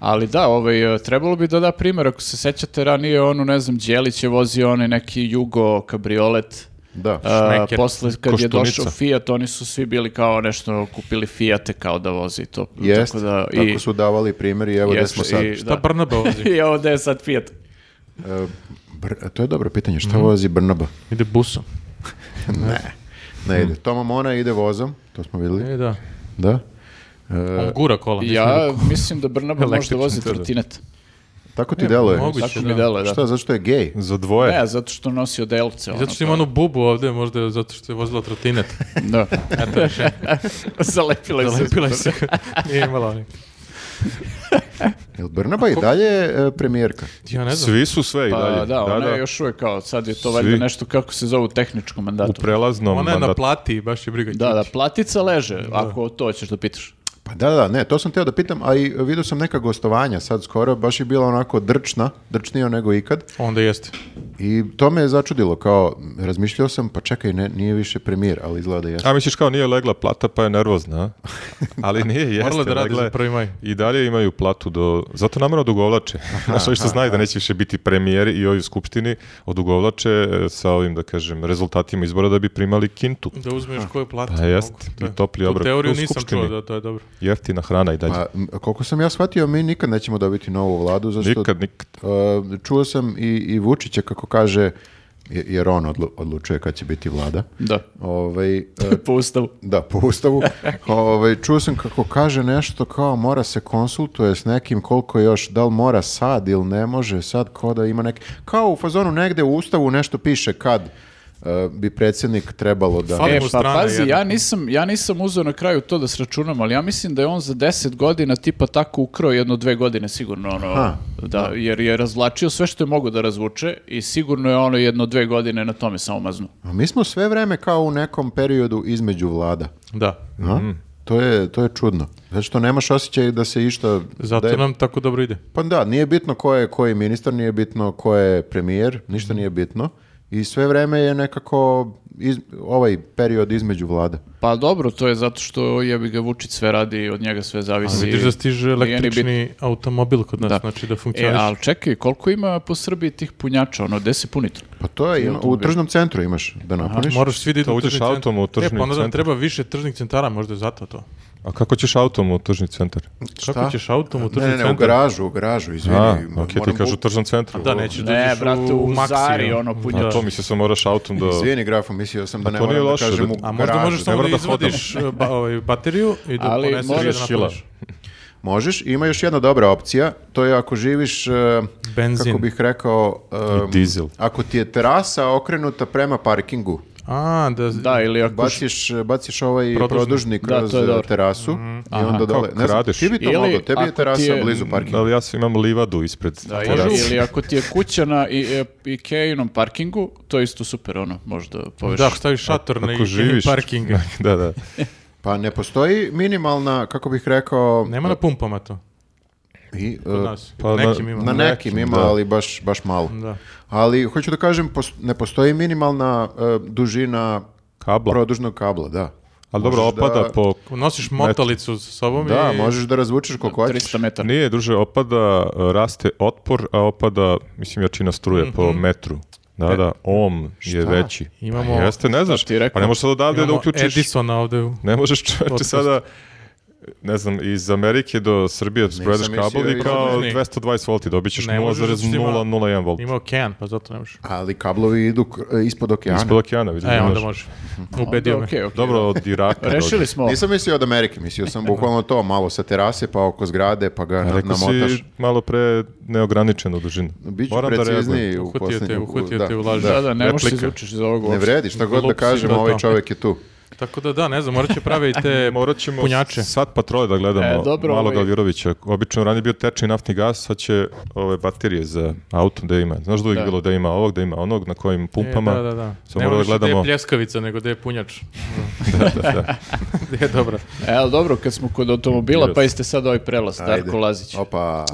S3: Ali da, ovaj, e, trebalo bi da da primjer, ako se sećate ranije, onu, ne znam, Đelić je vozio onaj neki Jugo kabriolet,
S2: Da.
S3: A,
S1: Šmeker.
S3: posle kad je
S4: Koštunica.
S3: došao Fiat, oni su svi bili kao nešto kupili Fiate kao da vozi to.
S2: Jest,
S3: tako da,
S2: tako su davali primjer i evo gdje
S3: jest,
S2: smo sad.
S3: i-
S1: Šta Brnabe vozi?
S3: I evo da je sad Fiat.
S2: E, Br- to je dobro pitanje, šta
S1: Mhm.
S2: vozi Brnaba?
S1: Ide busom.
S2: ne,
S1: Mhm.
S2: ne ide. Toma Mona ide vozom, to smo vidjeli.
S1: E, da.
S2: Da. E,
S1: On gura kola. nisam
S3: Ja ono, mislim da Brnaba možda
S4: Električni,
S3: vozi
S4: to da.
S3: trotinet.
S2: Tako ti deluje.
S1: moguće,
S3: Tako
S1: da.
S3: mi deluje, da.
S2: Šta, zato što je gej?
S4: Za dvoje.
S3: Ne, zato što nosi
S1: I
S3: odelce. ono,
S1: zato što ima onu bubu ovdje, možda je zato što je vozila trotinet.
S3: Da.
S1: Eto, više.
S3: Zalepila je se.
S1: Zalepila je se. Nije imala onih.
S2: Jel Brnaba i dalje e, premijerka?
S1: Ja ne znam.
S4: Svi su sve i dalje.
S3: Pa da, ona je još uvijek kao, sad je to
S4: Svi.
S3: valjda nešto kako se zove u tehničkom
S4: U
S3: mandatu.
S4: prelaznom
S1: Ona je na
S4: mandatu.
S1: plati, baš je briga.
S3: Da, da, platica leže, ako to hoćeš da pitaš.
S2: Pa da, da, ne, to sam teo da pitam, a i vidio sam neka gostovanja sad skoro, baš je bila onako drčna, drčnija nego ikad.
S1: Onda jeste.
S2: I to me je začudilo, kao, razmišljao sam, pa čekaj, ne, nije više premijer, ali izgleda da jeste.
S4: A misliš kao nije legla plata pa je nervozna, a? ali nije, jeste. dakle-
S1: Morala da radi
S4: legla je-
S1: za 1. maj.
S4: I dalje imaju platu do... Zato namjerno odugovlače. Znaš, ovi što znaju da neće više biti premijeri i ovi u skupštini odugovlače e, sa ovim, da kažem, rezultatima izbora da bi primali kintu.
S1: Da uzme još koju plati.
S4: Pa jest,
S1: mogu, to je-
S4: i topli obrok.
S1: Tu teoriju
S4: U
S1: nisam
S4: skupštini.
S1: čuo, da, to je dobro.
S4: Jeftina hrana i dalje.
S2: Pa, m, koliko sam ja shvatio, mi nikad nećemo dobiti novu vladu, zašto
S4: nikad, nikad.
S2: E, čuo sam i, i Vučića kako kaže, je- jer on odlu- odlučuje kad će biti vlada.
S3: Da,
S2: Ovaj, e,
S3: po ustavu.
S2: da, po ustavu. ovaj, čuo sam kako kaže nešto kao mora se konsultuje s nekim koliko još, da li mora sad ili ne može sad, kao da ima neki... Kao u fazonu negde u ustavu nešto piše kad e, bi predsjednik trebalo da...
S1: Fali
S3: E,
S1: mu
S3: pa
S1: strana
S3: pazi,
S1: jedna.
S3: ja nisam, ja nisam uzeo na kraju to da sračunam, ali ja mislim da je on za 10 godina tipa tako ukrao jedno dve godine sigurno ono,
S2: Aha,
S3: da, jer je razvlačio sve što je mogo da razvuče i sigurno je ono jedno dve godine na tome samo maznu.
S2: A mi smo sve vreme kao u nekom periodu između vlada.
S1: Da.
S2: a? To, je, to je čudno. Zato što nemaš osjećaj da se išta...
S1: Zato
S2: da je
S1: nam tako dobro ide.
S2: Pa da, nije bitno ko je koji ministar, nije bitno ko je premijer,
S1: Mhm.
S2: ništa nije bitno. I sve vreme je nekako iz- ovaj period između vlada.
S3: Pa dobro, to je zato što jebi ga Vučić sve radi, od njega sve
S1: A
S3: zavisi.
S1: vidiš da stiže
S3: Nije ni bitno.
S1: električni automobil kod nas,
S3: Da.
S1: znači da
S3: E,
S1: funkcioniš.
S3: ali čekaj, koliko ima po Srbiji tih punjača, ono, gde se puni to?
S2: Pa to je, ima- u
S3: automobil.
S2: tržnom centru imaš da napuniš.
S1: Moraš svi da idu
S4: To
S1: u
S4: uđeš
S1: tržni centar.
S4: autom u tržni
S1: E, pa onda nam
S4: centar.
S1: treba više tržnih centara, možda je zato to.
S4: A kako ćeš autom u tržni centar?
S1: Kako ćeš autom u
S2: ne,
S1: tržni
S2: ne, ne, u
S1: centar?
S2: garažu, u garažu, izvini.
S4: A,
S2: moram
S4: ok, ti kažu u
S2: bu-
S4: tržnom centru.
S1: Da, nećeš Znači da
S3: Ne,
S1: uđeš
S3: brate, u
S1: Maxi,
S3: Zari,
S1: ono.
S3: ono, punjač.
S4: A to mi se samo moraš autom do...
S2: Izvini grafo, mislio sam da ne
S4: to
S2: moram
S4: nije
S2: da
S4: loše,
S2: kažem u
S4: da-
S1: A možda
S2: garažu.
S1: možeš samo
S4: mora
S1: da
S4: da hodam.
S1: izvadiš e, ba- ovaj, bateriju i da
S3: Ali
S1: poneseš
S3: moraš-
S1: i da
S4: Možeš kila.
S1: napuniš.
S2: Možeš, ima još jedna dobra opcija, to je ako živiš, e,
S1: Benzin.
S2: kako bih rekao, e,
S4: I dizel.
S2: ako ti je terasa okrenuta prema parkingu,
S1: A, da,
S3: Da, ili ako
S2: Baciš, baciš ovaj
S1: Produžni.
S2: produžni kroz eh,
S3: Da, to je dobro.
S2: terasu i onda dole.
S4: Kao
S2: Ne znam,
S4: kradeš.
S2: ti bi to
S3: Ili
S2: mogao, tebi je
S3: ako
S2: terasa
S3: ti je-
S2: blizu parkinga.
S4: Ali ja sam imam livadu ispred
S3: Da,
S4: terase.
S3: ili, ili ako ti je kuća na i, e, Ikeinom parkingu, to je isto super, ono, možda poveš.
S1: da, staviš šator na
S4: Ako živiš...
S1: parking.
S4: da, da.
S2: Pa ne postoji minimalna, kako bih rekao,
S1: Nema na pumpama to,
S2: i, e,
S1: kod nas.
S4: pa na-
S1: Nekim ima.
S2: na nekim
S4: Nekim,
S2: ima,
S4: da.
S2: ali baš, baš malo.
S1: Da.
S2: Ali hoću da kažem, pos- ne postoji minimalna e, dužina
S4: Kabla.
S2: produžnog kabla, da.
S4: Ali dobro,
S2: Možeš
S4: opada
S2: da-
S4: po...
S1: Nosiš motalicu sa sobom
S2: Da,
S1: i...
S2: možeš da razvučeš koliko hoćeš.
S3: 300 metara.
S4: Nije, druže, opada, e, raste otpor, a opada, mislim, jačina struje po metru. Da, da, ohm je veći.
S1: Imamo-
S4: Pa jeste, ne znaš,
S3: ti rekao?
S4: pa ne možeš sad odavde da
S1: Imamo
S4: uključiš...
S1: Edisona ovde u...
S4: Ne možeš čovječe
S1: Podcast.
S4: sada, ne znam, iz Amerike do Srbije zbroješ
S2: mislio
S4: kabel i
S2: da
S4: kao
S1: izlazni.
S4: 220 volti, dobit ćeš
S1: Ne možeš, zato što ima-
S4: 0,001 volt.
S1: Ima okean, pa zato ne možeš.
S2: Ali kablovi idu k- eh, ispod okeana.
S4: Ispod okeana, vidiš.
S1: E,
S4: znaš.
S1: onda može. Ubedio
S3: Onda,
S1: me.
S3: okej, okej.
S4: Dobro, od Iraka.
S3: Rešili
S4: dođe.
S3: smo. ovo.
S2: Nisam mislio od Amerike, mislio sam bukvalno to, malo sa terase pa oko zgrade pa ga na-
S4: Rekao
S2: namotaš.
S4: si malo pre neograničenu dužinu.
S2: Biću
S4: Moram da
S2: precizniji
S4: reagujem.
S2: u
S1: Uhvatio te,
S2: posljednju.
S1: uhvatio
S2: da,
S1: te u laži.
S2: da.
S3: Da, da, ne možeš da
S4: replika.
S3: izvučeš iz ovog
S2: Ne
S3: uopšte.
S2: vredi, šta god da
S1: Glup si,
S2: kažem,
S1: da,
S2: ovaj
S1: da.
S2: čovjek je tu.
S1: Tako da da, ne znam, morat će prave i te
S4: E, Morat ćemo
S1: punjače.
S4: sad patrole da gledamo
S3: E, dobro,
S4: malog
S3: ovaj-
S4: Aljurovića. Obično ranije je bio tečni naftni gas, sad će ove baterije za auto da ima. Znaš da uvijek
S3: Da.
S4: bilo da ima ovog, da ima onog, na kojim pumpama.
S1: E, da, da, da.
S4: Samo
S1: ne
S4: moramo da
S1: možeš da
S4: gledamo.
S1: je pljeskavica, nego da je punjač.
S4: da, da, da.
S1: Gde je dobra.
S3: E, ali dobro, kad smo kod automobila,
S4: Yes.
S3: pa jeste sad ovaj prelaz, Darko Lazić.
S2: Opa,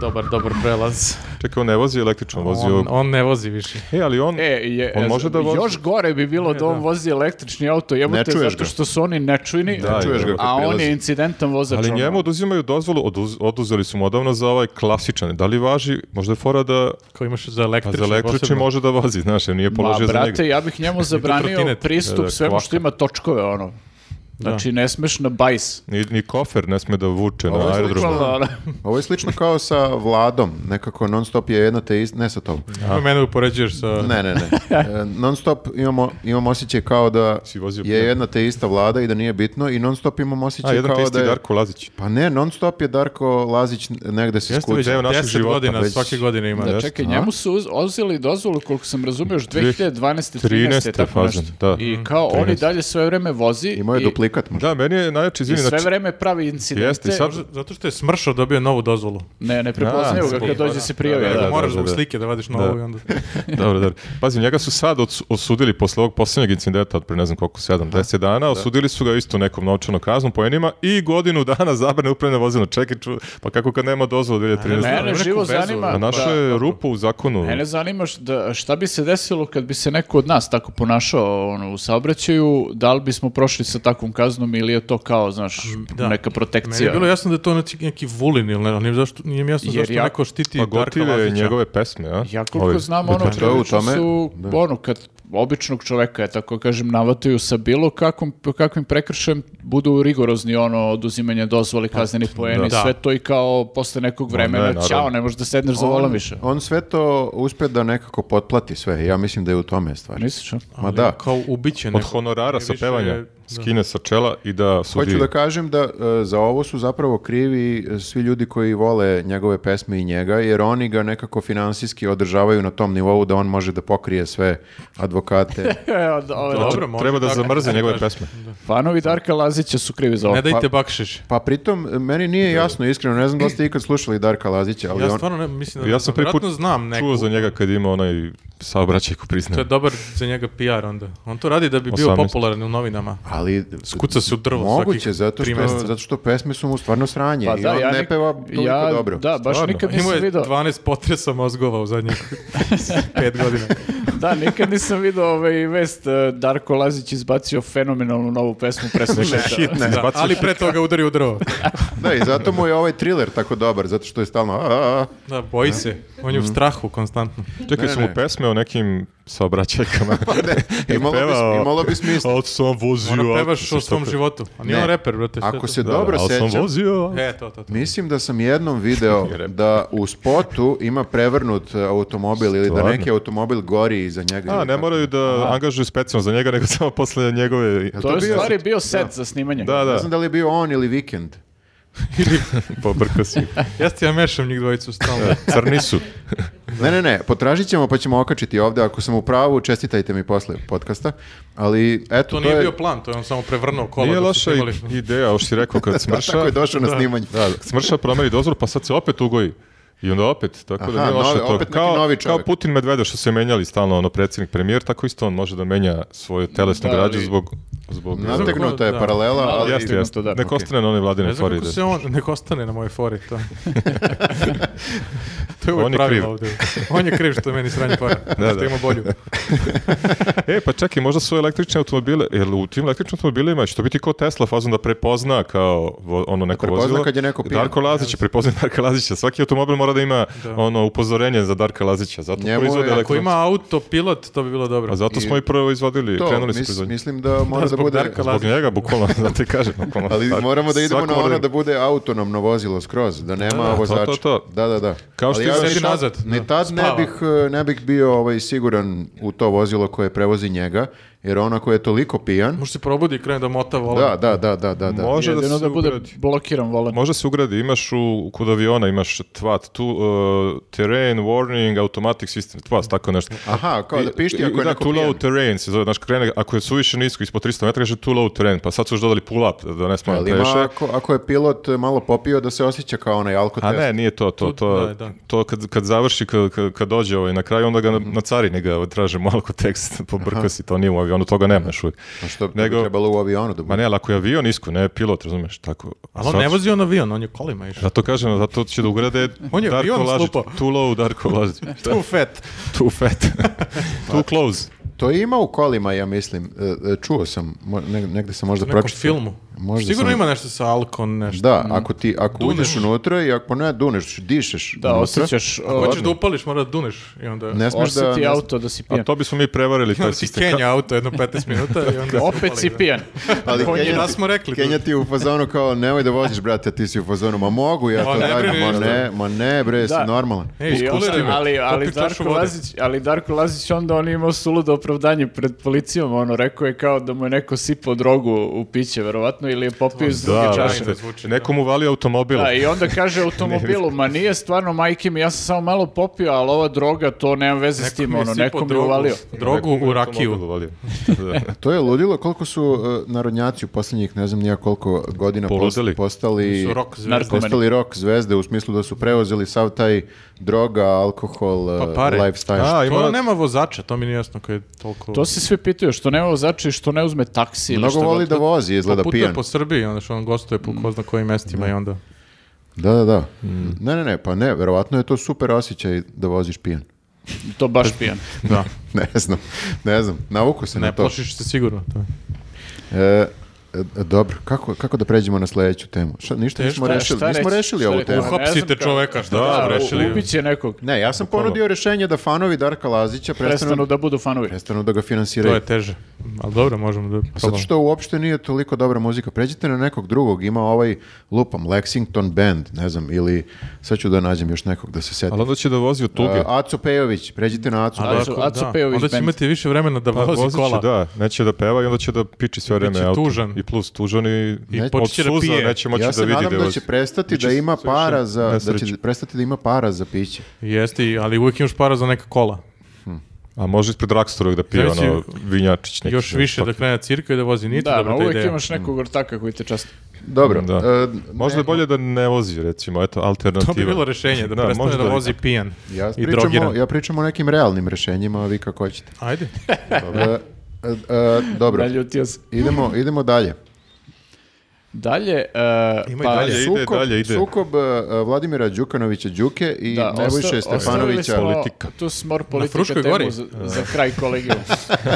S1: Dobar, dobar prelaz.
S4: Čekaj, on ne vozi električno, vozi
S1: On,
S4: ovog.
S1: on ne vozi više.
S4: E, ali on...
S3: E, je,
S4: On može da vozi?
S3: još gore bi bilo da on vozi električni auto,
S2: Ne
S3: jebote,
S2: čuješ
S3: zato
S2: ga.
S3: što su oni nečujni,
S4: Da,
S2: čuješ ga
S3: a
S2: kad
S3: on
S2: prilazi.
S3: je incidentan vozač.
S4: Ali
S3: ono.
S4: njemu oduzimaju dozvolu, oduz- oduzeli su mu odavno za ovaj klasičan. Da li važi, možda je fora da
S1: Ko imaš za
S4: a
S1: električni.
S4: za električni
S1: Pa posebno.
S4: može da vozi, znaš, jer nije
S3: Ma,
S4: položio za njega.
S3: brate, ja bih njemu zabranio
S1: trotinet.
S4: Da,
S3: pristup
S4: da,
S3: svemu što
S4: kvaka.
S3: ima točkove, ono. Znači, ne smeš na bajs.
S4: Ni, ni kofer ne sme da vuče
S2: Ovo
S4: na
S2: je
S4: aerodromu.
S3: Bukvalno, ono.
S2: ovo je slično kao sa Vladom, nekako non stop je jedna te ista, ne sa tobom.
S1: Nemoj mene upoređuješ sa...
S2: Ne, ne, ne. E, Non stop imamo, imamo osjećaj kao da
S4: Si vozio
S2: je
S4: prije.
S2: jedna te ista vlada i da nije bitno i non stop imamo
S4: A,
S2: osjećaj
S4: jedan te
S2: kao
S4: isti
S2: da je...
S4: Darko Lazić.
S2: Pa ne, non stop je Darko Lazić negde se
S4: Jeste već
S2: skuća.
S4: deo našeg
S1: 10
S4: života,
S1: godina,
S4: već-
S1: svake godine ima.
S4: Da,
S1: Da,
S4: Jeste.
S3: Čekaj, njemu su uz, uzeli dozvolu, koliko sam razumio, još 2012.
S4: 13.
S3: 13. tako nešto.
S4: fazan, da.
S3: I kao on i
S4: 13..
S3: dalje sve vreme vozi
S2: Imao je
S3: i,
S2: duplikat možda.
S4: Da, meni je najjači
S3: i
S4: izvini.
S3: sve
S4: Znači,
S3: vreme pravi incidente.
S4: Jeste, i sad-
S1: Zato što je Smršo dobio novu dozvolu.
S3: Ne, ne prepoznaju ga
S4: zbog-
S3: kad dođe se prijavi.
S4: Da, da,
S1: Nego
S4: da,
S1: moraš
S4: da,
S1: zbog
S4: da.
S1: slike da vadiš novu
S4: Da.
S1: i onda...
S4: dobro, dobro. Pazi, njega su sad ods- osudili posle ovog posljednjeg incidenta od pre ne znam koliko, 7, 10 dana, osudili su ga isto nekom novčanom kaznom po enima i godinu dana zabrane upravne vozila. Čekaj, ču, pa kako kad nema dozvolu 2013.
S1: Ne, pa,
S3: Mene
S1: neku
S3: živo
S1: vezu,
S3: zanima.
S4: A našo
S3: da.
S4: je rupu u zakonu.
S3: Mene zanima š- da, šta bi se desilo kad bi se neko od nas tako ponašao ono, u saobraćaju, da li bismo prošli sa takvom kaznom ili je to kao, znaš,
S1: da.
S3: neka
S1: Meni je
S3: protekcija.
S1: bilo jasno da je to neki, neki vulin ili ne, ali nije zašto, nije mi jasno
S3: Jer
S1: zašto
S3: ja-
S1: neko štiti
S4: Pa
S1: Darka
S4: gotive
S1: Lazića.
S4: njegove pesme, a?
S3: Ja koliko
S4: Ovi-
S3: znam, ono,
S2: to je u
S3: prilično
S2: tome,
S3: su, ono, kad običnog čoveka, je tako kažem, navatuju sa bilo kakvom, kakvim prekršajem, budu rigorozni, ono, oduzimanje dozvoli, kazneni poeni,
S1: Pa, Da.
S3: sve to i kao posle nekog vremena,
S4: naravno.
S3: ćao, ne možeš da sedneš za
S1: Ono-
S3: volan više.
S2: on sve to uspe da nekako potplati sve. Ja mislim da je u tome stvar.
S3: Misliš, a?
S2: Ma
S1: Ali
S2: da.
S1: Kao ubiće
S4: Od
S1: neko.
S4: honorara
S1: Nije
S4: sa
S1: više-
S4: pevanja skine sa čela i da sudi.
S2: Hoću da kažem da e, za ovo su zapravo krivi e, svi ljudi koji vole njegove pesme i njega, jer oni ga nekako finansijski održavaju na tom nivou da on može da pokrije sve advokate.
S3: E, da, ovo je dobro.
S1: Dobro, može
S4: Treba da
S1: tako
S4: zamrze
S1: da
S4: njegove
S1: kaže.
S4: pesme.
S3: Fanovi Darka Lazića su krivi za ovo.
S1: Ne dajte bakšiš.
S2: Pa pritom, e, meni nije jasno, iskreno, ne znam da li ste ikad slušali Darka Lazića, ali
S1: Ja
S2: on...
S1: stvarno ne, mislim da...
S4: Ja sam prvi put
S1: Vjerojatno znam neku.
S4: čuo za njega kad ima onaj saobraćaj ko
S1: To
S4: priznaje.
S1: je dobar za njega PR onda. On to radi da bi bio
S4: 18.
S1: popularan u novinama.
S2: Ali
S1: Skuca se u drvo
S2: moguće,
S1: svakih
S2: zato
S1: tri
S2: što,
S1: mjeseca.
S2: zato što pesme su mu stvarno sranje
S3: Pa
S2: i
S3: da,
S2: on
S3: ja
S2: ne
S3: nik-
S2: peva toliko
S3: ja,
S2: dobro.
S3: Da, baš
S4: Stvarno.
S3: nikad
S1: Imao
S3: nisam
S1: je
S3: video.
S1: 12 potresa mozgova u zadnjih 5 godina.
S3: Da, nikad nisam video ovaj vest eh, Darko Lazić izbacio fenomenalnu novu pesmu preslušajte.
S1: Da, ali pre toga udari u drvo.
S2: Da, i zato mu je ovaj thriller tako dobar, zato što je stalno... a, a, a.
S1: Da, boji se. On
S2: Mhm.
S1: je u strahu konstantno.
S4: Čekaj,
S2: Ne,
S4: su mu
S2: ne.
S4: pesme o nekim saobraćajkama.
S2: Imalo, bi,
S4: Pevao-
S2: imalo bi smisla.
S4: Od sam vozio.
S1: Ona
S4: auto,
S1: Ono pevaš o
S4: sa
S1: svom
S4: stope.
S1: životu. A nije
S2: Ne.
S1: on reper, brate. sve
S2: Ako
S1: to.
S2: se
S4: Da, da,
S2: dobro
S4: al sam
S2: sećam,
S4: vozio.
S1: E, to, to, to.
S2: Mislim da sam jednom video da u spotu ima prevrnut e, automobil ili da
S4: Stvarno?
S2: neki automobil gori iza njega.
S4: A,
S2: ili
S4: ne
S2: tako.
S4: moraju da angažuju specijalno za njega, nego samo posle njegove...
S2: Jel
S3: To je u
S2: bio-
S3: stvari bio set za snimanje.
S4: Da,
S2: Ne
S4: da,
S2: znam da li je bio on ili Weekend.
S4: pobrka si.
S1: Ja ti ja mešam njih dvojicu stalno.
S4: Crni su.
S2: Ne, ne, ne, potražit ćemo pa ćemo okačiti ovdje. Ako sam u pravu, čestitajte mi posle podcasta. Ali, eto,
S1: To
S2: to,
S1: nije
S2: je...
S1: bio plan, to je on samo prevrnuo kola.
S4: Nije
S1: dok su
S4: loša
S1: snimali.
S4: i- ideja, ovo što si rekao, kad smrša...
S2: Tako je došao na snimanje.
S4: Da, smrša promeni dozvor, pa sad se opet ugoji. I onda opet, tako da
S2: Aha,
S4: nije loše
S2: novi-
S4: to.
S2: opet neki
S4: Kao,
S2: novi
S4: kao
S2: čovjek.
S4: Putin Medvedev što se menjali stalno, ono, predsjednik premijer, tako isto on može da menja svoju telesnu
S3: Da, ali-
S4: građu zbog... zbog
S2: Nategnuta je
S1: Da.
S2: paralela, ali...
S4: Jeste, jeste.
S3: da.
S4: Nek
S2: Ok.
S4: ostane na one
S1: Ne
S4: vladine
S1: znam
S4: fori.
S1: kako
S4: da-
S1: se on, nek ostane na mojoj fori to. To je uvijek
S4: On je
S1: pravilo
S4: kriv.
S1: ovdje. On je kriv što je meni sranje para.
S4: Da,
S1: što
S4: da.
S1: ima bolju.
S4: E, pa čekaj, možda su električni automobile, jer u tim električnim automobilima će to biti kao Tesla fazon da prepozna kao vo- ono neko
S2: prepozna
S4: vozilo.
S2: kad je neko pijan.
S4: Darko Lazić je prepoznao Darka Lazića. Svaki automobil mora da ima ono upozorenje za Darka Lazića. Zato
S2: Njemu je-
S4: proizvode
S2: ako
S1: Ako
S4: elektronske-
S1: ima autopilot, to bi bilo dobro.
S4: A zato smo i prvo izvadili,
S2: To,
S4: krenuli
S2: mis-
S4: smo proizvodnju.
S2: mislim da mora da,
S1: zbog
S2: bude...
S1: Darka Lazića.
S4: Zbog njega, bukvalno, da ti kažem. bukvalno.
S2: Ali
S4: Tako,
S2: moramo da idemo
S4: svako
S2: na
S4: mora
S2: ono da bude autonomno vozilo skroz, da nema
S4: da, to,
S2: vozača.
S4: to, to.
S2: Da, da, da.
S4: Kao što
S2: Ali
S4: ima
S2: ni
S1: sedi
S2: tad-
S1: nazad,
S2: Ni
S1: da,
S2: tad ne
S1: spava.
S2: bih, eh, ne bih bio ovaj, siguran u to vozilo koje prevozi njega, jer ono koje je toliko pijan...
S1: Može se probudi i krene da mota volan.
S2: Da, da, da, da, da. da.
S4: Može da
S3: Jedino
S4: se
S3: ono da bude
S4: ugradi.
S3: blokiran volan.
S4: Može se ugradi, imaš u, kod aviona, imaš TVAT, tu, uh, terrain, warning, automatic system, TVAT, tako nešto.
S2: Aha, kao da pišti ako je
S4: da,
S2: neko
S4: too
S2: pijan.
S4: low terrain se zove, znaš, krene, ako je suviše nisko, ispod 300 metara, kaže too low terrain, pa sad su još dodali pull up, da ne smojem
S2: Pa, Ali ima
S4: previše.
S2: ako, ako je pilot malo popio da se osjeća kao onaj
S4: A
S2: alkotest.
S4: ne, nije to, to,
S1: Tu-
S4: to,
S1: da, da.
S4: to kad, kad završi, kad, kad- kad dođe ovaj na kraju, onda ga
S2: Mhm.
S4: na, na carini ga ovaj, traže malo ko tekst, pobrka si, to nije u avionu, toga nema još uvijek.
S2: A Pa što bi
S4: Nego-
S2: trebalo u avionu da
S4: Ma
S2: bude?
S4: ne, ali ako je avion isko, ne pilot, razumeš, tako.
S1: Ali on ne vozi on avion, on je kolima išao.
S4: Zato kažem, zato će da ugrade
S1: On je
S4: Darko
S1: avion
S4: Lažić,
S1: slupao.
S4: too low Darko Lažić.
S1: Tu fet.
S4: too fat, too close.
S2: To ima u kolima, ja mislim. E, e, Čuo sam, mo- ne- negde sam možda
S1: U nekom
S2: pročitao.
S1: filmu.
S2: Možda
S1: Sigurno
S2: sam-
S1: ima nešto sa alkon, nešto.
S2: Da, ako ti ako
S1: Mm. Duneš.
S2: uđeš unutra i ako ne duneš, dišeš.
S3: Da,
S2: unutra.
S3: osjećaš,
S1: Ako hoćeš
S3: uh,
S1: da upališ, mora da duneš. I onda...
S2: Ne smeš da
S3: osjeti
S2: ne-
S3: auto da si
S4: A
S3: pijan.
S4: to bismo mi prevarili, taj
S1: Onda ti
S4: sistem.
S1: Kenja auto jedno 15 minuta i onda...
S3: Opet si pijan.
S2: ali
S1: Konje,
S2: Kenja,
S1: da
S2: ti-
S1: smo rekli, da.
S2: Kenja ti je u fazonu kao nemoj da voziš brate, a ti si u fazonu, ma mogu ja
S1: Ma
S2: to
S1: ne
S2: radim,
S1: brini
S2: ma
S1: ništa.
S2: ne, ma ne bre, si
S3: Da.
S2: normalan.
S1: Ej,
S3: I onda-
S1: iskuliraj me.
S3: ali, ali,
S1: Popij čašu
S3: Darko
S1: vode.
S3: Lazić, ali Darko Lazić onda on je imao suludo opravdanje pred policijom, ono, rekao je kao da mu je neko sipao drogu u piće, verovatno, ili je popio iz druge
S4: Da,
S3: čaše.
S1: brate. zvuči, da.
S4: nekom uvali automobil.
S3: Da, i onda kaže automobilu, ma nije stvarno majke mi, ja sam samo malo popio, ali ova droga, to nema veze s tim,
S1: mi je
S3: ono,
S1: sipao
S3: nekom je
S1: drogu-
S3: uvalio.
S1: Drogu
S4: Nekom
S1: u
S4: automobil
S1: rakiju.
S4: uvalio.
S2: To je ludilo koliko su uh, narodnjaci u posljednjih ne znam nija koliko godina post-
S4: Poludeli.
S2: postali
S1: Su rock zvezde.
S3: Narko-
S2: postali rock zvezde u smislu da su preuzeli sav taj droga, alkohol, uh,
S1: Pa pare.
S2: lifestyle.
S4: A,
S1: To
S4: ima,
S1: nema vozača, to mi nije jasno koji je toliko...
S3: To se svi pitaju, što nema vozača i što ne uzme taksi ili
S2: Mnogo
S3: šta
S2: voli
S3: god.
S2: da vozi, izgleda
S1: Putuje
S2: pijan.
S1: po Srbiji, onda što on gostuje po ko zna kojim mestima i onda...
S2: Da, da, da. Ne, ne, ne, pa ne, verovatno je to super osjećaj da voziš pijan.
S3: To baš pijan.
S1: Da,
S2: Ne znam, ne znam, navuku se na
S1: ne
S2: to.
S1: plašiš se sigurno. To je.
S3: Pa
S2: E, e, dobro, kako, kako da pređemo na sljedeću temu? Šta, ništa
S1: Teško.
S2: nismo
S3: Šta-
S2: rešili,
S3: šta
S2: nismo
S3: reći?
S2: rešili
S3: Šta
S2: ovu
S3: reći?
S2: temu.
S3: Uha,
S1: Uhapsite
S3: ne znam kako-
S1: čoveka, šta
S4: Da,
S1: da,
S3: Da,
S1: Pa, rešili?
S3: ubiće nekog.
S2: Ne, ja sam ponudio rješenje da fanovi Darka Lazića prestanu,
S3: Prestanu da budu fanovi.
S2: prestanu da ga
S1: To
S2: finansiraju.
S1: je teže. Ali dobro, možemo da probamo.
S2: Zato što uopšte nije toliko dobra muzika. Pređite na nekog drugog, ima ovaj lupam, Lexington Band, ne znam, ili sad ću da nađem još nekog da se setim.
S4: ali onda će da Pa vozi od tuge.
S2: E, Aco Pejović, pređite na Acu.
S1: Ali ako-
S3: Aco- Aco
S1: Dakle, da,
S3: Pejović
S1: Onda će
S3: band.
S1: imati više vremena da
S4: Pa, vozit
S1: vozi
S4: će,
S1: kola.
S4: Da, neće da peva i onda će da piči sve vreme
S1: biće
S4: auto.
S1: tužan.
S4: I plus tužan i,
S1: I
S4: od
S1: počet će da
S4: suza
S1: pije.
S4: neće moći
S2: ja
S4: da
S2: se
S4: vidi
S2: nadam da
S4: vozi.
S2: će prestati da ima para za, da će
S4: nesrećan.
S2: prestati da ima para za piće.
S1: Jeste, i- ali uvijek imaš para za neka kola.
S4: A može ispred Rakstora uvijek da pije
S1: Znači,
S4: ono vinjačić neki. pa
S1: Još više da krene cirka i da vozi niti,
S3: Da,
S1: dobro,
S3: ma
S1: to je
S3: uvijek
S1: ideja.
S3: imaš nekog ortaka koji te časti.
S2: Dobro.
S4: Da.
S2: e,
S4: Možda je bolje da ne vozi, recimo, eto, alternativa.
S1: To bi bilo rješenje, da, prestane
S4: možda
S1: da vozi pijan
S2: Ja
S1: i
S2: pričam, o,
S1: drogiran.
S2: ja pričam o nekim realnim rješenjima, a vi kako hoćete.
S1: Ajde.
S2: E, e, e, dobro,
S3: Naljutio se.
S2: idemo, idemo dalje.
S3: Dalje, e,
S1: Ima i
S3: pa
S1: dalje.
S4: ide, dalje ide.
S2: sukob e, e, Vladimira Đukanovića Đuke i
S3: Da,
S2: Nebojše
S3: osta-
S2: Stefanovića.
S3: ostavili smo
S4: Politika.
S3: Tu smor politika
S1: Fruškoj
S3: temu
S1: gori?
S3: za, za kraj kolegijuma.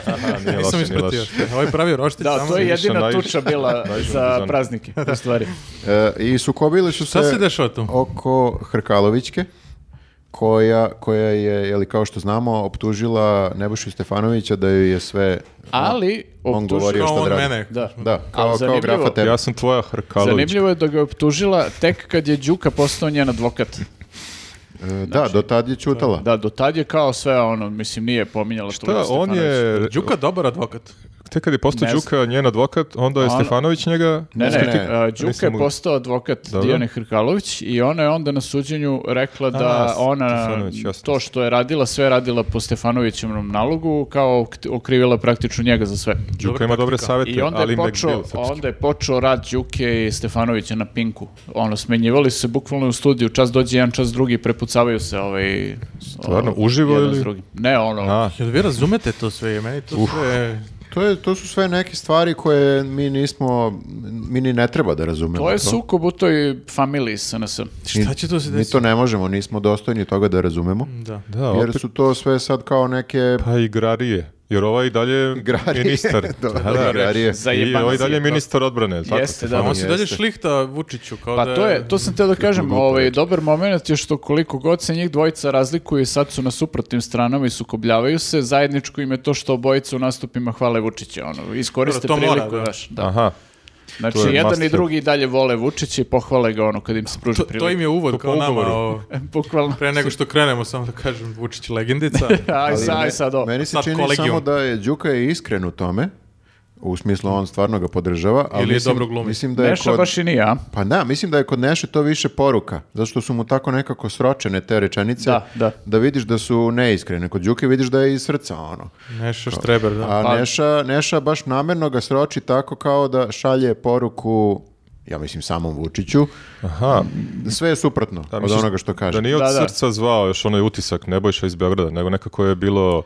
S4: Aha, nije loše,
S1: Nisam
S4: nije
S1: ispratio.
S4: loše.
S1: Ovo je pravi roštilj
S3: Da,
S1: samo
S3: to je
S1: za-
S4: nisam
S3: jedina
S4: naišao.
S3: tuča bila
S4: Naišao na
S3: za
S4: Bizana.
S3: praznike, u stvari.
S2: E, I sukobili su se,
S1: Šta se dešava tu?
S2: oko Hrkalovićke, koja, koja je, jeli, kao što znamo, optužila Nebojšu Stefanovića da joj je sve...
S3: Ali,
S2: on
S3: optužio-
S2: govorio
S1: Kao
S2: šta
S1: on
S2: da radi.
S1: mene.
S3: Da.
S2: Da, kao, kao
S3: zanimljivo-
S2: grafa tebe.
S4: Ja sam tvoja Hrkalović.
S3: Zanimljivo je da ga je optužila tek kad je Đuka postao njen advokat.
S2: E,
S3: Znači,
S2: da, do tad je čutala.
S3: Da, do tad je kao sve ono, mislim, nije pominjala tu
S4: Da, on je,
S1: Đuka dobar advokat.
S4: tek kad je postao
S3: Ne znam.
S4: Đuka njen advokat, onda je
S3: Ono-
S4: Stefanović njega...
S2: Ne,
S3: Ne, ne,
S2: ne,
S3: a, Đuka
S4: nisam
S3: je
S4: mogu-
S3: postao advokat
S4: Dobro.
S3: Dijane Hrkalović i ona je onda na suđenju rekla da
S4: A,
S3: ona
S4: Stefanović, jasno.
S3: to što je radila, sve je radila po Stefanovićevom nalogu, kao ok- okrivila praktično njega za sve.
S4: Đuka
S1: Dobra
S4: ima dobre
S1: taktika.
S4: savete,
S3: I onda
S4: ali
S3: je, počeo,
S4: McBeal srpski.
S3: onda je počeo rad Đuke i Stefanovića na Pinku. Ono, smenjivali su se bukvalno u studiju, čas dođe jedan, čas drugi, prepucavaju se ovaj...
S4: Stvarno,
S3: ovaj,
S4: uživo
S3: jedan
S4: ili-
S3: s drugim. Ne, ono,
S4: A,
S1: Jel vi razumete to sve? Meni to sve...
S2: To, je, to su sve neke stvari koje mi nismo, mi ni ne treba da razumemo.
S3: To je sukob u toj familiji SNS.
S1: Šta će to se
S2: Mi
S1: desiti?
S2: to ne možemo, nismo dostojni toga da razumemo.
S3: Mm.
S1: Da.
S4: Da,
S2: Jer
S4: opet
S2: su to sve sad kao neke...
S4: pa igrarije. Jer ovaj dalje je
S2: Igrarije,
S4: ministar.
S2: dobro,
S4: Da, da.
S2: igrarije.
S4: I
S3: Zajebanac
S4: ovaj dalje
S3: je
S4: je
S3: to.
S4: ministar odbrane. Tako.
S3: Jeste,
S1: Pa
S3: da.
S1: on se dalje
S2: Jeste.
S1: šlihta Vučiću kao da...
S3: Pa to je, to sam teo da kažem,
S2: glupo
S3: ovaj,
S2: reći.
S3: dobar moment je što koliko god se njih dvojica razlikuju i sad su na suprotnim stranama i sukobljavaju se, zajedničko im je to što obojica u nastupima hvale Vučića, ono, iskoriste
S1: Dobro, to mora,
S3: priliku,
S1: da.
S3: znaš, da.
S4: Aha.
S3: Znači,
S4: To je
S3: jedan
S4: must
S3: i
S4: have.
S3: drugi i dalje vole Vučića i pohvale ga, ono, kad im se pruži
S1: To,
S3: prilika.
S1: to im je
S4: To
S1: uvod
S4: po
S1: kao nama.
S4: ugovoru.
S1: Ovo,
S3: Bukvalno.
S1: pre nego što krenemo, samo da kažem, Vučić legendica.
S3: Aj,
S2: Ali
S3: sad, aj
S2: me-
S3: sad ovo.
S2: Meni se
S1: Sad
S2: čini
S1: kolegijum.
S2: samo da je Đuka je iskren u tome, u smislu on stvarno ga podržava, ali
S1: Ili je
S2: mislim,
S1: dobro glumi.
S2: mislim da je
S3: Neša
S2: kod-
S3: baš i nije, a?
S2: Pa da, mislim da je kod Neše to više poruka, zato što su mu tako nekako sročene te rečenice,
S3: Da, da.
S2: vidiš da su neiskrene. Kod Đuke vidiš da je iz srca ono.
S1: Neša Štreber, da.
S2: A
S3: Pa-
S2: Neša, Neša baš namjerno ga sroči tako kao da šalje poruku, ja mislim samom Vučiću,
S4: Aha.
S2: sve je suprotno od
S4: misliš
S2: onoga što kaže.
S4: Da nije od
S3: Da, da.
S4: srca zvao još onaj utisak Nebojša iz Beograda, nego nekako je bilo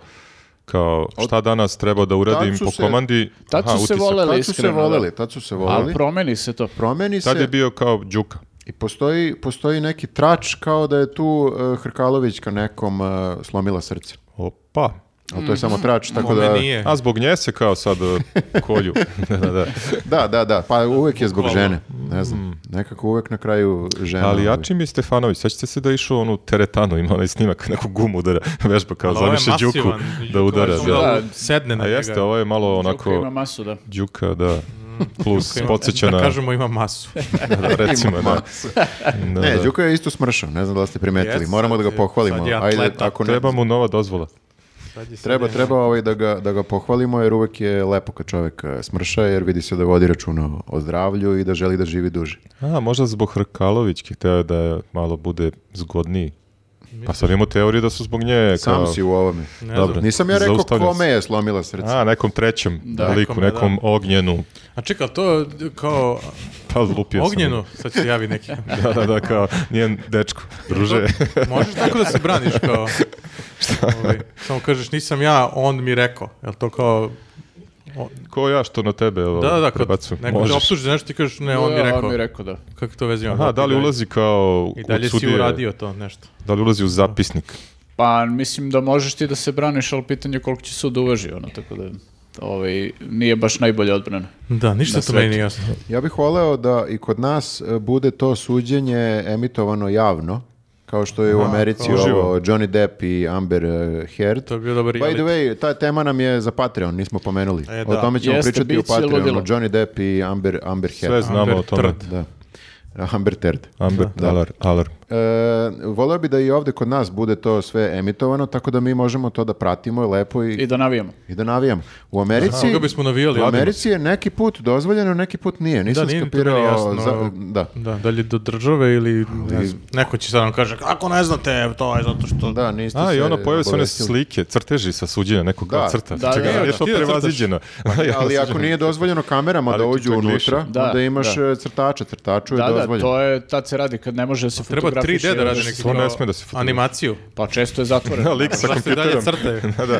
S4: kao šta danas treba da uradim
S2: su
S4: po
S2: se-
S4: komandi.
S3: tad su se
S4: utisak.
S3: voleli.
S2: Tad su se
S3: Iskreno, da.
S2: voleli, tad su se
S3: A
S2: voleli.
S3: promeni se to.
S2: Promeni
S4: Tad je
S2: se
S4: bio kao Đuka.
S2: i postoji, postoji neki trač kao da je tu eh, Hrkalovićka nekom eh, slomila srce.
S4: Opa.
S2: Ali to je samo trač, tako
S1: Kome
S2: da...
S1: nije.
S4: A zbog nje se kao sad e, kolju. da, da, da.
S2: Da, da, da, pa uvek je zbog
S1: Bukvalno.
S2: žene, ne znam, nekako uvek na kraju žena.
S4: Ali
S2: ovaj.
S4: jači mi je Stefanović, sećate se da je išao onu teretanu, ima onaj snimak, neku gumu udara, vežba kao
S1: Ali ovo
S3: ovaj
S1: je
S4: zamiše Đuku
S1: masivan. Đuka
S4: da udara.
S1: recimo
S4: Da.
S3: da.
S1: Sedne na
S4: A
S1: njega.
S4: jeste, ovo je malo
S3: Onako... Ima
S4: onako
S3: masu, da.
S4: Đuka, da, plus,
S1: Kao Mm, ima-
S4: podsjeća
S1: Da
S4: na,
S1: kažemo ima masu.
S4: da, da, recimo, da. Da,
S2: Ne,
S4: da.
S2: Đuka je isto smršao, ne znam da li ste primetili.
S1: Jeste,
S2: Moramo da ga
S1: sad je-
S2: pohvalimo.
S1: sad je
S2: Ajde,
S1: atleta.
S2: ako ne,
S4: Treba mu nova dozvola.
S1: Sad je- sad
S2: treba,
S1: je-
S2: treba ovaj da, ga, da ga pohvalimo jer uvek je lepo kad čovek eh, smrša jer vidi se da vodi računa o zdravlju i da želi da živi duže.
S4: A, možda zbog Hrkalovićke, hteo je da malo bude zgodniji. Pa sad imamo teoriju da su zbog nje E, kao...
S2: Sam si u ovome.
S1: Ne
S4: Dobro.
S1: znam.
S2: Nisam ja rekao
S4: Zaustavljam
S2: kome je slomila srce.
S4: A, nekom trećem liku,
S1: Nekome, da.
S4: nekom ognjenu.
S1: A čekaj, to je kao
S4: Pa lupio sam.
S1: ognjeno, sad će javi neki.
S4: Da, da, da, kao njen dečko. Druže,
S1: Možeš tako da se braniš kao... Ovaj, samo kažeš, nisam ja, on mi rekao. Jel to kao...
S4: ko ja što na tebe ovo,
S1: Da, da, da, kad
S4: prebacujem?
S1: neko te
S4: Možeš.
S1: optuži za nešto, ti kažeš, ne, E, on mi rekao.
S3: On mi rekao, da.
S1: Kako to vezi ima?
S4: Aha, da li
S1: Ti
S4: ulazi kao
S1: I
S4: kod
S1: dalje si
S4: sudije?
S1: uradio to nešto.
S4: Da li ulazi u zapisnik?
S3: Pa mislim da možeš ti da se braniš, ali pitanje je koliko će sud uvaži, ono, tako da ovaj, nije baš najbolja odbrana.
S1: Da, ništa
S3: Na
S1: to meni
S3: svetu.
S1: nije jasno.
S2: Ja bih voleo da i kod nas eh, bude to suđenje emitovano javno, kao što je u Americi
S4: uživo.
S2: ovo Johnny Depp i Amber eh, Heard.
S1: To je bio dobar
S2: By the
S1: reality.
S2: way, ta tema nam je za Patreon, nismo pomenuli.
S1: E,
S2: O
S1: da.
S2: tome ćemo
S3: Jeste,
S2: pričati u
S3: bit će ludilo.
S2: Patreonu. Johnny Depp i Amber, Amber
S4: Sve
S2: Heard.
S4: znamo
S1: Amber
S4: o tome.
S1: Third.
S2: Da. Amber Heard.
S4: Amber, alarm, alarm.
S2: E, voleo bi da i ovdje kod nas bude to sve emitovano, tako da mi možemo to da pratimo lepo i,
S3: I da navijamo.
S2: i da navijamo. U Americi,
S1: Koga bismo navijali?
S2: u Americi je neki put dozvoljeno, neki put nije. Nisam
S1: Da, nije to
S2: skapirao.
S1: meni jasno.
S2: za- da.
S1: Da, da li do države ili ne znam, neko će sad nam kaže kako ne znate, to je zato što
S2: Da, niste
S4: A, i
S2: se
S4: ono, pojave se one
S2: obavestili.
S4: slike, crteži sa suđenja, nekog
S2: Da.
S4: da. crta.
S3: Da,
S4: Čekaj,
S3: da,
S1: da.
S4: ali je to
S1: Ti da crtaš.
S4: prevaziđeno.
S2: Ali ako nije dozvoljeno kamerama
S4: Ali
S2: da
S4: ti
S2: uđu
S4: čak
S2: unutra,
S4: više.
S2: da,
S3: Da,
S2: onda imaš
S3: da.
S2: e, crtača, crtaču je
S3: Da, da,
S2: dozvoljeno.
S3: to je, tad se radi kad ne može da se
S1: Pa treba
S3: fotografiš.
S1: 3D da radi neki
S4: Stvarno ne
S1: kao
S4: sme da se fotografira.
S1: animaciju.
S3: Pa često je zatvoreno.
S4: Lik sa
S1: Zašto i dalje
S4: kompjuterom.
S1: crtaju?
S4: da, da,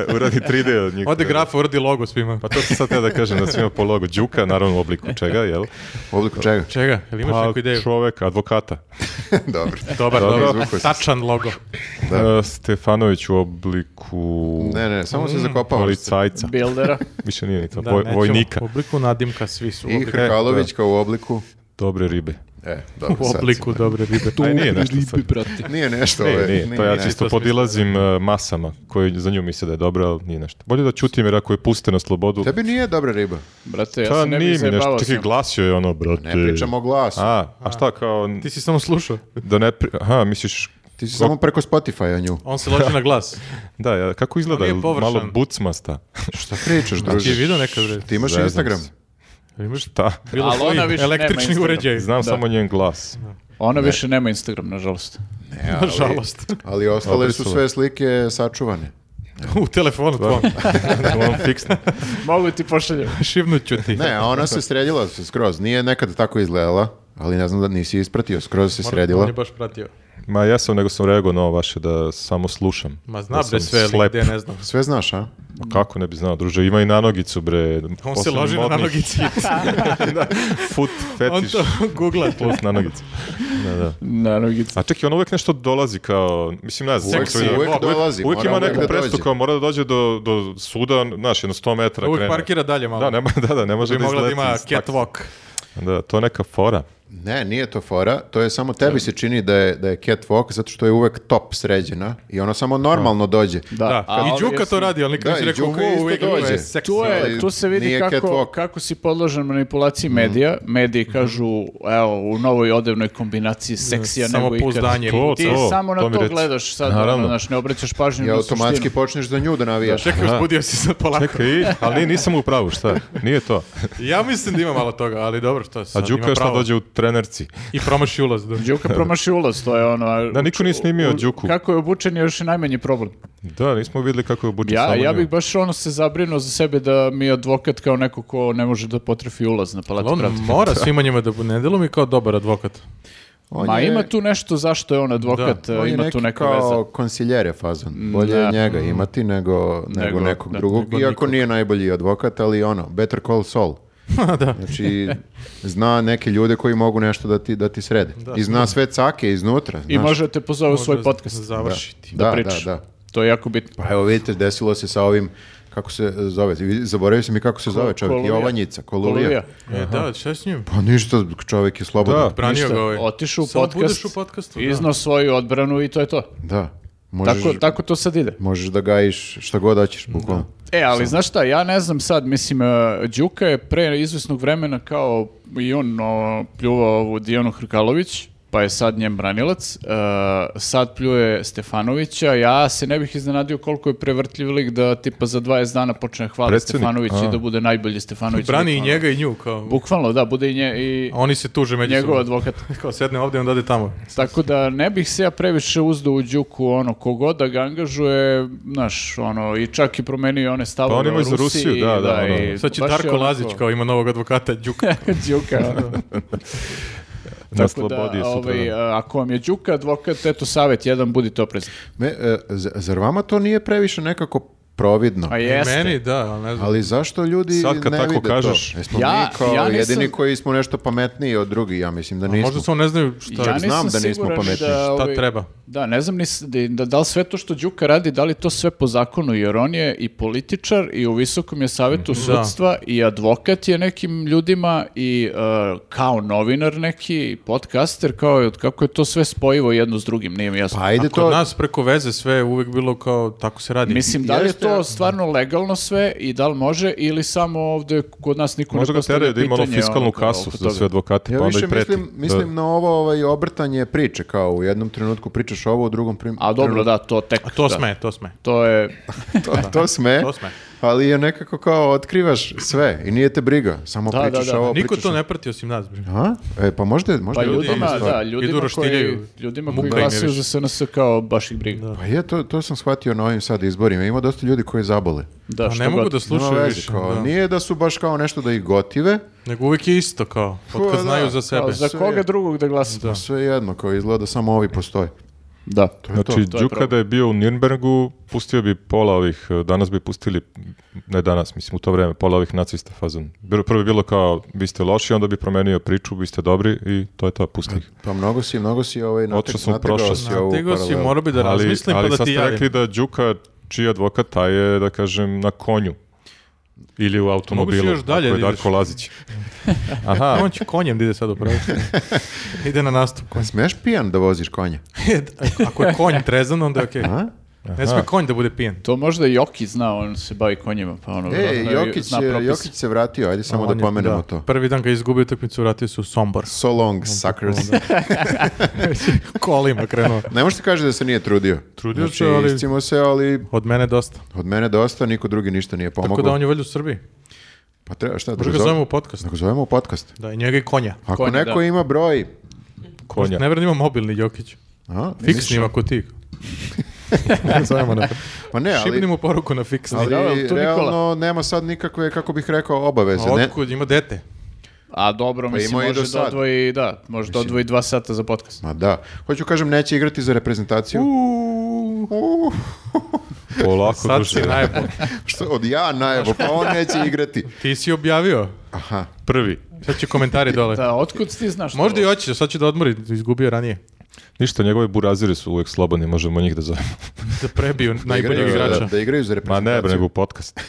S4: e, uradi 3D od njih.
S1: Ode
S4: Da,
S1: grafa, uradi logo svima.
S4: Pa to sam sad teo da kažem, da svima po logu Đuka, naravno u obliku čega, jel?
S2: U obliku čega?
S1: Čega? Jel
S4: Pa
S1: imaš neku ideju?
S4: čoveka, advokata.
S2: Dobro.
S1: Dobar,
S4: Dobro,
S1: dobro.
S2: izvukao si se.
S1: Tačan logo.
S4: E, Stefanović u obliku
S2: Ne, ne, samo
S4: Mm,
S2: se zakopao.
S4: policajca.
S3: Bildera.
S4: Više nije ni to,
S1: Da,
S4: voj-
S1: nećemo.
S4: vojnika.
S1: U obliku nadimka svi su. u
S2: I
S4: E,
S1: obliku-
S2: Hrkalović kao u obliku.
S4: Dobre ribe.
S2: E, dobro,
S1: U
S2: sad
S1: obliku
S2: sam-
S1: dobre ribe.
S4: Aj, nije nešto sad.
S2: Nije nešto.
S4: Nije,
S2: ovaj,
S4: E, nije, to ja
S2: nešto.
S4: čisto
S1: To smisla.
S4: podilazim e, masama koji za nju misle da je dobro, ali nije nešto. Bolje da ćutim jer ako je puste na slobodu,
S2: Tebi nije dobra riba.
S3: Brate, ja
S4: ta
S3: se ne bih
S4: Pa nije mi nešto.
S3: zajebavao.
S4: Čekaj,
S3: sam.
S4: glasio je ono, brate.
S2: Ne pričamo o glasu.
S4: A, a šta kao,
S1: Ti si samo slušao.
S4: da ne pri... Aha, misliš,
S2: Ti si samo preko Spotify-a nju.
S1: On se loži na glas.
S4: da, ja, kako izgleda,
S1: On je
S4: jel
S1: površan.
S4: malo bucmasta.
S2: Šta pričaš,
S1: Ti je
S2: druže?
S1: vidio nekad, bre?
S2: Ti imaš
S4: Zezam
S2: Instagram?
S4: se. Šta?
S1: Bilo
S3: Ali
S1: koji
S3: ona više nema
S1: električni
S3: Instagram.
S1: uređaj.
S4: Znam samo njen glas.
S3: Ona više nema Instagram, nažalost.
S2: Ne, ali-
S1: Nažalost.
S2: Ali ostale su
S4: Obrisala.
S2: sve slike sačuvane.
S1: U telefonu tvom.
S4: On fiksno.
S3: Mogu ti pošaljem.
S1: Šivnut ću ti.
S2: Ne, a ona se sredila se skroz. Nije nekad tako izgledala, ali ne znam da nisi ispratio. Skroz se
S1: On
S2: sredila.
S1: je baš pratio.
S4: Ma jesam, nego sam reagovao na ovo vaše da samo slušam.
S1: Ma zna
S4: Da
S1: bre
S4: sam
S1: sve, ali
S4: slep.
S1: gde ne znam.
S2: Sve znaš, a?
S4: Ma kako ne bi znao, druže, ima i nanogicu, bre.
S1: On se
S4: Posebno
S1: loži na
S4: modni
S1: nanogici.
S4: Foot
S1: On
S4: fetiš
S1: to googla.
S4: plus nanogica. Da, da.
S3: Nanogice.
S4: A čekaj, on uvek nešto dolazi kao, mislim, ne znam.
S1: Uvek
S4: kako je-
S1: se-
S2: uvek
S1: uvek-
S2: dolazi.
S4: Uvijek
S2: mora
S4: ima
S2: uvek
S4: neku
S2: da
S4: prestu
S2: dođe.
S4: kao mora da dođe do, do suda, znaš, jedno 100 metara
S1: Uvijek
S4: krene.
S1: parkira dalje malo.
S4: Da, nema, da, da, ne može
S1: Da bi mogla da
S4: izleti
S1: ima
S4: iz taksija.
S1: catwalk.
S4: Da, to je neka fora.
S2: Ne, nije to fora, to je samo tebi se čini da je, da je catwalk zato što je uvek top sređena i ona samo normalno dođe.
S3: Da.
S1: Da,
S3: a
S1: i
S3: ovi
S1: Đuka
S3: jesu-
S1: to radi, ali nikad
S2: Da,
S1: nisi
S2: i
S1: rekao
S2: Đuka isto
S1: "Wow, uvijek
S2: dođe."
S1: je seksi.
S3: Tu, je,
S2: ali
S3: tu se vidi
S2: nije
S3: kako,
S2: catwalk.
S3: kako si podložen manipulaciji medija. Mediji kažu, evo, u novoj odevnoj kombinaciji seksija nego ikad.
S1: Samopouzdanje.
S4: To,
S1: Ti-
S3: Ti
S4: to.
S3: samo na
S4: mi
S3: to
S4: reci.
S3: gledaš sad, ono,
S4: Naravno.
S3: znaš, ne obraćaš pažnju
S2: I
S3: na
S2: automatski
S3: suštinu.
S2: počneš za nju da navijaš.
S1: Čekaj, uzbudio si sad polako.
S4: Čekaj, ali nisam u pravu, šta? Nije to.
S1: Ja mislim da ima malo toga, ali dobro, što sad
S4: A
S1: ima
S4: Đuka šta
S1: pravo.
S4: dođe u trenerci.
S1: I promaši ulaz. Da.
S3: Đuka promaši ulaz, to je ono. a-
S4: Da, niko nije snimio
S3: u-
S4: Đuku.
S3: Kako je obučen je još i najmanji problem.
S4: Da, nismo videli kako je obučen
S3: Ja,
S4: samo
S3: ja
S4: nju.
S3: bih baš ono se zabrinuo za sebe da mi je advokat kao neko ko ne može da potrefi ulaz na palatu
S1: Ali on
S3: pravde.
S1: mora svima njima da ne delo mi kao dobar advokat.
S2: On
S3: Ma
S2: je-
S3: ima tu nešto zašto je on advokat, e,
S1: Da,
S2: on je
S3: ima
S2: neki
S3: tu neka
S2: kao
S3: veza. Mm,
S2: konsiljere fazon. Bolje je
S3: da.
S2: njega imati nego, nego,
S3: Nego-
S2: nekog
S3: da,
S2: drugog.
S1: nego
S2: Iako
S1: nikog.
S2: nije najbolji advokat, ali ono, better call Saul.
S1: da.
S2: Znači, zna neke ljude koji mogu nešto da ti, da ti srede. I zna sve cake iznutra.
S3: I
S2: znaš.
S3: može da te pozove u svoj
S1: Da
S3: podcast
S1: Završiti.
S3: da,
S2: Da,
S3: pričaš.
S2: da, da.
S3: To je jako bitno.
S2: Pa evo vidite, desilo se sa ovim, kako se e, zove, Vi- zaboravio sam i kako se zove čovjek,
S3: Koluvija.
S2: Jovanjica, Koluvija.
S3: Koluvija.
S1: E, da, šta je s njim?
S2: Pa ništa, čovjek je slobodan.
S4: Da.
S1: Branio
S3: Ništa,
S1: ga ovaj.
S3: Otišao u
S1: Samo
S3: podcast,
S1: budeš u podcastu. da.
S3: iznao svoju odbranu i to je to.
S2: Da. Možeš,
S3: Tako, tako to sad ide.
S2: možeš da gajiš šta god hoćeš, bukvalno.
S3: E, ali znaš šta, ja ne znam sad, mislim, e, Đuka je pre izvesnog vremena kao i on o, pljuvao ovu Dijanu Hrkalović, pa je sad njen branilac, e, sad pljuje Stefanovića, ja se ne bih iznenadio koliko je prevrtljiv lik da tipa za 20 dana počne hvaliti
S4: Predsednik,
S3: Stefanovića i
S4: a.
S3: da bude najbolji Stefanović.
S1: Pa Brani i
S3: Bukvalno.
S1: njega i nju, kao.
S3: Bukvalno, da, bude i, nje, i
S1: A oni se tuže međusobno.
S3: njegov advokat.
S1: Kao sedne ovdje i onda ode tamo.
S3: Tako da ne bih se ja previše uzdao u Đuku, ono, kogod da ga angažuje, znaš, ono, i čak i promenio one stavove
S4: Pa on ima
S3: o
S4: i za
S3: Rusiji,
S4: Rusiju, da,
S3: i-
S4: da, ono.
S3: i
S1: Sad će
S3: baš je
S1: Darko
S3: onako-
S1: Lazić kao ima novog advokata Đuka.
S3: Đuka, ono.
S4: Na
S3: Tako da,
S4: slobodi je sutra.
S3: ovaj, a, ako vam je Đuka advokat, eto, savjet, jedan, budite oprezni.
S2: Me, e, z- zar vama to nije previše nekako providno?
S4: E,
S3: A Pa jeste.
S1: Meni, da, ali ne znam.
S2: Ali zašto ljudi
S4: Sad kad
S2: ne
S4: tako
S2: vide
S4: kažeš.
S2: to? Jesmo
S3: Ja-
S2: mi kao
S3: ja nisam-
S2: jedini koji smo nešto pametniji od drugih, ja mislim da nismo.
S1: Možda samo ne znaju šta,
S3: Ja nisam
S2: znam da nismo
S3: siguran
S2: pametni.
S3: da,
S1: šta
S3: ovaj,
S1: treba.
S3: Da, ne znam ni s- da, da, da li sve to što Đuka radi, da li to sve po zakonu, jer on je i političar i u visokom je savjetu
S1: Mhm.
S3: sudstva i advokat je nekim ljudima i e, kao novinar neki, i podcaster, kao i- kako je to sve spojivo jedno s drugim, nije mi jasno.
S2: Pa ajde
S1: A
S2: to...
S1: kod nas preko veze sve je uvek bilo kao tako se radi.
S3: Mislim, da li je
S2: Jeste,
S3: to
S2: ja.
S3: stvarno legalno sve i da li može ili samo ovdje kod nas niko
S4: Možda
S3: ne
S4: ga
S3: postavlja
S4: teraju da ima ono
S3: pitanje,
S4: fiskalnu
S3: ono, kao,
S4: kasu
S3: oko
S4: za
S3: toga.
S4: sve advokate,
S2: Ja
S4: pa onda
S2: više
S4: i preti.
S2: mislim, mislim
S4: Da.
S2: na ovo ovaj, obrtanje priče, kao u jednom trenutku pričaš ovo, u drugom prim...
S3: A dobro, da, to tek.
S1: A to
S3: da.
S1: sme, to sme.
S3: To je,
S2: trenutku- to, to sme,
S1: To sme.
S2: ali je nekako kao otkrivaš sve i nije te briga, samo
S3: Da,
S2: pričaš
S3: da, da.
S2: ovo,
S1: Niko
S2: pričaš
S1: to
S2: ovo.
S1: ne prati osim nas. bre.
S2: A? E, pa možda, možda
S3: Pa
S2: je u tome
S3: ljudima,
S2: stvar.
S3: da,
S1: Idu
S3: ljudima koji,
S1: roštiljaju.
S3: ljudima
S1: Muka
S3: koji
S1: im je
S3: glasaju
S1: više.
S3: za SNS kao baš ih briga. Da,
S1: Da.
S2: Pa je, to, to sam shvatio na ovim sad izborima. Ima dosta ljudi koji zabole.
S1: Pa
S3: što
S1: ne mogu
S3: god.
S1: da
S2: Nema
S1: slušaju
S2: veze,
S1: više.
S2: kao,
S1: da.
S2: Nije da su baš kao nešto da ih gotive,
S1: Nego uvijek je isto kao, od
S2: Pa,
S1: kad
S2: da,
S1: znaju za
S2: kao
S1: sebe.
S3: A za
S2: sve
S3: koga
S2: je.
S3: drugog da glasa? Da.
S2: sve jedno, kao izgleda da samo ovi postoje. To je to.
S4: Znači,
S3: to je
S4: Đuka
S3: problem.
S4: da je bio u Nürnbergu, pustio bi pola ovih, eh, danas bi pustili, ne danas, mislim u to vreme, pola ovih nacista fazon. Bilo- Prvo je bilo kao, vi ste loši, onda bi promenio priču, vi ste dobri i to je to, pusti ih.
S2: Pa mnogo si, mnogo si ovaj
S4: Otišao
S2: natek,
S4: sam u
S2: nategao
S4: prošlost.
S2: si ovu
S1: Natego si,
S2: paralelu.
S1: morao bi da
S4: ali,
S1: razmislim
S4: ali
S1: pa da
S4: sad
S1: ti
S4: ste
S1: javim.
S4: rekli da Đuka, čiji advokat, taj je, da kažem, na konju. Ili u automobilu,
S1: još dalje
S4: ako je
S1: da ideš.
S4: Darko Lazić. Aha,
S1: On će konjem da ide sad upravo. ide na nastup konj.
S2: Smeš pijan da voziš konje?
S1: Ako je konj trezan, onda je okej.
S2: A?
S1: Ne sme konj da bude pijen.
S3: To možda i Joki zna, on se bavi konjima, pa ono...
S2: E,
S3: vjerojatno
S2: Jokić,
S3: zna
S2: je-
S3: propis.
S2: Jokić se vratio, ajde samo
S1: On
S2: da
S1: je-
S2: pomenemo
S1: da.
S2: to.
S1: Prvi dan ga je izgubio utakmicu, vratio se u Sombor.
S2: So long, suckers.
S1: Kolima krenuo.
S2: Ne možete kažete da se nije trudio.
S1: Trudio
S2: znači,
S1: se, ali-
S2: iscimo se, ali
S1: Od mene dosta.
S2: od mene dosta, niko drugi ništa nije pomogao.
S1: Tako da on je valjda u Srbiji.
S2: Pa treba, šta, da
S1: Možda ga
S2: zove-
S1: zovemo u podcast.
S2: da ga zovemo u podcast.
S1: Da, i njega i konja.
S2: Ako
S3: Konje,
S2: neko
S3: da.
S2: ima broj...
S4: konja.
S1: Ne vjerujem da ima mobilni Jokić.
S2: A,
S1: Fiksni ima ko ti. Zovemo na
S2: Pa ne,
S1: Šibni
S2: ali,
S1: mu poruku na fiksni.
S2: ali
S3: Da, ali tu Nikola.
S2: realno nema sad nikakve, kako bih rekao, obaveze.
S1: A
S2: Ne,
S1: Otkud ima dete?
S3: A dobro,
S2: Pa
S3: mislim,
S2: imao je i
S3: može
S2: do
S3: da
S2: sad.
S3: odvoji, da, može da odvoji dva sata za podcast.
S2: Ma da. Hoću kažem, neće igrati za reprezentaciju. Uh,
S4: Polako
S1: Sad si najbolj.
S2: što od ja najevo, pa on neće igrati.
S1: Ti si objavio
S2: Aha.
S1: prvi. Sad će komentari dole.
S3: Da, otkud ti znaš to?
S1: Možda i hoće, sad će da odmori, izgubio je ranije.
S4: Ništa, njegove buraziri su uvek slobodni, možemo njih da zovemo.
S1: Da prebiju najboljeg
S2: Igraju-
S1: igrača.
S2: Da, da igraju za
S4: Ma ne,
S2: reprezentaciju.
S4: bre, nego podcast.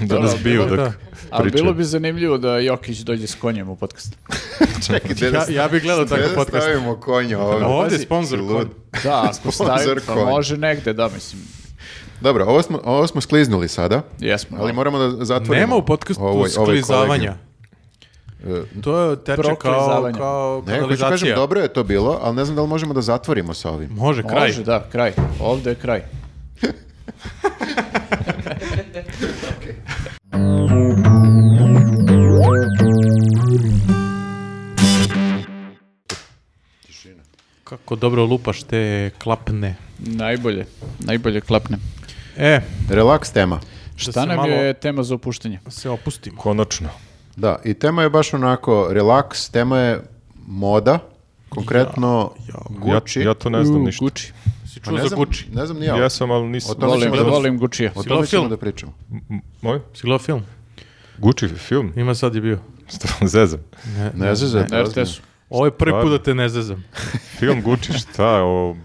S4: da nas biju
S1: bilo-
S4: dok
S1: da.
S3: Ali
S4: pričaju.
S3: bilo bi zanimljivo da Jokić dođe s konjem u podcast.
S2: Čekaj, gde da
S1: Ja, ja bih gledao
S2: gde
S1: takav
S2: da
S1: podcast.
S2: stavimo konja ovdje?
S1: Ovdje je
S3: pazi,
S1: sponsor.
S2: lud.
S3: Da, ako stavim,
S2: Sponzor
S3: pa
S2: konj.
S3: može negde, da, mislim,
S2: Dobro, ovo smo, ovo smo skliznuli sada,
S3: jesmo.
S2: ali moramo da zatvorimo. ovaj-
S1: Nema u podcastu
S2: ovoj- ovoj
S1: sklizavanja.
S2: kolegiju.
S1: To je teče kao,
S3: Proklizavanja.
S1: kao
S2: E, Ne, hoću kažem,
S1: kanalizacija.
S2: dobro je to bilo, ali ne znam da li možemo da zatvorimo sa ovim.
S1: Može, kraj.
S3: Pa Može, da, kraj. Ovde je kraj.
S1: Kako dobro lupaš te klapne.
S3: Najbolje, najbolje klapne.
S1: E,
S2: Relaks tema.
S1: Da
S3: Šta
S1: se
S3: nam
S1: malo-
S3: je tema za opuštenje?
S1: se opustimo.
S4: Konačno.
S2: Da, i tema je baš onako relaks, tema je moda, konkretno
S4: Ja,
S2: Gucci.
S4: ja to ne znam
S3: U,
S4: ništa.
S3: Gucci.
S1: Si
S2: Pa
S1: čuo
S2: ne
S1: za
S2: znam,
S1: Gucci?
S2: Ne znam ni ja.
S4: Jesam, ali nisam.
S2: O tome
S3: Volim,
S2: ćemo da-
S3: volim Gucci-a.
S2: O
S1: Sigurno
S2: tome ćemo
S1: film.
S2: da pričamo.
S4: M- Moj?
S1: Si gledao film?
S4: Gucci film?
S1: Ima sad je bio.
S4: Stvarno zezam.
S2: Ne zezate,
S3: Na
S2: ozbiljno.
S3: RTS-u.
S1: Ovo je prvi
S4: Stvarno?
S1: put da te ne zezam.
S4: Film Gucci, šta je o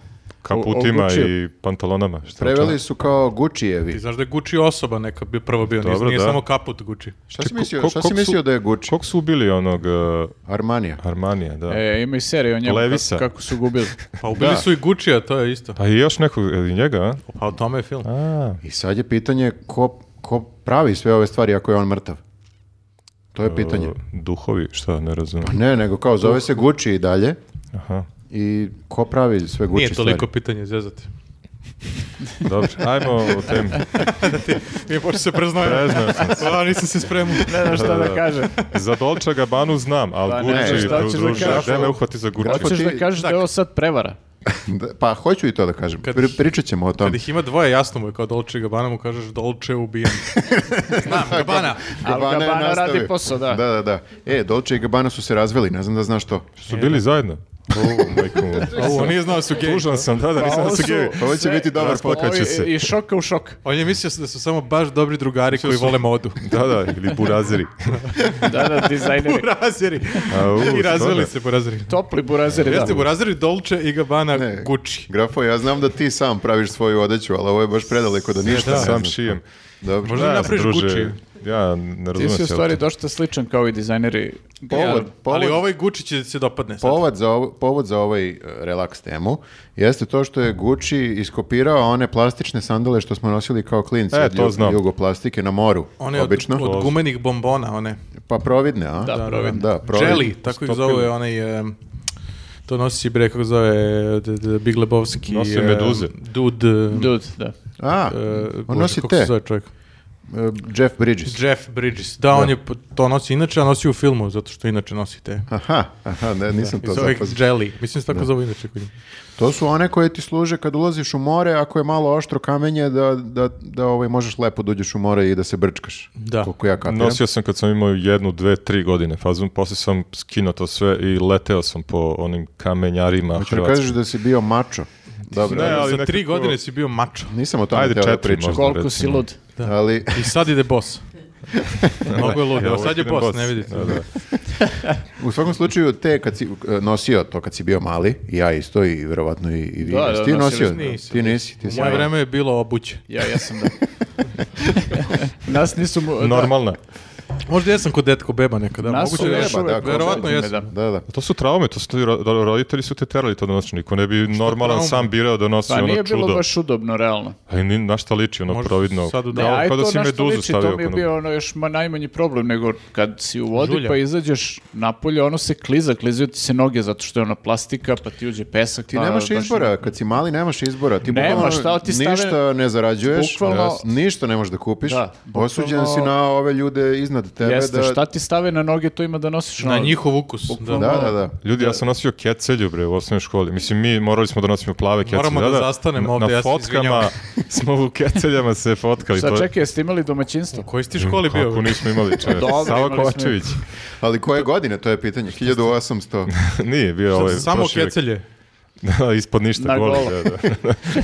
S4: kaputima
S3: O- o Gucci-u.
S4: i pantalonama? Šta,
S2: Preveli
S4: šta?
S2: su kao
S1: Ti
S2: Guccijevi.
S1: znaš da je Gucci osoba neka bi prvo bio, nije-
S4: Dobro,
S1: nije
S4: da.
S1: samo kaput Gucci.
S2: Šta si
S4: Čekaj,
S2: mislio,
S4: ko-
S2: šta
S4: kog
S2: si
S4: su-
S2: mislio da je Gucci?
S4: Kog su ubili onog uh,
S2: Armanija.
S4: Armanija, da?
S3: E, ima i serija o njemu
S4: Levisa.
S3: kako, kako su gubili.
S1: Pa ubili
S2: Da.
S1: su i Gucci, a to je isto.
S4: Pa i još nekog, e, i njega, a?
S1: Pa o tome je film.
S4: a?
S2: I sad je pitanje ko, ko pravi sve ove stvari ako je on mrtav? To je pitanje.
S4: e, Duhovi, šta, ne
S2: Pa
S4: razumijem.
S2: ne, nego kao zove se Gucci i dalje
S4: Aha,
S2: i ko pravi sve Gucci
S1: Nije toliko
S2: stvari?
S1: pitanje zezati.
S4: dobro. Ajmo o temi.
S1: Mi je počeo se preznojati.
S4: Preznao sam se.
S1: A, nisam se spremao.
S3: Ne znam šta da kažem.
S4: Za Dolce Gabbanu znam, ali
S3: Pa ne,
S4: Gucci,
S2: šta
S3: ćeš da
S4: druže,
S3: kažeš?
S4: gde me uhvati za Gucci?
S2: Kako
S3: Hoćeš
S2: ti-
S3: da kažeš da je ovo sad prevara?
S2: Da, pa hoću i to da kažem.
S1: Kad-
S2: Pri- pričat ćemo o
S1: Kad
S2: tom.
S1: ih ima dvoje, jasno mu je kao Dolce Gabbana, mu kažeš Dolce ubijen. Znam, Gabbana.
S3: Ali
S2: je
S3: Gabbana
S2: nastavio.
S3: radi posao, da.
S2: Da, da, da. E, Dolce i Gabbana su se razveli, ne znam da znaš to.
S4: Pa, Su bili zajedno?
S2: Pa
S4: O, majko moja.
S1: A Ovo, nije znao da su gej.
S4: Tužan sam, da, da, nisam da
S3: ovo
S4: su
S3: su-
S4: gevi.
S2: Ovo će
S3: Sve-
S2: biti dobar
S4: Rasplaka-
S2: podcast.
S4: Pokaće
S3: Ovi-
S4: se.
S3: I šoka u šok.
S1: On je mislio da su samo baš dobri drugari koji vole modu.
S4: Da, da, ili buraziri.
S3: Da, da, dizajneri.
S1: Burazeri.
S4: A, u,
S1: I razveli
S4: stvarno.
S1: se burazeri.
S3: Topli burazeri, da.
S1: Jeste burazeri Dolce i Gabbana
S2: Ne.
S1: Gucci.
S2: Grafo, ja znam da ti sam praviš svoju odeću, ali ovo je baš predaleko da ništa
S4: Da,
S2: ne
S4: sam
S2: znaš.
S4: šijem.
S2: Dobro.
S1: Možda
S4: Da,
S1: mi napraviš
S4: druže,
S1: Gucci.
S4: Ja ne
S3: Ti
S4: razumijem
S3: si u
S4: se u
S3: stvari
S4: to.
S3: došta sličan kao i dizajneri.
S2: Povod, povod,
S1: Ali ovaj Gucci će se dopadne sad.
S2: povod za, ovo- povod za ovaj e, relaks temu jeste to što je Gucci iskopirao one plastične sandale što smo nosili kao klinci
S4: E,
S2: od
S4: to
S2: ju-
S4: znam.
S2: jugoplastike na moru,
S1: One od,
S2: obično.
S1: od gumenih bombona, one.
S2: Pa providne, a?
S3: Da, providne.
S2: Da, providne.
S1: Jelly, tako ih zove onaj... em, to nosi bre, kako zove, d, d, Big Lebowski. e,
S4: Nose
S1: em,
S4: meduze.
S1: Dude. em,
S3: Dude, da.
S2: A,
S1: e,
S2: on
S1: bože,
S2: nosi
S1: kako
S2: te,
S1: se zove čovjek?
S2: e, Jeff Bridges.
S1: Jeff Bridges. Da, on je po- to nosi inače, a nosi u filmu, zato što inače nosi te.
S2: Aha, aha, ne, nisam
S1: I
S2: to
S1: zove ih
S2: zapazio.
S1: Jelly. Mislim se tako zove inače kod njih.
S2: To su one koje ti služe kad ulaziš u more, ako je malo oštro kamenje, da, da, da ovaj, možeš lepo da uđeš u more i da se brčkaš.
S1: Da.
S2: Koliko ja kapiram.
S4: Nosio sam kad sam imao jednu, dve, tri godine fazon, posle sam skinuo to sve i leteo sam po onim kamenjarima
S2: Hoćeš da
S4: Hrvatske.
S2: kažeš da si bio mačo. Dobro,
S4: Ne,
S1: Ali
S4: ali
S1: Za
S4: nekako-
S1: tri godine si bio mačo.
S2: nisam o tome
S4: Ajde,
S2: Ajde, teo da
S4: četiri
S2: pričam.
S4: možda.
S3: Koliko
S4: recimo.
S3: si lud.
S2: Ali,
S1: I sad ide boss. Mnogo je lud.
S4: Ja
S1: Evo,
S4: uvek
S1: sad je
S4: idem
S1: boss,
S4: boss.
S1: ne vidite.
S4: Da, da.
S2: u svakom slučaju, te kad si e, nosio to kad si bio mali, i ja isto i verovatno i, i vi,
S3: Da, da,
S2: jesi ti
S3: nosili
S2: nosio,
S1: smo. Nisam.
S2: ti nisi, ti
S1: U
S2: si
S1: moje vreme je bilo obuće.
S3: Ja, ja sam da. Nas nisu... mu- da.
S4: Normalna.
S1: Možda jesam kod detko beba nekada.
S3: Nas
S1: Moguće
S3: su
S1: da
S3: beba,
S1: još
S3: da,
S1: uvek.
S2: kao
S1: Verovatno
S3: beba,
S1: jesam.
S3: da.
S2: Da, da.
S4: Pa To su traume, to su ti ro- ro- roditelji su te terali to da nosi, niko ne bi normalan
S1: trauma?
S4: sam birao da nosi
S3: Pa
S4: ono
S3: nije
S4: čudo.
S3: bilo baš udobno, realno.
S4: Ali ni, na šta liči ono
S1: Možda
S4: providno.
S1: sad u-
S4: Da,
S1: Ne,
S4: kao
S3: aj
S4: da si
S3: na što
S4: meduzu
S3: liči,
S4: stavio.
S3: To mi je
S4: oko
S3: bio ono još ma, najmanji problem, nego kad si u vodi
S1: Žulja.
S3: pa izađeš napolje, ono se kliza, klizaju ti se noge zato što je ona plastika, pa ti uđe pesak.
S2: Ti
S3: pa
S2: nemaš
S3: baš-
S2: izbora, kad si mali nemaš izbora. Ti
S3: Nema,
S2: bukvalno
S3: šta ti stave-
S2: ništa ne zarađuješ,
S3: Bukvalno-
S2: ništa ne možeš da kupiš,
S3: Da,
S2: osuđen
S3: bukvalno-
S2: si na ove ljude iznad tebe
S3: Jeste,
S2: da...
S3: šta ti stave na noge, to ima da nosiš
S1: Na
S3: ono-
S1: njihov ukus. Da.
S2: Da, da, da.
S4: Ljudi, ja sam nosio kecelju, bre, u osnovnoj školi. Mislim, mi morali smo da nosimo plave kecelje.
S1: Moramo da zastanemo
S4: Na-
S1: ovde,
S4: na
S1: ja se
S4: fotkama
S1: izvinjavam.
S4: smo u keceljama se fotkali.
S3: Sad
S4: to je-
S3: čekaj, jeste imali domaćinstvo?
S1: U kojoj ste ti školi bio?
S4: Kako nismo imali čovjek.
S3: Dobro,
S4: Sava
S3: imali smo.
S4: Kovačević.
S2: Ali koje godine, to je pitanje? 1800.
S4: Nije bio ovaj
S1: Samo
S4: proširek.
S1: kecelje.
S4: Da, ispod ništa
S3: Na
S4: goli,
S3: golo.
S4: da, da.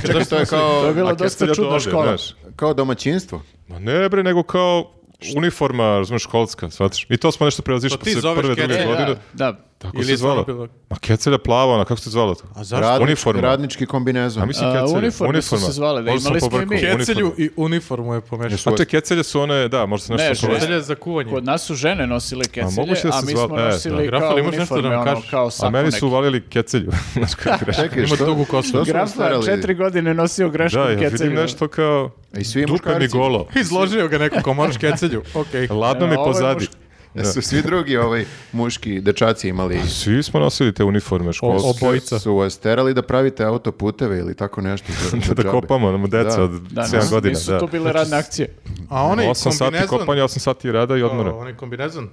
S2: Čekaj, to je
S3: To je
S2: kao,
S3: bila
S4: A
S3: dosta
S4: kecelja do
S3: čudna
S4: ovde,
S3: škola. E,
S4: znaš.
S2: kao domaćinstvo.
S4: Ma ne bre, nego kao uniforma, razumeš, školska, shvataš? I to smo nešto prevazišli
S1: To ti
S4: posle
S1: zoveš
S4: prve, druge
S1: kecelja.
S3: E, da,
S4: godine.
S3: da.
S4: Tako
S1: Ili
S4: se
S1: je
S4: zvala.
S1: samo bilo-
S4: Ma kecelja plava, ona, kako se zvala to?
S1: A zašto?
S2: Radnič-
S4: Uniforma.
S2: Radnički kombinezon.
S4: A mislim
S3: A,
S4: kecelja.
S3: uniforme su se zvale, da,
S4: Možda sam
S3: imali smo i
S4: pobrkao.
S3: mi.
S4: Uniforma.
S1: Kecelju i uniformu je
S2: E,
S1: pomešao.
S4: A te kecelje su one, da, možda se
S3: Ne,
S4: nešto
S3: žele-
S4: ne,
S1: Kecelje za kuvanje.
S3: Kod nas su žene nosile kecelje,
S4: moguće da
S3: a
S4: se
S3: mi
S4: zvala-
S3: smo
S4: e,
S3: nosili
S1: da.
S3: kao
S1: Rafale, imaš nešto da
S3: uniforme,
S1: nam
S3: ono,
S1: kažeš?
S3: kao
S4: A
S3: sako
S4: meni
S3: neki.
S4: su uvalili kecelju. Znaš kako je
S2: Čekaj,
S1: Ima
S2: što?
S1: dugu kosu.
S2: što smo
S3: Graf
S2: stvarali?
S3: četiri godine nosio grešku
S4: Da, ja
S3: kecelju.
S4: vidim nešto kao...
S2: I svi
S4: Dupe mi
S2: muškarci.
S4: golo.
S1: Izložio ga neko ko moraš kecelju. Okej.
S4: Ladno mi
S3: Evo, ovo je
S4: pozadi.
S3: muško.
S2: Jesu E, svi drugi ovaj muški dečaci imali
S4: Svi smo nosili te uniforme školske.
S1: Obojica.
S2: su vas terali da pravite autoputeve ili tako nešto. za- za
S4: da
S2: džabe.
S4: kopamo, ono. nam deca
S2: Da.
S4: od
S3: Da,
S4: 7
S3: nisu-
S4: godina.
S3: Nisu
S4: Da. Znači
S3: tu bile radne akcije.
S1: A onaj
S4: 8 sati
S1: kombinezon-
S4: kopanja, 8 sati rada i
S1: O,
S4: odmora.
S1: Onaj Ovaj kombinezon?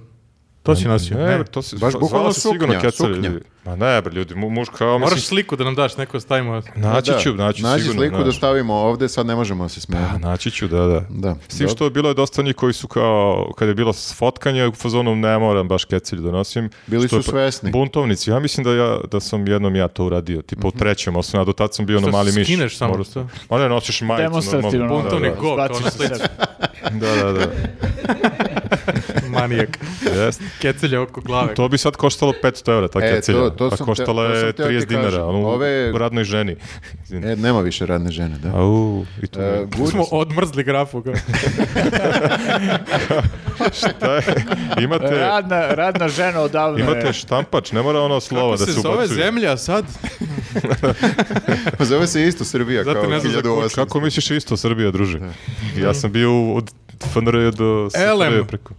S1: To si nosio.
S4: Ne,
S1: Ne,
S4: bre, to se
S2: Baš
S4: zva-
S2: bukvalno
S4: zvala se sigurno
S2: suknja,
S4: kecelje,
S2: suknja.
S4: ljudi. Ma ne, bre, ljudi, mu, muš kao,
S1: Moraš
S4: mislim,
S1: sliku da nam daš, neko stavimo.
S4: naći
S2: Pa Da,
S4: ću, naći
S2: nađi
S4: sigurno.
S2: sliku da
S4: znaš.
S2: stavimo ovde, sad ne možemo se
S4: A,
S2: smijeti.
S4: naći ću, da, da.
S2: Da.
S4: S tim što je bilo je dosta njih koji su kao, kad je bilo fotkanje, u fazonu ne moram baš kecelju da nosim.
S2: Bili
S4: Što
S2: su
S4: je pa-
S2: svesni.
S4: Buntovnici, ja mislim da, ja, da sam jednom ja to uradio, tipa u
S2: Mhm.
S4: trećem osnovna, do tad sam bio na ono mali miš.
S1: skineš samo
S4: Morao-
S1: što?
S4: Ma ne, nosiš majicu.
S3: Demonstrativno,
S4: normalno.
S3: ono,
S1: Buntovnik
S4: Da,
S1: go,
S3: zbaciš
S1: kao na
S3: se
S1: slici.
S3: sebe.
S4: Da, da, da.
S1: Manijak.
S4: Jeste.
S1: Kecelje oko glave.
S4: To bi sad koštalo 500 evra, ta
S2: E,
S4: kecelja.
S2: to- to
S4: a
S2: sam
S4: koštala
S2: te- to sam
S4: je
S2: teo ti
S4: 30 dinara,
S2: kažem.
S4: ono,
S2: Ove-
S4: u radnoj ženi. Izvini.
S2: E, nema više radne žene, da.
S4: Au, i tu
S2: E,
S4: je.
S2: Guri-
S1: smo odmrzli grafu. kao.
S4: Šta je? Imate,
S3: E, Radna, radna žena odavno
S4: imate
S3: je.
S4: štampač, ne mora ono slova
S1: Kako
S4: da
S1: se
S4: se
S1: zove
S4: ubacuje.
S1: zemlja sad?
S2: Zove se isto Srbija
S1: Zato
S2: kao
S1: ne znam za kuću.
S2: 1800.
S4: Kako misliš isto Srbija, druže? Ja sam bio u- od FNR do SFRJ
S1: LM.
S4: preko.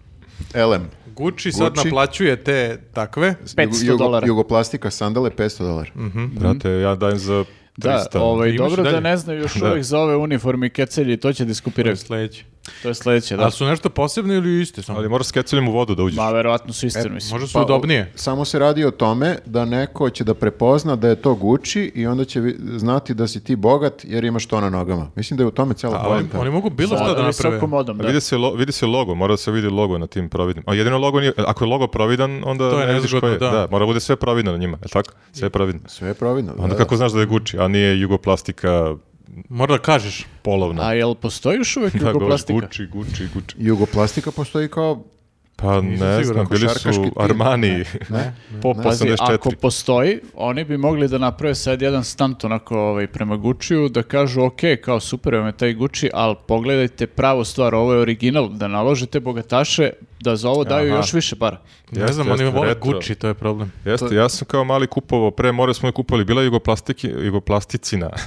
S2: LM.
S1: Gucci sad
S2: Gucci.
S1: naplaćuje te takve.
S3: 500 dolara.
S2: Jugoplastika sandale 500 dolara.
S1: Mm.
S4: Brate, ja dajem za ono. 300.
S3: Da, ovaj,
S1: Imaš
S3: dobro da
S1: dalje?
S3: ne znaju još
S4: Da.
S3: uvijek za ove uniforme i kecelje i to će diskupirati.
S1: Sljedeći.
S3: To je sledeće, da.
S1: A su nešto posebne ili iste samo?
S4: Ali Pa, moraš s keceljem u vodu da uđeš.
S3: Ma, verovatno su istinu, mislim.
S1: Možda su udobnije.
S2: Pa, Samo se radi o tome da neko će da prepozna da je to Gucci i onda će vi- znati da si ti bogat jer imaš to na nogama. Mislim da je u tome cijela
S1: Ali
S2: poenta.
S1: oni mogu bilo šta
S3: Sa
S1: da naprave.
S3: visokom odom,
S4: A
S3: da.
S4: vidi se, lo- vidi se logo, mora da se vidi logo na tim providnim. A jedino logo nije, ako je logo providan, onda
S1: To je
S4: ne vidiš ko
S1: nezgodno,
S4: je. Da.
S1: da.
S4: mora da bude sve providno na njima, je li tako? Sve providno.
S2: Sve je providno. da,
S4: Onda
S2: da.
S4: kako znaš da je Gucci, a nije jugoplastika
S1: Mora da kažeš.
S4: polovna.
S3: A jel postoji još uvijek
S4: Da, govoriš
S3: jugoplastika?
S4: Gucci, Gucci, Gucci.
S2: Jugoplastika postoji kao
S4: Pa ne
S1: siguran,
S4: znam, bili
S2: košarkaški
S4: su
S2: tim.
S4: Armani po
S3: Pazi, ako
S4: 84.
S3: postoji, oni bi mogli da naprave sad jedan stunt onako ovaj, prema Gucci-u, da kažu, ok, kao super vam je taj Gucci, ali pogledajte pravu stvar, ovo je original, da naložite bogataše da za ovo daju
S4: Aha.
S3: još više para.
S1: Ne
S4: Jeste,
S1: znam, oni
S4: jeste,
S1: vole
S4: retro.
S1: Gucci, to je problem.
S4: Jeste, ja sam kao mali kupovao, pre more smo je kupovali, bila je jugoplastiki, jugoplasticina,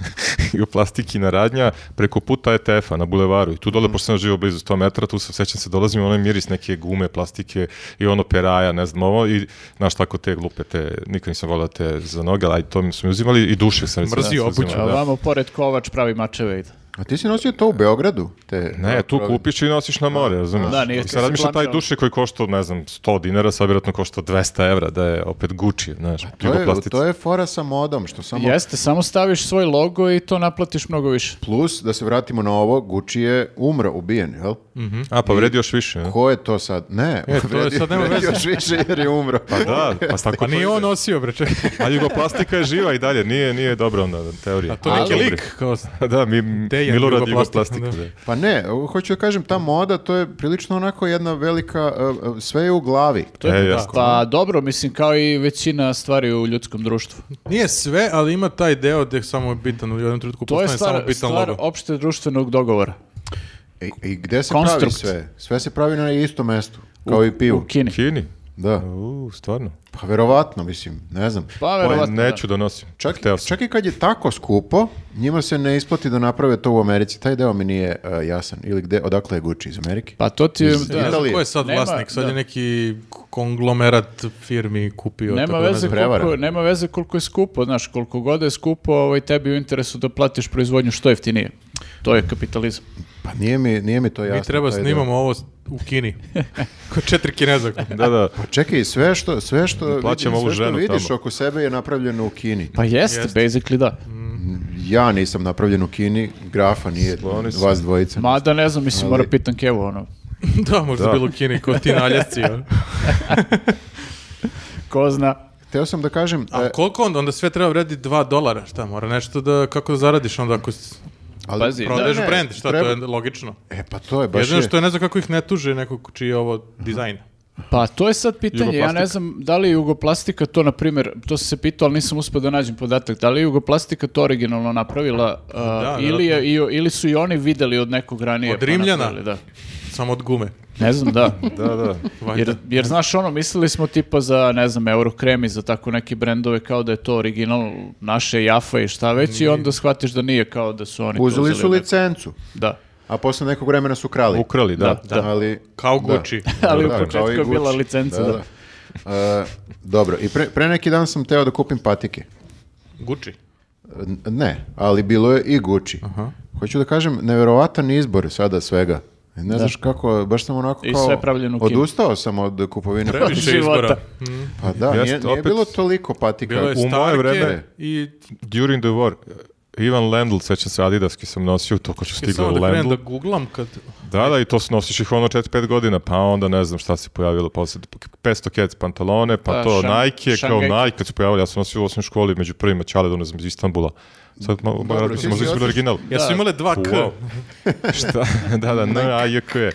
S4: jugoplastikina radnja preko puta ETF-a na bulevaru i tu dole, pošto sam živio blizu 100 metra, tu sam sećam se, dolazim onaj miris neke gume, plastike i ono peraja, ne znam ovo i znaš tako te glupe, te, nikad nisam volao te za noge, ali to mi su mi uzimali i dušio sam. recimo,
S1: Mrzio
S4: ja sam
S1: obuću,
S4: uzimao,
S3: A
S4: da.
S3: vamo pored Kovač pravi mačeve i da.
S2: A ti si nosio to u Beogradu? Te,
S4: Ne, tu
S2: Providno.
S4: kupiš i nosiš na more, razumiješ?
S3: Da, nije
S4: I
S3: ti
S4: sad
S3: se
S4: razmišljam taj
S3: planirano.
S4: duše koji košta, ne znam, 100 dinara, sad vjerojatno košta 200 evra, da je opet Gucci, znaš,
S2: To je,
S4: jugoplastica.
S2: to je fora sa modom, što samo
S3: Jeste, samo staviš svoj logo i to naplatiš mnogo više.
S2: plus, da se vratimo na ovo, Gucci je umro, ubijen, jel?
S4: A, pa vredi još više, ne?
S2: Ko je to sad? Ne,
S1: Mm. E, to je sad nema
S2: vredi
S1: veze.
S2: još više jer je umro.
S4: Da, pa s tako
S1: Pa
S4: to
S1: nije
S4: ide.
S1: on nosio, bre, čekaj.
S4: A jugoplastika je živa i dalje, nije, nije dobra onda teorija.
S1: A to neki
S4: Ali-
S1: lik, kao
S4: da, mi,
S1: Dejan
S4: Milorad
S1: jugoplastika,
S4: jugoplastika.
S1: da.
S4: Da.
S2: Pa ne, hoću da kažem, ta moda, to je prilično onako jedna velika, uh, uh, sve je u glavi.
S4: E, jasno.
S3: Pa dobro, mislim, kao i većina stvari u ljudskom društvu.
S1: Nije sve, ali ima taj deo gde samo je bitan u jednom trenutku
S3: To je
S1: postane samo
S3: stvar,
S1: bitan
S3: stvar
S1: logo.
S3: opšte društvenog dogovora
S2: I, i gde se pravi
S3: Konstrukt.
S2: sve? Sve se pravi na istom mestu, kao i pivo.
S3: u Kini.
S4: Kini?
S2: Da,
S4: U, stvarno.
S2: pa verovatno, mislim, ne znam.
S3: Pa
S4: Pa,
S3: verovatno.
S4: neću da nosim.
S2: Čak,
S4: Hteo sam.
S2: čak i kad je tako skupo, njima se ne isplati da naprave to u Americi. Taj deo mi nije uh, jasan. Ili gde, odakle je Gucci iz Amerike?
S3: Pa to ti je, da,
S1: Ne znam
S2: Italije.
S1: ko je sad
S3: Nema,
S1: vlasnik, sad
S3: da.
S1: je neki konglomerat firmi kupio.
S3: nema,
S1: tako da ne
S3: veze
S1: znam.
S2: prevara.
S3: koliko, nema veze koliko je skupo, znaš, koliko god je skupo, ovaj, tebi je u interesu da platiš proizvodnju što jeftinije. To je kapitalizam.
S2: Pa nije mi, nije mi to jasno.
S1: Mi treba
S2: taj deo.
S1: snimamo ovo s- u Kini. Ko četiri kineza.
S4: Da, da.
S2: Pa čekaj, sve što, sve što, vidi,
S4: plaćamo ovu
S2: sve što
S4: ženu
S2: vidiš
S4: tamo.
S2: oko sebe je napravljeno u Kini.
S3: Pa jeste,
S1: Jeste. Mm.
S3: basically da.
S2: Ja nisam napravljen u Kini, grafa nije,
S4: Skloni se.
S2: vas dvojica.
S3: Mada ne znam, mislim,
S2: Ali-
S3: mora pitan Kevu, ono,
S1: da, možda
S4: Da.
S1: bilo u Kini, ko ti naljasci.
S2: E.
S1: a?
S3: ko zna.
S2: Hteo sam da kažem,
S1: A
S2: e,
S1: koliko onda? Onda sve treba vredi 2 dolara, šta? Mora nešto da, kako da zaradiš onda ako s-
S2: ali,
S3: pazi,
S1: prodaješ
S2: ne,
S1: brand, šta
S2: treba-
S1: to je logično.
S2: e pa to je baš
S1: Jedino
S2: je.
S1: što je, ne znam kako ih ne tuže nekog čiji je ovo dizajn.
S3: Pa to je sad pitanje, ja ne
S4: Jugoplastika.
S3: znam da li je Jugoplastika to, na primjer, to sam se pitao, ali nisam uspio da nađem podatak, da li je Jugoplastika to originalno napravila a, ili, je, i- ili su i oni videli od nekog ranije.
S1: Od
S3: pa
S1: Rimljana?
S3: napravili, da.
S1: Samo od gume.
S3: Ne znam, da.
S4: Da, da.
S1: Valjda.
S3: Jer, jer znaš ono, mislili smo tipa za, ne znam, Eurokrem i za tako neke brendove kao da je to original naše Jafa i šta već i onda shvatiš da nije kao da su oni to
S2: Uzeli su
S3: uzeli.
S2: licencu,
S3: Da.
S2: a posle nekog vremena su krali.
S4: Ukrali, da.
S3: Da.
S2: Ali,
S1: Kao
S2: da.
S1: Gucci.
S3: Ali u
S2: Da,
S3: početku
S2: kao i
S3: je bila
S2: Gucci.
S3: licenca, da.
S2: E, dobro, i pre, pre neki dan sam teo da kupim patike.
S1: Gucci.
S2: N- Ne, ali bilo je i Gucci. Hoću da kažem, neverovatan izbor sada svega. E, Ne znaš kako, baš sam onako
S3: I
S2: kao...
S3: sve pravljeno u Kini.
S2: Odustao sam od kupovine.
S1: Previše
S3: Života.
S1: izbora.
S2: Pa da,
S4: Jeste,
S2: nije, nije
S4: opet-
S2: bilo toliko patika.
S1: Bilo je
S4: U moje
S1: starke
S4: vreme-
S1: i
S4: During the war, Ivan Lendl, sećam se Adidaski sam nosio, to ko ću
S1: Ja
S4: stigao
S1: samo
S4: u
S1: da krenem
S4: Lendl.
S1: da googlam kad...
S4: Da, da, i to s- nosiš ih ono 4-5 godina, pa onda ne znam šta se pojavilo posle, 500 kec pantalone, pa
S3: Da,
S4: to
S3: šan-
S4: Nike, kao
S3: šangajke.
S4: Nike kad se pojavili, ja sam nosio u osnovnoj školi među prvima čale, do ne znam, iz Istanbula. Sad malo malo
S2: ti si
S4: razmišljam, možda
S2: otišao-
S4: izbili original.
S1: Ja su imale dva K.
S4: Wow. Šta? Da, da, N, A, J, K, je.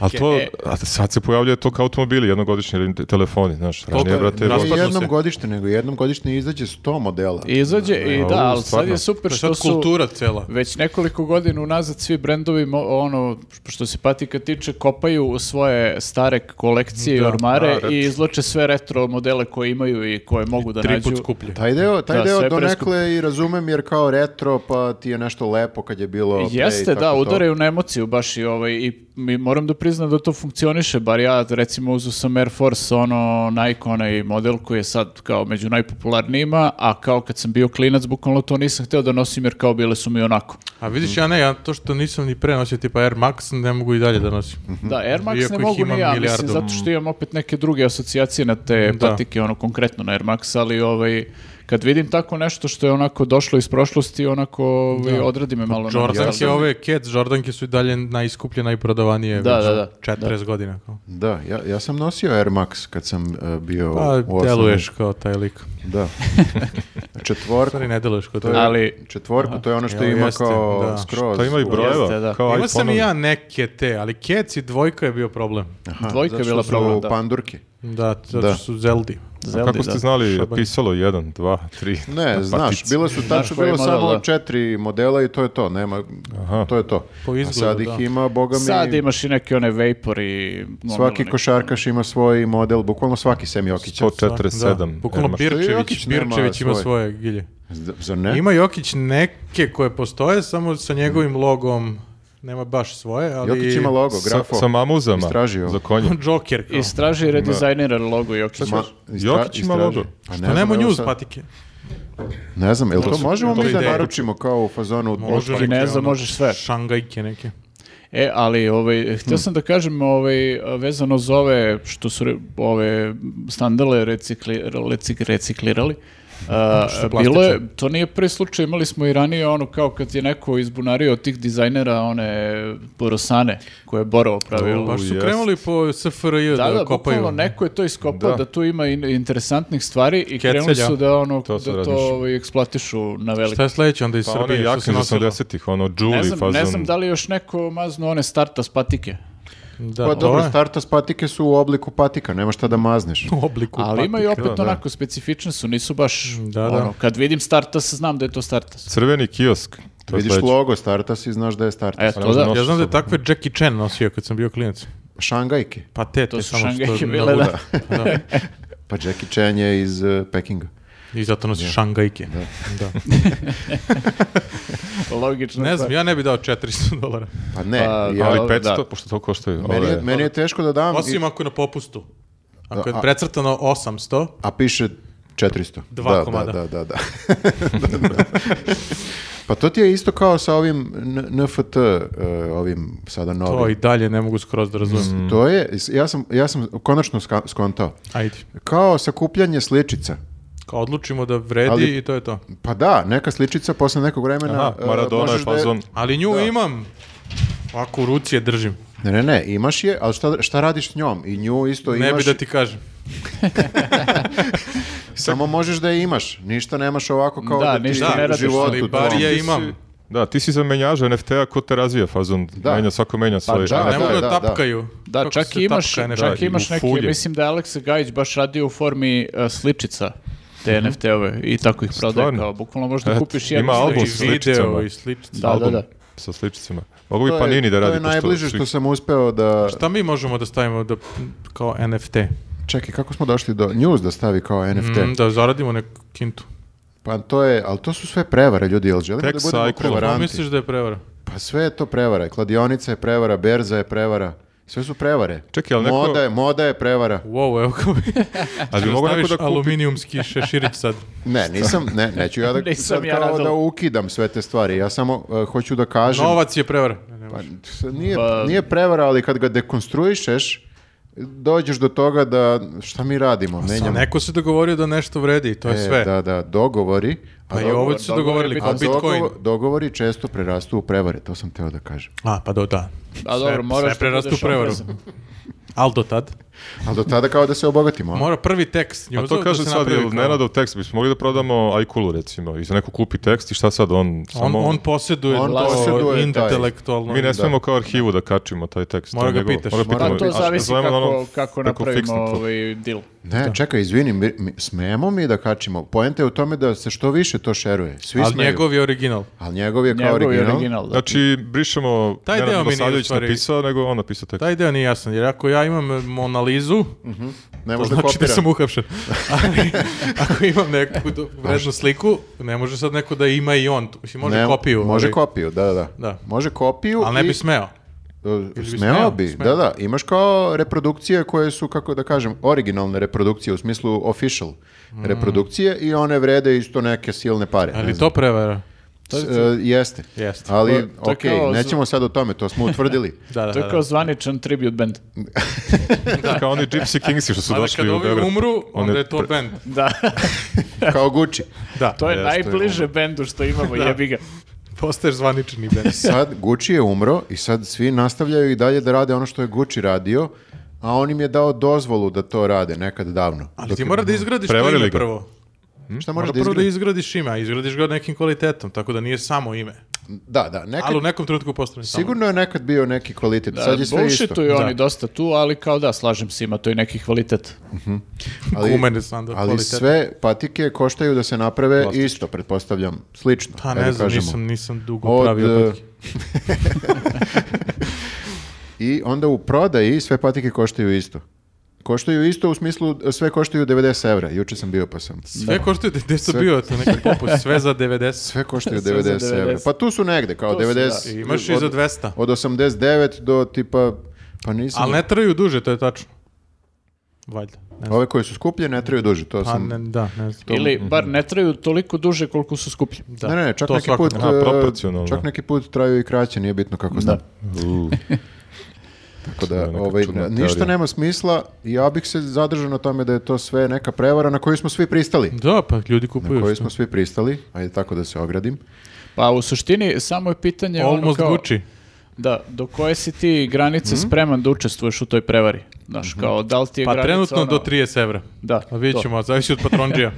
S4: A to,
S3: E.
S4: a sad se pojavljuje to kao automobili, jednogodišnji ili te- telefoni, znaš, ranije,
S1: Koliko je-
S4: brate,
S1: raspadnu
S2: Nije
S1: se.
S2: jednom godište, nego jednom godišnje izađe 100 modela.
S3: I Izađe i
S4: A,
S3: da,
S4: u,
S3: ali sad
S4: stvarno.
S3: je super
S1: Šta
S3: što su
S1: kultura cela.
S3: već nekoliko godina unazad svi brendovi mo- ono što se patika tiče kopaju svoje stare kolekcije i
S1: Da,
S4: da,
S3: ormare
S4: retro.
S3: i izloče sve retro modele koje imaju i koje mogu da
S1: Tri
S3: nađu.
S1: put skuplje.
S2: Taj deo, taj
S3: Da, sve
S2: deo
S3: je preskupo.
S2: donekle i razumem jer kao retro pa ti je nešto lepo kad je bilo pre i
S3: Jeste,
S2: tako
S3: da,
S2: to.
S3: udaraju na emociju baš i ovaj i mi moram da priznam da to funkcioniše, bar ja recimo uzu sam Air Force ono Nike onaj model koji je sad kao među najpopularnijima, a kao kad sam bio klinac bukvalno to nisam hteo da nosim jer kao bile su mi onako.
S1: A vidiš, ja ne, ja to što nisam ni pre nosio, tipa Air Max, ne mogu i dalje da nosim.
S2: Mhm.
S3: Da, Air Max
S1: Iako
S3: ne
S1: ih
S3: mogu
S1: imam
S3: ni ja, mislim,
S1: milijardu.
S3: zato što imam opet neke druge asocijacije na te
S1: Da.
S3: patike, ono, konkretno na Air Max, ali ovaj, kad vidim tako nešto što je onako došlo iz prošlosti, onako ovaj, odradi me malo. na
S2: Ono,
S1: Jordanke,
S3: nostalgiju.
S1: ove Cats, Jordanke su i dalje najskuplje, najprodavanije
S3: Da,
S1: već
S3: da, da.
S1: 40 godina. Kao.
S2: Da, ja, ja sam nosio Air Max kad sam e, bio u
S1: Pa,
S2: osnovnoj.
S1: deluješ kao taj lik.
S2: Da. Četvorku,
S1: Stvari, ne deluješ kao
S2: to
S1: taj
S2: je,
S1: lik.
S3: Ali-
S2: četvorku to je ono što
S1: Evo,
S2: ima
S1: jeste,
S2: kao
S1: da.
S2: skroz.
S4: To ima i
S3: Jeste, da.
S4: Pa brojeva, kao
S1: Imao sam i
S4: iPhone-ovi.
S1: ja neke te, ali Cats i dvojka je bio problem.
S2: Aha,
S3: Dvojka je
S2: zato
S3: bila
S2: što
S3: problem,
S2: su
S3: da.
S2: pandurke.
S1: Da, zato
S2: Da.
S1: što su Zeldi.
S4: A
S3: Zeldi,
S4: kako ste
S3: da.
S4: znali,
S1: Šabanje.
S4: pisalo 1, 2, 3.
S3: Pa,
S2: Ne, znaš, bila su tačno,
S3: koji
S2: bilo
S3: model,
S2: samo
S3: da.
S2: četiri modela i to je to, nema,
S4: Aha.
S2: to je to.
S1: Po
S2: A
S1: izgledu,
S2: sad ih
S1: da.
S2: ima, boga mi,
S3: Sad imaš i neke one ono, vapor i... gomilu
S2: svaki
S3: nekih.
S2: košarkaš ima svoj model, bukvalno svaki sem Jokića.
S4: 147.
S1: Da, bukvalno
S4: Ermaš.
S1: Pirčević,
S2: Jokić nema
S1: Pirčević ima
S2: svoje.
S1: svoje gilje.
S2: Z- Zar ne?
S1: Ima Jokić neke koje postoje, samo sa njegovim logom nema baš svoje, ali...
S2: Jokić ima logo,
S4: Sa,
S2: grafo.
S4: sa mamuzama
S2: Istražio.
S4: za konje.
S1: Joker kao.
S3: Istraži i redizajnira logo Jokića.
S2: Ma-
S4: Jokić ima
S2: istraži.
S4: logo.
S2: Pa
S1: Pa
S2: ne
S1: nemo
S2: znam, evo
S1: news
S2: sad-
S1: patike.
S2: Ne znam, jel to,
S1: su-
S2: možemo
S1: to
S2: mi
S1: je
S2: da
S1: ideja.
S2: naručimo kao u fazonu?
S1: Može
S3: Kineza
S1: neke, ono,
S3: možeš sve.
S1: Šangajke neke.
S3: E, ali ovaj, htio sam da kažem ovaj, vezano za ove što su re- ove standale recikli- recik- reciklirali. a,
S1: Što su
S3: bilo je,
S1: plastične.
S3: to nije prvi slučaj, imali smo i ranije ono kao kad je neko izbunario od tih dizajnera one borosane koje je Borovo pravilo.
S1: Baš su
S4: jest.
S1: krenuli po SFRJ
S3: Da,
S1: da,
S3: da,
S1: kopaju.
S3: bukvalno neko je to iskopao da,
S4: Da.
S3: tu ima in- interesantnih stvari i
S1: Kecelja.
S3: krenuli su da ono
S4: To sam
S3: da to
S4: razmišljao.
S3: ovaj, eksploatišu na veliko.
S1: Šta je sledeće onda iz
S4: Pa oni
S1: Srbije? što
S4: jakne
S1: se
S4: iz
S1: nosilo?
S4: 80-ih, ono, Julie
S3: Ne znam,
S4: fazon.
S3: ne znam da li je još neko mazno one starta s patike.
S1: Da,
S2: Pa dobro,
S1: ovo je
S2: starta s patike su u obliku patika, nema šta da mazneš.
S1: u obliku
S3: Ali ima i
S1: patike.
S3: opet onako specifične su, nisu baš
S1: Da, da.
S3: ono, kad vidim Startas znam da je to Startas.
S4: Crveni kiosk. To je
S2: Vidiš
S4: sledeće.
S2: logo Startas i znaš da je Startas.
S3: E, to da.
S1: Ja znam da je takve Jackie Chan nosio kad sam bio klinac.
S2: Šangajke.
S1: Pa te, te
S3: su
S1: samo što...
S3: šangajke
S1: na
S3: bile,
S1: luda. da.
S2: Pa Jackie Chan je iz eh, Pekinga.
S1: I zato nosi šangajke. Da.
S3: Logično.
S1: Ne
S3: je
S1: znam,
S3: to.
S1: ja ne bi dao 400 dolara.
S2: Pa ne,
S3: Pa,
S2: ja-
S4: Ali
S3: da,
S4: 500,
S3: da.
S4: pošto to koštaju.
S2: meni, je,
S4: ove-
S2: meni je teško da dam, i-
S1: Osim ako je na popustu. Ako
S2: Da,
S1: je
S2: a-
S1: precrtano 800,
S2: a piše 400.
S1: Dva
S2: da,
S1: komada.
S2: Da, da, da. da. Pa to ti je isto kao sa ovim N- NFT, e, ovim sada
S1: To i
S2: novim.
S1: dalje ne mogu skroz da razumijem.
S2: To je, ja sam, ja sam konačno ska- skontao.
S1: Ajde.
S2: Kao sakupljanje sličica.
S1: Kao odlučimo da vredi
S2: Ali-
S1: i to je to.
S2: Pa da, neka sličica posle nekog vremena...
S4: Aha,
S2: e,
S4: Maradona je
S2: možeš da je-
S4: fazon.
S1: Ali nju imam. Ovako u ruci je držim.
S2: Ne, ne, ne, imaš je, ali šta, šta radiš s njom? I nju isto imaš,
S1: Ne bi da ti kažem.
S2: samo možeš da je imaš. Ništa nemaš ovako kao
S3: Da,
S2: da, ti
S3: ništa
S1: Da,
S3: ne
S2: u
S3: radiš,
S2: životu.
S1: ali bar
S2: tvom.
S1: je
S4: Ti si-
S1: imam.
S4: Da, ti si za menjaža NFT-a, ko te razvija fazon?
S2: Da. Pa
S4: Menja, svako menja svoje.
S2: da,
S1: Ne mogu
S2: da,
S1: da,
S2: da.
S1: tapkaju.
S3: Da,
S1: Kako
S3: čak
S1: se
S3: i imaš,
S1: tapka, ne
S4: da,
S1: znam.
S3: čak
S4: i
S3: imaš
S4: u
S3: neke,
S4: fulje.
S3: mislim da je Aleksa Gajić baš radio u formi e, sličica
S1: Mhm.
S3: te NFT-ove i tako ih prodaje
S4: Stvarno?
S3: kao, bukvalno možda
S4: Eto,
S3: kupiš jedan
S4: ima
S3: sličicu.
S4: album
S1: I
S4: s
S1: video
S4: sličicama.
S1: i sličice.
S3: Da,
S4: Album
S3: da, da.
S4: Sa sličicama. Mogu bi
S2: To je-
S4: Panini da radi.
S2: To je
S4: pošto
S2: najbliže
S4: svi-
S2: što sam uspeo da...
S1: Šta mi možemo da stavimo da, kao NFT?
S2: Čekaj, kako smo došli do news da stavi kao NFT?
S1: Mm, da zaradimo neku kintu.
S2: Pa to je, ali to su sve prevare ljudi, jel želimo
S4: Tek
S2: da budemo
S4: cycle.
S1: Ko
S2: prevaranti?
S1: misliš da je prevara?
S2: Pa sve je to prevara, kladionica je prevara, berza je prevara, sve su prevare.
S4: Čekaj, ali neko-
S2: Moda je, moda je prevara.
S1: Wow, evo kao
S4: Ali bi mogo neko da
S1: Staviš
S4: kupi-
S1: aluminijumski šeširić sad.
S2: Ne, nisam, ne, neću ja da,
S3: Nisam
S2: sad
S3: ja
S2: kao
S3: radila.
S2: da ukidam sve te stvari, ja samo eh, hoću da kažem,
S1: Novac je prevara. Ne, ne
S2: Pa,
S1: može.
S2: s- nije,
S3: Pa-
S2: nije prevara, ali kad ga dekonstruišeš, dođeš do toga da šta mi radimo, menjamo.
S1: Neko se dogovorio da nešto vredi, to je
S2: E,
S1: Pa sve.
S2: Da, da, dogovori. a
S1: Pa i
S2: dogo-
S1: ovo su se
S3: dogovori
S1: dogovorili,
S3: bi-
S1: kao
S2: a
S1: Bitcoin.
S2: dogovo- dogovori često prerastu u prevare, to sam teo da kažem.
S1: A, pa do da.
S3: A dobro, moraš
S1: sve prerastu u prevaru. Al do tad?
S2: Ali do tada kao da se obogatimo. a?
S1: Mora prvi tekst
S4: A
S1: njuza
S4: Pa. to kaže
S1: da se
S4: sad,
S1: napravi
S4: jel
S1: kao-
S4: Nenadov tekst, bismo mogli da prodamo Aikulu recimo, i za neko kupi tekst i šta sad, on
S1: On,
S4: samo...
S1: on posjeduje
S2: On
S1: to
S2: posjeduje taj.
S1: intelektualno.
S4: Mi ne smemo kao arhivu da kačimo taj tekst.
S1: Mora
S4: on
S1: ga
S4: njegov-
S1: pitaš.
S4: mora
S1: Pa
S4: pitamo-
S3: Pa
S4: a
S3: to zavisi
S4: zovemo na ono-
S3: kako, kako napravimo
S4: fiksno to.
S3: ovaj deal.
S2: Ne, čekaj, izvini, mi, mi- smemo mi da kačimo. Poenta je u tome da se što više to šeruje. Svi
S1: Ali
S2: smeju.
S1: njegov je original.
S2: Ali njegov je kao
S3: Njegov
S2: original.
S3: je original, da.
S4: Znači, brišemo
S1: Taj
S4: Nenad
S1: deo mi nije u
S4: Milosavljević
S1: stvari-
S4: napisao, nego on napisao tekst.
S1: Taj deo nije jasan, jer ako ja imam e, Monalizu,
S2: Ne
S1: to
S2: može da
S1: znači da
S2: kopira.
S1: sam uhapšen. Ali, ako imam neku do- vrednu sliku, ne može sad neko da ima i on. tu. Mislim, može
S2: Ne,
S1: kopiju.
S2: Može
S1: ali-
S2: kopiju, da, da.
S1: Da.
S2: Može kopiju
S1: Ali ne
S2: i-
S1: bi smeo.
S2: e,
S1: bi
S2: smeo
S1: smeo,
S2: bi,
S1: smeo.
S2: da, da. Imaš kao reprodukcije koje su, kako da kažem, originalne reprodukcije, u smislu official reprodukcije i one vrede isto neke silne pare. ne
S1: Mm. Ali
S2: znam.
S1: to prevara.
S2: S- e, jeste.
S1: Jeste.
S2: Ali,
S3: To- to je
S2: okej,
S3: kao-
S2: nećemo sad o tome, to smo utvrdili.
S1: Da, da,
S3: To
S1: da.
S3: je kao zvaničan tribute band.
S4: Kao oni Gypsy Kingsi što su
S1: Ali
S4: došli
S1: kad
S4: u
S1: ovi
S4: Beograd.
S1: umru,
S4: On
S1: onda je to
S4: pre-
S1: band.
S3: Da,
S2: kao Gucci.
S1: Da,
S3: to je
S4: Jeste,
S3: najbliže bendu što imamo, jebi ga.
S1: postaješ zvanični band.
S2: sad Gucci je umro i sad svi nastavljaju i dalje da rade ono što je Gucci radio, a on im je dao dozvolu da to rade nekad davno.
S1: Ali ti mora da izgradiš to
S4: Prevarili
S1: ime
S4: ga.
S1: prvo.
S2: Šta
S1: Mora
S2: moraš da
S1: prvo da
S2: izgradiš?
S1: izgradiš ime, a izgradiš ga nekim kvalitetom, tako da nije samo ime.
S2: Da, da, nekad,
S1: Ali u nekom trenutku postane samo.
S2: Dakle, sigurno je nekad bio neki kvalitet, sad je sve isto.
S3: Bullshituju
S1: Da.
S3: oni dosta tu, ali kao da, slažem se, ima to i neki kvalitet.
S1: ali, Gumen standard
S2: ali
S1: kvalitet.
S2: sve patike koštaju da se naprave isto, pretpostavljam, slično.
S1: Pa
S2: ajde
S1: ne znam,
S2: kažemo.
S1: nisam, nisam dugo
S2: Od,
S1: pravio
S2: eh,
S1: patike.
S2: I onda u prodaji sve patike koštaju isto. Koštaju isto u smislu e, sve koštaju 90 evra. Juče sam bio pa sam.
S1: Sve koštaju, gde su bio to neki popust, sve za 90.
S2: Sve koštaju
S3: Sve za
S2: 90, evra.
S3: 90.
S2: Pa tu su negde, kao
S3: su, da.
S2: 90.
S1: I imaš i za 200.
S2: Od 89 do tipa, pa nisam...
S1: Ali ne traju duže, to je tačno. Valjda. Ne znam.
S2: Ove koje su skuplje ne traju duže, to
S1: Pa
S2: sam...
S1: ne,
S2: Ne,
S1: da, ne znam.
S3: Ili bar ne traju toliko duže koliko su skuplji.
S1: Da,
S2: ne, ne, čak
S1: to
S2: neki
S1: svako-
S2: put...
S4: Aha,
S2: e,
S4: proporcionalno.
S2: Čak neki put traju i kraće, nije bitno kako znam.
S4: U,
S2: Tako
S4: To
S2: da,
S4: je neka
S2: ovaj,
S4: čudna
S2: ništa
S4: teorija.
S2: nema smisla i ja bih se zadržao na tome da je to sve neka prevara na koju smo svi pristali.
S1: Da, pa ljudi
S2: Na
S1: kupuju
S2: koju
S1: što.
S2: smo svi pristali, ajde tako da se ogradim.
S3: Pa u suštini samo je pitanje ono
S1: Almost
S3: kao...
S1: Gucci.
S3: Da, do koje si ti granice spreman da učestvuješ u toj prevari? Znaš, kao da li ti je
S1: Pa
S3: granica
S1: trenutno
S3: ono-
S1: do 30 evra.
S3: Da,
S1: A vidjet
S3: to.
S1: ćemo, zavisi od patronđija.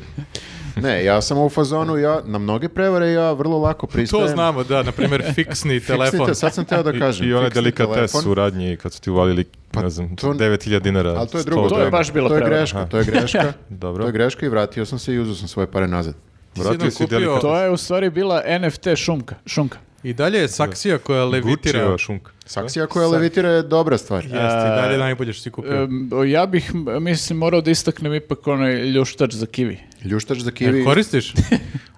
S2: Ne, ja sam u fazonu, ja na mnoge prevare ja vrlo lako pristajem.
S1: to znamo, da, na primjer fiksni telefon.
S2: Fiksni te- sad sam teo da kažem.
S4: I, i onaj
S2: fiksni
S4: delikates
S2: telefon. Pa
S4: u radnji kad su ti uvalili, ne znam,
S2: to-
S4: 9000 dinara.
S2: Ali to je drugo.
S4: 100
S3: To je
S4: evra.
S3: baš bila
S2: To je
S3: prevara.
S2: greška, to je greška.
S4: Dobro.
S2: To je greška i vratio sam se i uzeo sam svoje pare nazad.
S1: Ti si
S4: Vratio
S1: jednom
S4: si
S1: kupio-
S4: delikates.
S3: To je u stvari bila NFT šunka. šunka.
S1: I dalje je saksija koja levitira.
S4: Gucci-eva šunka.
S2: Saksija koja levitira je dobra stvar.
S1: Jeste, i dalje je najbolje što si kupio.
S3: Em, ja bih, m, mislim, morao da istaknem ipak onaj ljuštač za kivi.
S2: Ljuštač za kivi.
S1: Ne koristiš?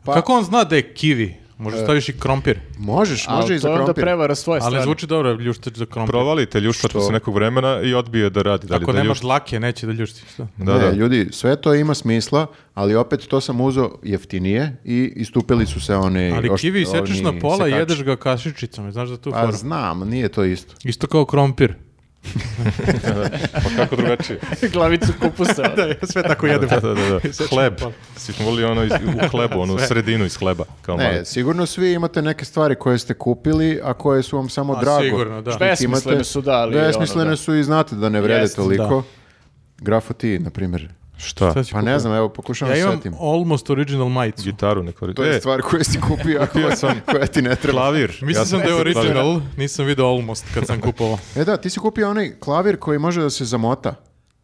S2: Pa-
S1: Kako on zna da je kivi? Možda staviš i krompir.
S2: Možeš, može
S3: Ali
S2: i
S3: to je
S2: za
S3: onda
S2: krompir.
S3: prevara svoje
S1: Ali
S3: strane.
S1: zvuči dobro, ljuštač za krompir.
S4: Provalite ljuštač posle nekog vremena i odbije da radi. Da li
S1: Ako
S4: da
S1: nemaš
S4: ljuštač-
S1: lake, neće da ljušti. Šta?
S4: Da,
S2: ne,
S4: da.
S2: ljudi, sve to ima smisla, ali opet to sam uzeo jeftinije i istupili su se one...
S1: Ali
S2: ošt-
S1: kivi sečeš
S2: oni
S1: na pola i
S2: sekači.
S1: jedeš ga kašičicom. Znaš da tu
S2: Pa
S1: fora?
S2: znam, nije to isto.
S1: Isto kao krompir.
S4: Pa kako drugačije?
S3: glavicu kupusa.
S1: Sve tako
S4: Da, da, da, da. Hleb. Svi smo volili ono iz, u hlebu, ono sredinu iz hleba. Kao mali.
S2: Ne, sigurno svi imate neke stvari koje ste kupili, a koje su vam samo
S1: A,
S2: drago.
S1: sigurno, da.
S2: Što ih
S3: Besmislene su, da, ali
S2: Besmislene
S3: ono, da.
S2: su i znate da ne vrede
S3: Jeste,
S2: toliko. Grafo ti, na primjer.
S4: Šta?
S2: Pa ne znam, evo,
S1: Ja
S2: pokušavam da
S1: imam
S2: setim.
S1: almost original majicu.
S4: Gitaru ne koristi.
S2: To je
S4: E,
S2: stvar koju si kupio, a koja,
S4: sam.
S2: koja ti ne treba.
S4: Klavir.
S1: Mislio
S4: Ja Pa
S1: sam da je
S4: klavir.
S1: original, nisam video almost kad sam kupovao.
S2: E da, ti si kupio onaj klavir koji može da se zamota.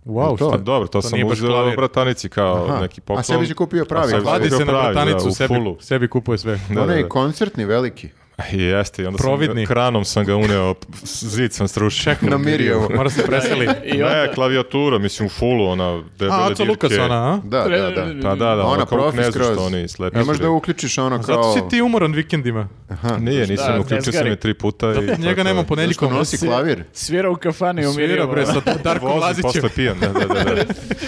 S1: Wow,
S2: To.
S4: Pa dobro, to,
S1: To
S4: sam
S1: nije baš
S4: uzeo
S1: klavir.
S4: u bratanici kao
S2: Aha.
S4: neki
S2: A
S4: poklon.
S2: sebi si kupio pravi
S4: A sebi sam
S2: klavir.
S1: Kladi
S4: kupio
S1: se na
S4: pravi, da,
S1: bratanicu,
S4: u
S1: sebi,
S4: fullu.
S1: sebi kupuje sve.
S4: Da,
S2: onaj
S4: da, da.
S2: koncertni, veliki.
S4: Jeste, i onda
S1: Providni.
S4: sam kranom sam ga uneo, p- zid sam strušio.
S2: Namirio.
S1: Mora se preseli.
S3: I onda,
S4: Ne, klavijatura, mislim, u fullu, ona
S1: A,
S4: debele
S1: Aco
S4: dirke.
S1: Lukas ona, a?
S2: Da, da, da.
S4: Pa da, da,
S2: Ona
S4: ona kako
S2: profi
S4: ne znaš
S2: skroz.
S4: što oni slepi.
S2: Ne možeš da
S4: su.
S2: uključiš ono kao...
S1: Zato si ti umoran vikendima.
S4: Nije,
S3: Da,
S4: nisam, uključio sam
S3: tezgari.
S4: je tri puta. i tako
S1: Njega
S4: da.
S1: nema ponedjeljkom.
S2: Zašto nosi klavir?
S3: svira u kafani u
S1: Svira
S3: Mirjevu.
S1: bre sa Darkom
S4: Vozi
S1: Lazićem.
S4: posle pijan, da, da, da. da.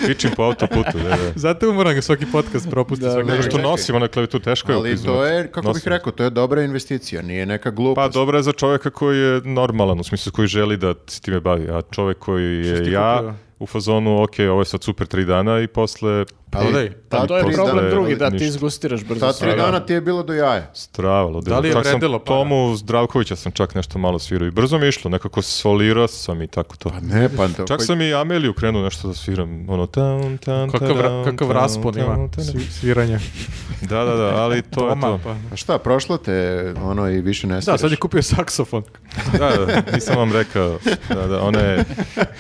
S4: Vičim po autoputu, da, da.
S1: Zato je umoran ga svaki podcast propusti. svaki
S4: Nego
S1: drugi.
S4: što nosim ona klavijatura, teško je
S2: Ali
S4: upiznuti.
S2: to je, kako bih
S4: Nosim.
S2: rekao, to je dobra investicija, nije neka
S4: Pa
S2: glupost.
S4: dobro je za čovjeka koji je normalan, u smislu koji želi da se time bavi, a čovjek koji
S1: Što si ti
S4: je ja,
S1: kupio?
S4: u fazonu, ok, ovo je sad super tri dana i posle
S1: Prodaj.
S2: ta
S3: Pa to je
S2: tri
S3: problem
S2: dana-
S3: drugi, da, ti
S4: ništa.
S3: izgustiraš brzo.
S2: Ta
S3: sve.
S2: tri dana ti je bilo do jaja.
S4: stravalo.
S1: Da li je
S4: čak sam
S1: vredelo para?
S4: Tomu Zdravkovića sam čak nešto malo svirao i brzo mi je išlo, nekako solirao sam i tako to.
S2: Ne, pa to...
S4: Čak sam i Ameliju krenuo nešto da sviram, ono tam, tam,
S1: Kakav, ra-
S4: tadam,
S1: kakav
S4: tam,
S1: raspon
S4: tam,
S1: ima
S4: tadam.
S1: svi- sviranja.
S4: Da, da, da, ali to je
S1: Doma,
S4: to.
S1: pa.
S2: A šta, prošlo te ono i više ne
S1: Da,
S2: sviraš?
S1: sad je kupio saksofon.
S4: Da, da, nisam vam rekao. Da, da, ona je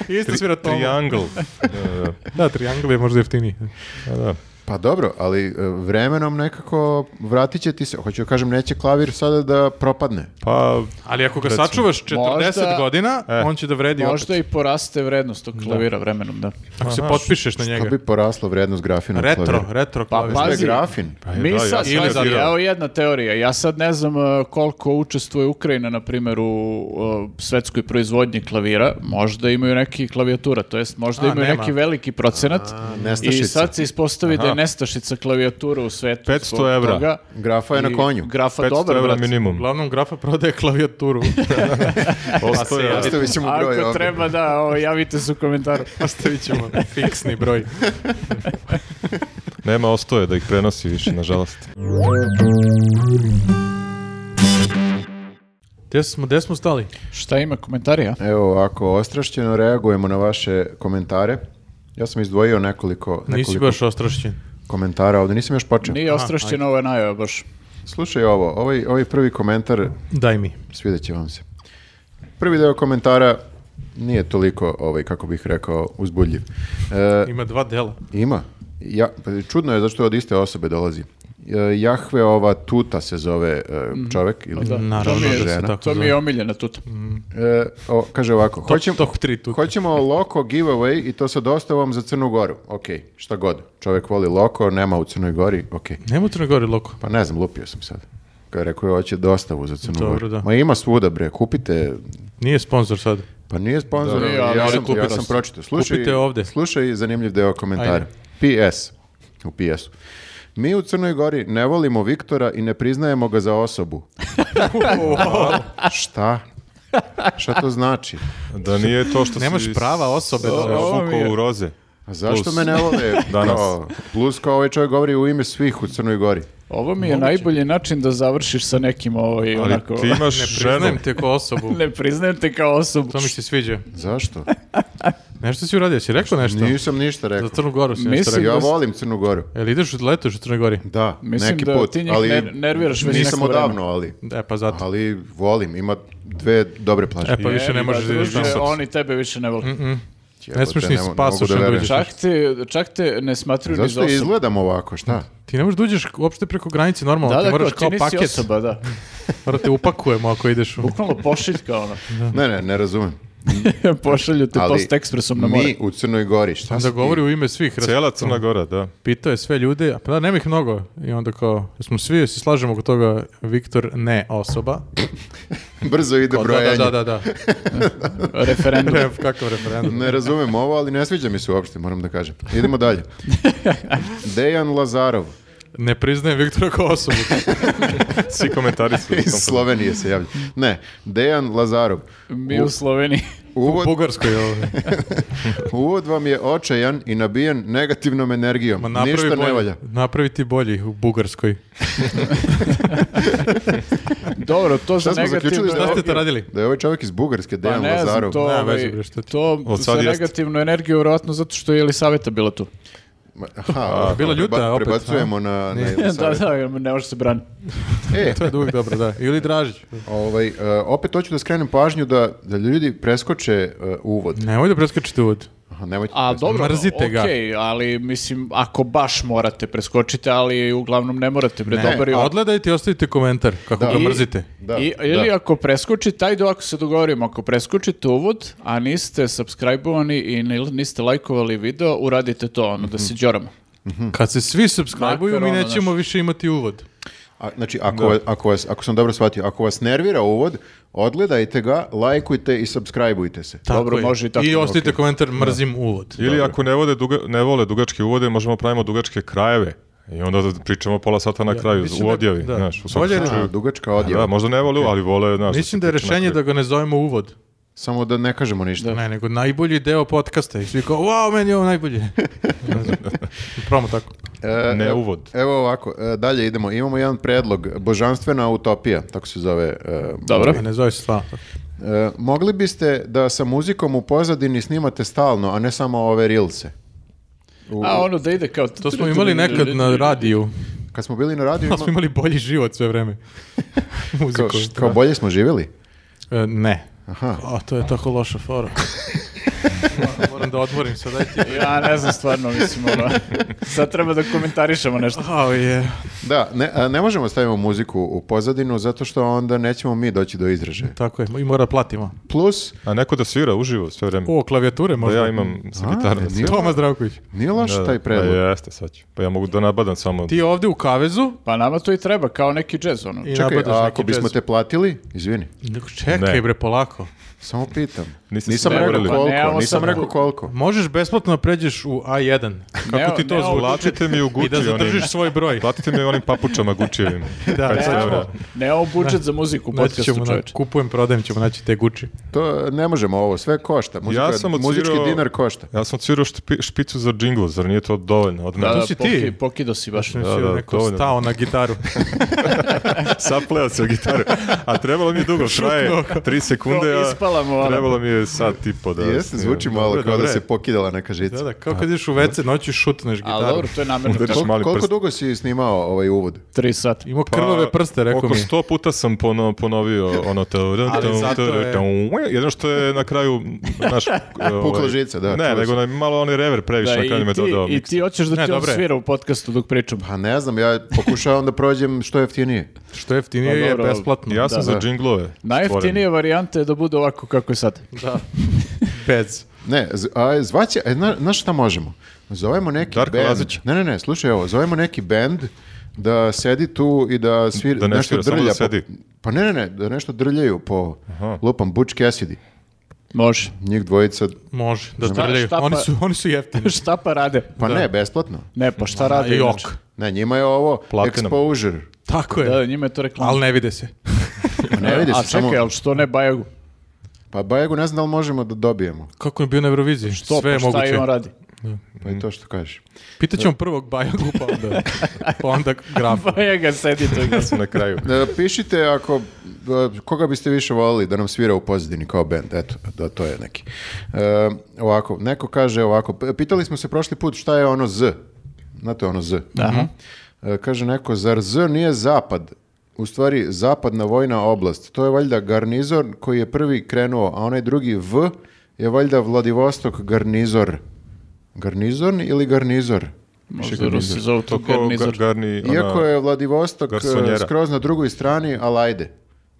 S1: Isto svira tomu.
S4: triangle. Da, da,
S1: Da, triangle je možda jeftiniji.
S4: da, da.
S2: Pa dobro, ali e, vremenom nekako vratit će ti se. Hoću da kažem, neće klavir sada da propadne.
S4: Pa,
S1: Ali ako ga sačuvaš 40
S3: Možda-
S1: godina,
S4: E.
S1: on će da vredi
S3: Možda
S1: opet.
S3: i poraste vrednost tog klavira vremenom, da.
S1: Ako se potpišeš na
S2: Što
S1: njega.
S2: bi poraslo vrednost grafina na
S1: Retro,
S2: klaviru?
S1: retro
S3: Pa,
S1: klavir.
S2: Što je
S3: pazi.
S2: grafin?
S4: Pa je,
S3: Mi
S4: da,
S3: sad,
S4: ja sam
S3: pazi,
S1: Ili za-
S4: reagirao.
S3: evo jedna teorija. Ja sad ne znam uh, koliko učestvuje Ukrajina, na primjer, u uh, svetskoj proizvodnji klavira. Možda imaju neki klavijatura, to jest možda
S1: A,
S3: imaju
S1: nema.
S3: neki veliki procenat. I
S2: nestašica.
S3: sad se ispostavi da je
S4: Aha.
S3: nestašica klavijatura u svetu.
S4: 500
S3: zbog
S4: evra.
S3: toga.
S2: Grafa je na
S3: I
S2: konju.
S3: Grafa
S4: 500
S3: dobar,
S4: evra
S3: brate.
S4: minimum.
S1: Uglavnom, grafa prodaje klavijaturu.
S4: Ostoje,
S1: ja-
S2: Ostavit ćemo broj
S3: Ako
S2: ovdje.
S3: treba da, o, javite se u komentaru.
S1: Ostavit ćemo fiksni broj.
S4: nema ostoje da ih prenosi više, nažalost.
S1: Gde smo, gde smo stali?
S3: Šta ima komentarija?
S2: Evo ovako, ostrašćeno reagujemo na vaše komentare. Ja sam izdvojio nekoliko,
S1: Nisi
S2: nekoliko
S1: baš ostrašćen.
S2: komentara ovdje, nisam još počeo.
S3: Nije ostrašćena ova najava baš.
S2: Slušaj ovo, ovaj, ovaj prvi komentar
S1: Daj mi.
S2: svidjet će vam se. Prvi deo komentara nije toliko, ovaj, kako bih rekao, uzbudljiv. E,
S1: Ima dva dela.
S2: Ima. Ja, pa čudno je zašto od iste osobe dolazi. E, Jahve ova tuta se zove e, čovek ili
S3: Pa Da.
S1: Naravno
S3: to mi je,
S1: da se
S2: žena.
S1: tako
S3: to mi
S1: zove.
S3: je omiljena tuta.
S2: E, o, kaže ovako, hoćemo,
S1: top tri tuta.
S2: hoćemo loko giveaway i to sa dostavom za Crnu Goru. Ok, šta god. Čovek voli loko, nema u Crnoj Gori, ok.
S1: Nema u Crnoj Gori loko.
S2: Pa ne znam, lupio sam sad. Kada rekao je, hoće dostavu za Crnu
S1: Dobro,
S2: Goru.
S1: da.
S2: Ma ima svuda, bre, kupite,
S1: Nije sponsor sad.
S2: pa nije sponsor,
S3: Da, nije,
S2: ja,
S3: ali
S2: sam, ja
S1: kupite.
S2: sam pročitao. Slušaj,
S1: Kupite ovde.
S2: Slušaj zanimljiv deo komentara. PS, u PS-u. Mi u Crnoj Gori ne volimo Viktora i ne priznajemo ga za osobu. Šta? Šta to znači?
S4: Da nije to što
S1: Nemaš
S4: si
S1: prava osobe.
S4: s-
S1: da-
S3: ovo mi je-
S4: fukao u roze.
S2: A zašto
S4: Plus.
S2: me ne vole?
S4: Danas.
S2: Kao, plus kao ovaj čovjek govori u ime svih u Crnoj Gori.
S3: Ovo mi je najbolji način da završiš sa nekim ovaj,
S4: Ali
S3: onako...
S4: ti imaš
S1: Ne
S4: ženu.
S1: priznajem te kao osobu.
S3: Ne priznajem te kao osobu.
S1: To mi se sviđa.
S2: Zašto?
S1: Nešto si uradio, si rekao nešto?
S2: Nisam ništa
S1: Za
S2: rekao.
S1: Crnu Goru si nešto
S3: Mislim-
S1: rekao.
S2: Ja
S3: da s-
S2: volim Crnu Goru.
S1: Jel ideš, letuješ u Crnoj Gori?
S2: Da,
S3: Mislim
S2: neki
S3: da
S2: put.
S3: ti njih
S2: ali
S3: ner- nerviraš već
S2: Nisam
S3: neko vreme.
S2: odavno, ali,
S1: Da, pa zato.
S2: ali volim. Ima dve dobre plaže.
S1: E pa više
S3: Evi
S1: ne
S3: ga,
S1: možeš da ideš Mm,
S3: druže,
S1: tamo.
S3: Oni tebe više ne vole.
S1: Ne smiješ ni
S2: Jebote, ne mo-
S1: spasoš
S2: ne mogu da
S1: da
S2: verujem.
S1: uđeš.
S3: Čak, te, čak te ne smatruju ni za
S2: Zašto
S3: osobu.
S2: izgledam ovako, šta?
S1: Ti ne možeš da uđeš uopšte preko granice normalno,
S3: Da,
S1: ti
S3: da,
S1: moraš
S3: kao, ti
S1: kao
S3: nisi
S1: paket.
S3: osoba, da.
S1: Mora te upakujemo ako ideš u...
S3: Bukvalno pošiljka, ono.
S2: Ne, ne, ne razumem.
S3: Pošalju te post ekspresom na more.
S2: mi u Crnoj Gori, šta
S1: Onda
S2: si ti?
S1: govori u ime svih. raz-
S4: Cela Crna Gora, da.
S1: Pitao je sve ljude, a pa da, nema ih mnogo. I onda kao, smo svi se slažemo oko toga, Viktor ne osoba.
S2: Brzo ide
S1: Kao,
S2: brojanje.
S1: Da, da, da, da.
S3: Referendum.
S1: Ref, kakav referendum.
S2: Ne razumem ovo, ali ne sviđa mi se uopšte, moram da kažem. Idemo dalje. Dejan Lazarov
S1: Ne priznajem Viktora kao osobu.
S4: Svi komentari su. u tom
S2: iz Slovenije se javlja. Ne, Dejan Lazarov.
S3: Mi u Sloveniji.
S1: U
S2: Uvod,
S1: Bugarskoj ovaj. je ovo.
S2: uvod vam je očajan i nabijen negativnom energijom.
S1: Ma napravi
S2: Ništa
S1: bolji,
S2: ne valja.
S1: Napravi ti bolji u Bugarskoj.
S3: Dobro, to za
S2: Šta smo
S3: negativno...
S2: zaključili?
S1: Šta ste to
S2: ovo-
S1: radili?
S2: Da je ovaj čovjek iz Bugarske,
S3: Pa
S2: Dejan
S3: ne
S2: Lazarov.
S3: znam, to,
S1: Nema
S3: ovaj,
S1: veze, bre, šta ti.
S3: to
S4: Od
S3: za
S4: sad jeste.
S3: negativnu energiju, vjerojatno zato što je Elisaveta bila tu.
S2: Aha,
S1: Bila ljuta
S2: preba-
S1: opet,
S2: Prebacujemo
S1: a?
S2: na, na
S1: Nije.
S2: Jelisaveta.
S3: da, da, ne može se braniti.
S2: E,
S1: To je uvijek dobro, da. Ili Dražić.
S2: ovaj, e, opet hoću da skrenem pažnju da, da ljudi preskoče e, uvod.
S1: Nemoj da preskačete uvod.
S2: Aha, nemojte
S3: A dobro,
S1: Mrzite ga.
S3: okej, ali mislim, ako baš morate preskočite, ali uglavnom ne morate, bre, dobar je
S1: A Odgledajte i ostavite komentar kako
S2: Da.
S1: ga
S2: I-
S1: mrzite.
S2: Da,
S3: I,
S2: da.
S3: ili ako preskočite, ajde ovako se dogovorimo, ako preskočite uvod, a niste subscribe-ovani i ni- niste lajkovali video, uradite to, ono, da se džoramo.
S2: Hm.
S1: Kad se svi subscribe-uju, mi
S3: Makar ono,
S1: nećemo više imati uvod.
S2: A, znači, ako, ako, vas, ako sam dobro shvatio, ako vas nervira uvod, odgledajte ga, lajkujte i subscribeujte se.
S1: Tako
S3: Dobro,
S1: je.
S3: može i tako,
S1: I ostavite komentar, mrzim uvod.
S4: Ili ako ne, vode duga- ne vole dugačke uvode, možemo pravimo dugačke krajeve. I onda da pričamo pola sata na kraju
S1: mislim
S4: u
S1: da-
S4: odjavi.
S1: da.
S4: Znaš, u svakom
S1: Bolje je
S4: slučaju-
S2: A, Znači, dugačka
S4: Da,
S2: odjava.
S4: možda ne vole, ali vole nas.
S1: Mislim da je rešenje da ga ne zovemo uvod.
S2: Samo da ne kažemo ništa.
S1: Ne, nego najbolji deo podcasta. I svi kao, wow, meni je ovo najbolje. Ne znam. Pravo tako.
S2: E,
S4: Ne
S2: evo-
S4: uvod.
S2: Evo ovako, e, dalje idemo. Imamo jedan predlog, Božanstvena utopija, tako se zove. e,
S3: Dobro.
S1: Ne zove se stvarno.
S2: e, mogli biste da sa muzikom u pozadini snimate stalno, a ne samo ove rilse?
S3: A ono da ide kao...
S1: To smo imali nekad na radiju.
S2: Kad smo bili na radiju,
S1: Pa smo
S2: ima-
S1: imali bolji život sve vreme.
S2: kao,
S1: Muzikom.
S2: kao bolje smo živjeli.
S1: E, ne.
S2: Aha.
S1: A, to je tako loša fora. Moram- Moram da odmorim sad, daj ti.
S3: Ja ne znam stvarno, mislim, ono, sad treba da komentarišemo nešto.
S1: Au je.
S2: Da, ne, a ne možemo stavimo muziku u pozadinu zato što onda nećemo mi doći do izražaja.
S1: Tako je, i mora da platimo.
S2: Plus,
S4: A neko da svira uživo sve vreme.
S1: O, klavijature
S4: Da
S1: možda.
S4: ja imam sa
S2: A,
S4: gitarom.
S2: ne,
S4: da
S2: nije
S4: sviram.
S1: Toma Zdravković.
S2: nije loš taj predlog.
S4: Pa jeste, sad ću. Pa ja mogu da nabadam samo.
S1: Ti ovdje u kavezu
S3: Pa nama to i treba, kao neki džez, ono.
S1: i
S2: Čekaj,
S1: nabadaš
S2: a
S1: neki
S2: ako bismo
S1: jazz.
S2: te platili, izvini,
S1: Čekaj
S4: Ne.
S1: bre, polako.
S2: samo pitam.
S4: Niste se
S2: Nisam
S4: dogovorili.
S2: rekao
S4: Pa
S3: ne,
S2: koliko,
S3: ovo
S2: nisam
S3: sam-
S2: rekao koliko.
S1: Možeš besplatno pređeš u A1. Kako
S3: Ne,
S1: ti to
S3: ne,
S1: zvuči?
S4: Platite mi u
S1: I da
S4: Gucci
S1: zadržiš
S4: onim.
S1: svoj broj.
S4: Platite mi onim papučama Gučijevim.
S1: Da,
S4: Kad
S1: ne,
S4: se
S1: ne,
S4: vrati.
S3: Ne ovo budžet za muziku u
S1: Naći
S3: podcastu,
S1: ćemo, na,
S3: čoveče.
S1: kupujem, prodajem ćemo naći te Gucci.
S2: To ne možemo ovo, sve košta. Muzika,
S4: Ja sam odsvirao-
S2: muzički dinar košta.
S4: Ja sam cvirao špi- špicu za džingl, zar nije to dovoljno? Od mene.
S1: To si ti.
S3: poki- Pokido si baš.
S1: Da,
S4: da,
S1: neko
S4: dovoljno.
S1: stao na gitaru.
S4: Sapleo se u gitaru. A trebalo mi je dugo, traje tri sekunde,
S3: To
S4: a
S3: ispala mu ona.
S4: trebalo mi je sat i po da...
S2: Jeste, zvuči malo
S1: Dobro,
S2: kao da
S1: dobro je.
S4: e,
S2: se pokidala neka žica.
S1: Da, da,
S4: Pa,
S1: kao kad ideš u WC, noću šutneš
S3: Ali
S1: gitaru.
S3: dobro, to je namjerno.
S4: Udariš
S2: Kol-
S4: mali
S2: koliko
S4: prst.
S2: dugo si snimao ovaj uvod?
S3: Tri sata.
S1: Imao Pa, krvave prste, rekao
S4: Pa, oko
S1: mi. je.
S4: sto puta sam pono, ponovio ono to...
S1: Ali zato je-
S4: Jedino što je na kraju naš... e, ovaj,
S2: Pukla žica, da,
S4: Ne,
S2: čuli
S4: nego
S2: smo.
S4: na- malo onaj rever previše
S3: Da,
S4: na
S3: i,
S4: kraju me
S3: ti,
S4: dodao.
S3: I
S4: miks.
S3: ti hoćeš da
S1: Ne,
S3: ti on
S1: dobro je.
S3: svira u podcastu dok pričam.
S2: Pa ne znam, ja pokušavam da prođem što jeftinije.
S1: Što jeftinije
S3: Pa
S1: je
S3: dobro,
S1: besplatno.
S4: Ja sam
S3: Da,
S4: za
S2: da.
S4: džinglove.
S3: Najjeftinija varijanta je da bude ovako kako je sad.
S1: Bez.
S2: Ne, z- a, zvaće, e, na, znaš šta možemo? Zovemo neki
S4: Darka
S2: band.
S4: Lazića.
S2: Ne, ne, ne, slušaj ovo, zovemo neki band da sedi tu i da svira,
S4: Da ne
S2: nešto
S4: svira, samo
S2: drlja.
S4: da sedi.
S2: po- pa ne, ne, ne, da nešto drljaju po lupam Butch Cassidy.
S3: Može.
S2: Njih dvojica,
S1: Može, da
S3: Šta-
S1: trljaju.
S3: šta pa-
S1: Oni su, oni su jeftini.
S3: šta pa rade?
S2: pa ne, besplatno.
S3: Ne, pa šta rade
S1: I ok.
S3: inače?
S2: Ne, njima je ovo
S4: Platinum.
S2: exposure.
S1: Tako je.
S3: Da, njima je to reklama.
S1: Ali ne vide se.
S2: Pa ne vidi
S3: A
S2: se samo...
S3: čekaj, ali što ne Bajagu?
S2: Pa Bajagu ne znam da li možemo da dobijemo.
S1: Kako je bio na Euroviziji?
S3: To,
S1: Sve
S3: pa
S1: je
S3: šta i
S1: moguće.
S3: on radi?
S2: Pa
S4: Mhm.
S2: i to što kažeš.
S1: Pitaćemo prvog Bajagu, pa onda, pa onda grafa.
S3: Bajaga sedi tu.
S4: Ja sam na kraju.
S2: E, pišite ako e, koga biste više volili da nam svira u pozadini kao band, eto, da to je neki. E, ovako, neko kaže ovako, p- pitali smo se prošli put šta je ono Z. Znate ono Z.
S3: Aha.
S2: E, kaže neko, zar Z nije zapad? U stvari, zapadna vojna oblast. To je valjda garnizor koji je prvi krenuo, a onaj drugi V je valjda Vladivostok garnizor. Garnizon ili garnizor?
S3: Možda Rusi zovu to
S4: To ko
S3: garnizor.
S4: ga- garni... ona-
S2: Iako je Vladivostok
S4: Ono, garsonjera.
S2: eh, skroz na drugoj strani, ali ajde.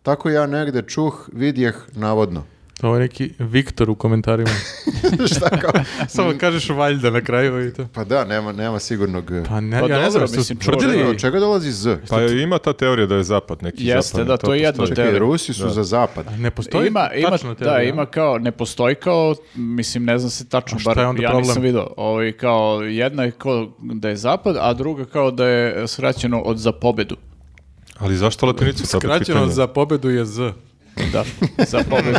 S2: Tako ja negde čuh, vidjeh, navodno.
S1: To je neki Viktor u komentarima.
S2: Šta kao?
S1: Samo kažeš valjda na kraju i to.
S2: Pa da, nema, nema sigurnog... eh.
S1: Pa ne,
S3: Pa
S1: ja ne znam,
S3: dobro,
S1: su
S3: mislim, čuo sam.
S1: tvrdili...
S2: Od čega dolazi Z?
S4: Pa je, ima ta teorija da je zapad neki
S3: Jeste,
S4: zapad.
S3: da, to je jedno
S4: postoji.
S3: te-
S2: Čekaj,
S3: teorija.
S2: Rusi su za zapad.
S1: Ne postoji
S3: ima, ima,
S1: tačno
S3: da,
S1: teorija?
S3: ima kao, ne postoji kao, mislim, ne znam se tačno,
S1: A šta
S3: bar
S1: je
S3: ja
S1: onda
S3: nisam
S1: problem?
S3: vidio. Ovaj, kao, jedna je kao da je zapad, a druga kao da je skraćeno od za pobedu.
S4: Ali zašto latinicu? sad je
S1: Skraćeno
S4: pitanje?
S1: za pobedu je Z.
S3: Da, za pobedu.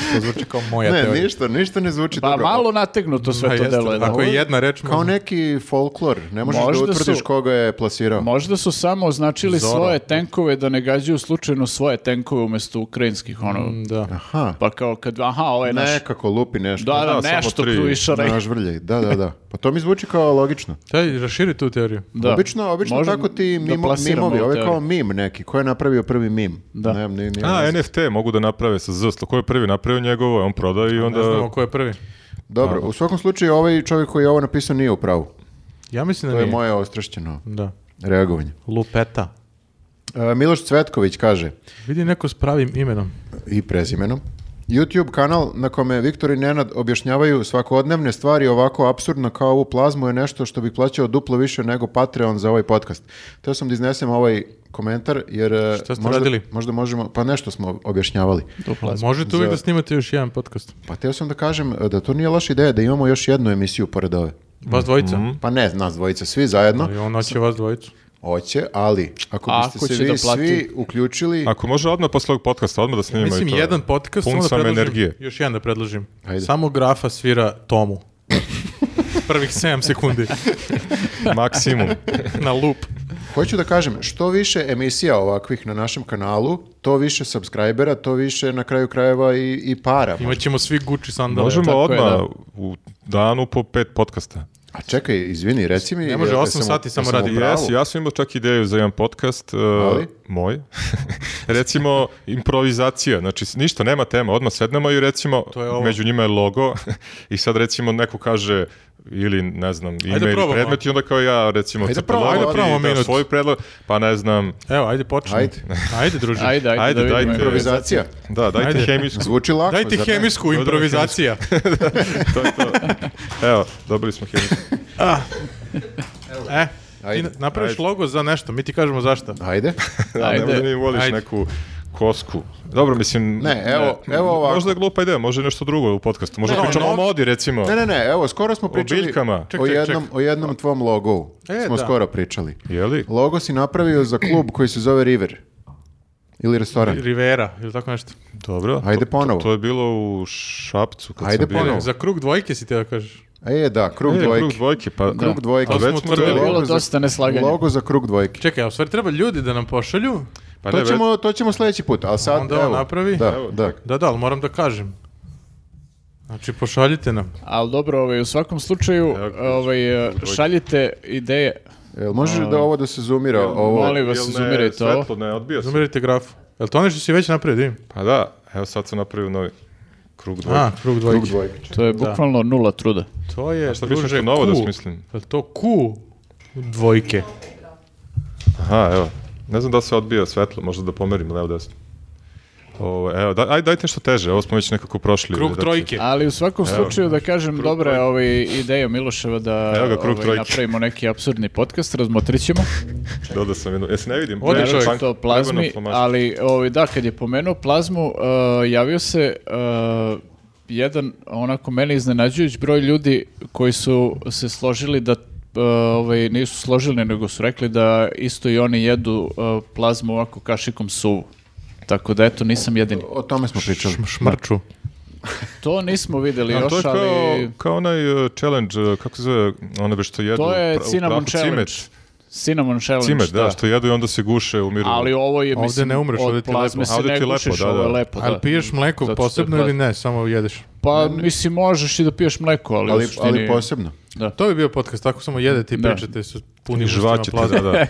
S1: To zvuči kao moja
S2: Ne,
S1: teorija.
S2: ništa, ništa ne zvuči
S3: Pa
S2: dobro.
S3: malo nategnuto sve
S1: Pa
S3: to
S1: jeste,
S3: deluje. da.
S1: Ako je jedna reč...
S2: Kao
S1: možda-
S2: neki folklor. Ne možeš
S3: Možda
S2: da utvrdiš
S3: su-
S2: koga je plasirao.
S3: Možda su samo označili
S1: Zoro.
S3: svoje tenkove da ne gađaju slučajno svoje tenkove umjesto ukrajinskih, ono.
S1: Da.
S2: Aha,
S3: Pa kao kad, aha, ovo je naš...
S2: nekako lupi nešto.
S3: Da, da,
S4: Da, samo
S3: nešto
S4: tri.
S3: tu išaraj.
S2: Na žvrlje, da, da, da. Pa to mi zvuči kao logično.
S1: Taj, raširi tu teoriju.
S3: Da.
S2: Obično, obično
S3: Možda
S2: tako ti
S3: da
S2: mimo,
S3: plasiramo
S2: mimovi,
S3: ovu
S2: ovo je kao
S3: teoriju.
S2: mim neki. Ko je napravio prvi mim?
S3: Da.
S2: Ne, ne, ne,
S4: A, NFT mogu da naprave sa Z. Ko je prvi napravio njegovo, on prodaje i
S1: Ne
S4: onda...
S1: znamo ko je prvi.
S2: Dobro, u svakom slučaju ovaj čovjek koji je ovo napisao nije u pravu.
S1: Ja mislim
S2: To
S1: da
S2: je
S1: nije.
S2: moje ostrašćeno
S1: Da.
S2: reagovanje.
S1: Lupeta.
S2: E, Miloš Cvetković kaže,
S1: Vidi neko s pravim imenom.
S2: i prezimenom. YouTube kanal na kome Viktor i Nenad objašnjavaju svakodnevne stvari ovako apsurdno kao ovu plazmu je nešto što bih plaćao duplo više nego Patreon za ovaj podcast. Teo sam da iznesem ovaj komentar jer e,
S1: Šta ste
S2: možda,
S1: radili?
S2: možda možemo, pa nešto smo objašnjavali.
S1: Možete uvijek
S2: Za-
S1: da snimate još jedan podcast.
S2: Pa teo sam da kažem e, da to nije loša ideja da imamo još jednu emisiju pored ove.
S1: Vas dvojica.
S2: Pa ne, nas dvojica, svi zajedno.
S1: Ali on hoće vas dvojicu.
S2: Hoće, ali ako
S3: A
S2: biste
S3: ako
S2: se
S3: će
S2: vi
S3: da plati?
S2: svi uključili,
S4: Ako može odmah posle ovog podcasta, odmah da snimimo
S1: Mislim,
S4: i to.
S1: jedan podcast,
S4: Pun
S1: samo da
S4: sam
S1: predložim.
S4: energije.
S1: Još jedan da predložim.
S2: Ajde.
S1: Samo grafa svira tomu. Prvih 7 sekundi.
S4: Maksimum.
S1: Na loop.
S2: Hoću da kažem, što više emisija ovakvih na našem kanalu, to više subscribera, to više na kraju krajeva i, i para.
S1: Imaćemo svi Gucci sandale.
S4: Možemo
S3: tako je,
S4: odmah
S3: da.
S4: u danu po pet podcasta.
S2: A čekaj, izvini, reci mi...
S1: Ne može
S2: jel-
S1: osam
S2: jesam u-
S1: sati samo
S2: jesam u
S1: radi.
S2: pravu?
S4: Jes, ja sam imao čak ideju za jedan podcast, e,
S2: Ali?
S4: moj. recimo, improvizacija, znači s- ništa, nema tema, odmah sednemo i recimo,
S1: To je ovo.
S4: među njima je logo i sad recimo neko kaže ili ne znam, ime ili
S1: probamo.
S4: predmet i onda kao ja recimo
S2: Ajde
S4: crtam
S2: probamo,
S4: logo,
S2: ajde
S4: ti
S1: probamo
S4: daš
S1: minut.
S4: svoj predlog, pa ne znam,
S1: Evo, ajde počni.
S2: Ajde.
S1: Ajde, druže.
S3: Ajde, ajde,
S4: Ajde,
S3: da vidimo
S4: dajte.
S3: improvizaciju.
S2: Improvizacija.
S4: da, dajte
S1: Ajde.
S4: hemijsku.
S2: Zvuči lako.
S1: Daj ti
S2: zar ne?
S1: hemijsku improvizacija.
S4: to je to. Evo, dobili smo hemijsku.
S1: e,
S2: Ajde.
S1: ti na- napraviš
S4: Ajde.
S1: logo za nešto, mi ti kažemo zašto.
S2: Ajde.
S4: Da,
S3: Ajde.
S4: ne možda ni voliš
S1: Ajde.
S4: neku kosku. Dobro, mislim...
S2: Ne, evo- evo ovako.
S4: Možda je glupa ideja, može nešto drugo u podcastu. Možda
S1: Ne,
S4: pričamo
S1: no-
S4: o modi, recimo.
S2: Ne, ne, ne, evo, skoro smo pričali
S4: biljkama. Ček,
S2: o,
S1: ček,
S2: jednom, o jednom tvom logu.
S1: E,
S2: smo
S1: da.
S2: skoro pričali.
S4: Jeli?
S2: Logo si napravio za klub koji se zove River. Ili restoran.
S1: Rivera ili tako nešto.
S4: Dobro.
S2: Ajde
S4: To- to-
S2: ponovo.
S4: To, je bilo u Šapcu. Kad
S2: Ajde
S4: sam bio.
S2: ponovo.
S1: Za krug dvojke si te da kažeš.
S2: E, da, krug
S4: E, Krug
S2: dvojke.
S4: dvojke, pa...
S2: Krug dvojke.
S4: A
S1: To
S4: već
S1: smo
S4: smo
S1: utvrdili.
S4: to-
S3: Bilo
S2: Logo za-
S3: dosta neslaganja.
S2: Logo za krug dvojke.
S1: Čekaj, a u stvari treba ljudi da nam pošalju.
S4: Pa ne,
S2: To
S4: već-
S2: ćemo, to ćemo sljedeći put, ali sad,
S1: Onda on
S2: evo.
S1: napravi.
S2: Da,
S4: Evo,
S2: da.
S1: Da, da, ali moram da kažem. Znači, pošaljite nam.
S3: Ali dobro, ovaj, u svakom slučaju ovaj, šaljite ideje.
S2: Jel može da ovo da se zumira? ovo,
S3: Molim vas,
S4: Jel ne,
S3: zumirajte ovo.
S4: Svetlo, ne, odbija se.
S1: Zumirajte grafu. Jel to ono što si već napravio, da vidim?
S4: Pa da, evo sad sam napravio novi krug dvojke.
S1: A, krug dvojke.
S2: krug dvojke. čekaj.
S3: To je bukvalno nula truda.
S1: To je,
S4: Šta bi
S1: druže,
S4: nešto novo da
S1: Q.
S4: smislim?
S1: Jel to Q dvojke?
S4: Aha, evo. Ne znam da li se odbija svetlo, možda da pomerim levo desno. Ovo, evo, da, ajde, dajte nešto teže, ovo smo već nekako prošli.
S1: Krug
S4: znači.
S1: trojke.
S3: Ali u svakom slučaju da kažem, dobra je
S4: trojke.
S3: ovaj, ideja Miloševa da
S4: Evo ga, krug
S3: ovaj,
S4: trojke.
S3: napravimo neki apsurdni podcast, razmotrit ćemo.
S4: Dodao sam jednu, jesi ne vidim?
S1: Ode
S4: Ne,
S1: čovjek.
S4: plank-
S3: to plazmi,
S4: plagano flamaški.
S3: ali ovaj, da, kad je pomenuo plazmu, uh, javio se uh, jedan, onako meni iznenađujući broj ljudi koji su se složili da uh, ovaj, nisu složili, nego su rekli da isto i oni jedu uh, plazmu ovako kašikom suvu. Tako da eto, nisam jedini.
S2: O tome smo pričali.
S1: Šmrču.
S3: To nismo videli
S4: A
S3: još,
S4: to je kao,
S3: ali
S4: kao onaj uh, challenge, uh, kako se zove, ono bi što jedu.
S3: to je
S4: pra- u
S3: cinnamon
S4: prahu,
S3: challenge.
S4: Cimet,
S3: Cinnamon challenge,
S4: Cimet, da, što jedu i onda se guše, umiru.
S3: Ali ovo je,
S1: Ovdje
S3: mislim,
S1: ne umreš, ovdje
S3: od
S1: ti je lepo.
S3: plazme se
S4: Ovdje
S3: ne
S4: ti je lepo,
S3: gušiš,
S4: da, da.
S3: ovo je lepo.
S1: Ali
S3: pa da.
S1: piješ mleko
S3: Zato što je
S1: posebno ili
S3: plazma.
S1: ne, samo jedeš?
S3: Pa, mislim, možeš i da piješ mleko, ali, u
S2: Ali,
S3: suštini-
S2: ali posebno.
S1: To bi bio podcast, tako samo jedete i
S3: Da.
S1: pričate. su- puni
S4: Žvaćete, da, da.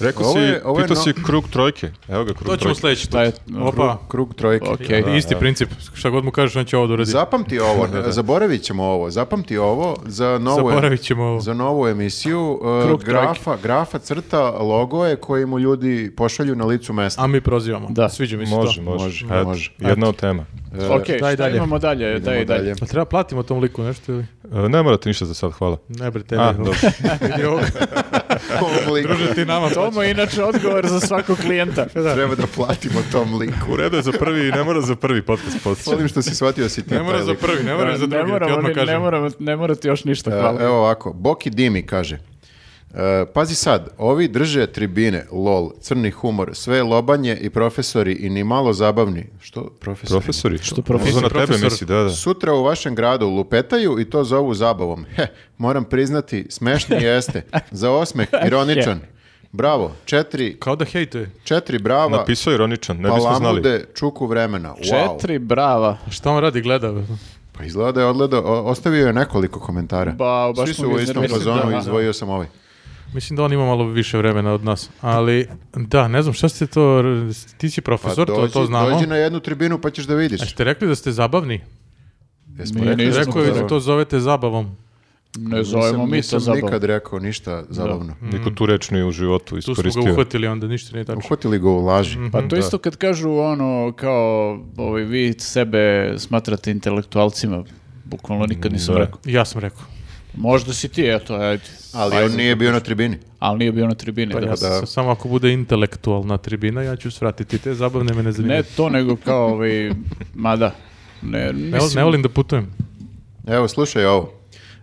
S4: Rekao
S2: Ovo
S4: si,
S2: je- ovo je
S4: pitao
S2: no-
S4: si krug trojke. Evo ga krug
S1: To ćemo
S4: trojke.
S1: sledeći put.
S3: Taj je-
S1: Opa.
S2: Krug trojke.
S3: Ok.
S1: E, isti princip, šta god mu kažeš, on će ovo doraditi.
S2: Zapamti ovo, zaboravit ćemo ovo, zapamti ovo za novu,
S1: Zaboravit ćemo ovo.
S2: za novu emisiju. e,
S3: Krug
S2: grafa, grafa crta logoje koji mu ljudi pošalju na licu mesta.
S1: A mi prozivamo.
S3: Da.
S1: Sviđa mi se
S4: Može,
S1: to.
S4: može.
S2: Može,
S4: Eto,
S2: može.
S4: Jedna od tema.
S3: Ok, šta
S1: dalje.
S3: imamo dalje? Daj i dalje.
S1: Pa treba platimo tom liku nešto ili?
S4: E, Ne morate ništa za sad, hvala.
S1: Ne bre, tebi.
S4: A, dobro.
S1: Vidi ovo.
S2: Tom liku.
S1: Druže ti nama.
S3: Tomo je inače odgovor za svakog klijenta.
S2: Treba da platimo tom liku.
S4: U redu je za prvi, ne mora za prvi podcast postići.
S2: Volim što si shvatio da si ti
S1: Ne
S2: taj
S1: mora za
S2: lik.
S1: prvi, ne mora za drugi, da ti
S3: moramo,
S1: odmah
S3: ni- ne,
S1: kažem.
S3: moramo, ne morate još ništa, hvala.
S2: E, Evo ovako, Boki Dimi kaže. e, pazi sad, ovi drže tribine, lol, crni humor, sve je lobanje i profesori i ni malo zabavni. Što profesori?
S4: Profesori? Što
S3: profesor?
S4: Na tebe
S1: Profesor.
S4: misli, da, da.
S2: Sutra u vašem gradu lupetaju i to zovu zabavom. He, moram priznati, smešni jeste. Za osmeh, ironičan. Bravo, četiri,
S1: Kao da hejtuje.
S2: četiri brava,
S4: Napisao je ironičan, ne bismo znali.
S2: palamude, čuku vremena. Wow.
S3: Četiri brava.
S1: A Šta on radi, gleda?
S2: Pa izgleda da je odgledao, o- ostavio je nekoliko komentara.
S3: Ba, baš
S2: Svi su
S3: smo
S2: u
S3: ga
S2: istom
S3: iznervirali.
S2: fazonu,
S3: Da, da.
S2: izdvojio sam ovaj.
S1: Mislim da on ima malo više vremena od nas. Ali, da, ne znam šta ste to... Ti si profesor, to, to znamo.
S2: Pa dođi na jednu tribinu pa ćeš da vidiš.
S1: A ste rekli da ste zabavni?
S2: Jesmo
S3: Mi
S2: rekli?
S3: nismo
S1: Rekao je da
S3: zabavni.
S1: to zovete zabavom.
S3: Ne zovemo
S2: Nisam-
S3: mi to
S2: nisam
S3: zabavu.
S2: nikad rekao ništa zabavno.
S4: Niko tu reč nije u životu
S1: Mm. Tu smo ga
S4: iskoristio.
S1: uhvatili, onda ništa nije tačno.
S2: Uhvatili ga u laži.
S1: Mhm.
S3: Pa to isto kad kažu ono kao ovaj, vi sebe smatrate intelektualcima. Bukvalno nikad nisam
S4: Da.
S3: rekao.
S1: Ja sam rekao.
S3: Možda si ti, eto, ajde.
S2: Ali on nije bio na tribini.
S3: Ali nije bio na tribini.
S1: Pa
S3: da.
S1: ja sam- samo ako bude intelektualna tribina, ja ću svratiti te zabavne, me ne
S3: Ne
S1: zanimaju.
S3: to, nego kao ovaj, mada. Ne,
S1: Ne,
S3: mislim,
S1: ne volim da putujem.
S2: Evo, slušaj ovo.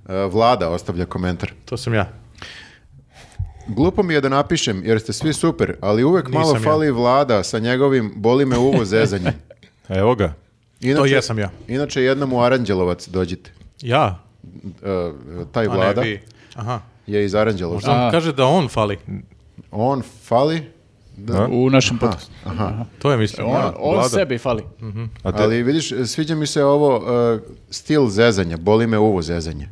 S2: E, Vlada ostavlja komentar.
S1: To sam ja.
S2: Glupo mi je da napišem, jer ste svi super, ali uvek
S1: Nisam
S2: malo
S1: ja.
S2: fali vlada sa njegovim boli me uvo zezanjem.
S4: Evo ga.
S2: Inače,
S1: To jesam ja.
S2: Inače, jednom u Aranđelovac dođite.
S1: Ja?
S2: E, taj
S1: A ne,
S2: vlada
S1: vi. Aha.
S2: je iz Aranđelovca.
S1: Možda on kaže da on fali.
S2: On fali,
S4: A?
S3: U našem podcastu.
S1: To je mislim.
S3: E, On, on
S4: Vlada.
S3: sebi fali.
S4: A te-
S2: ali vidiš, sviđa mi se ovo e, stil zezanja, boli me uvo zezanje.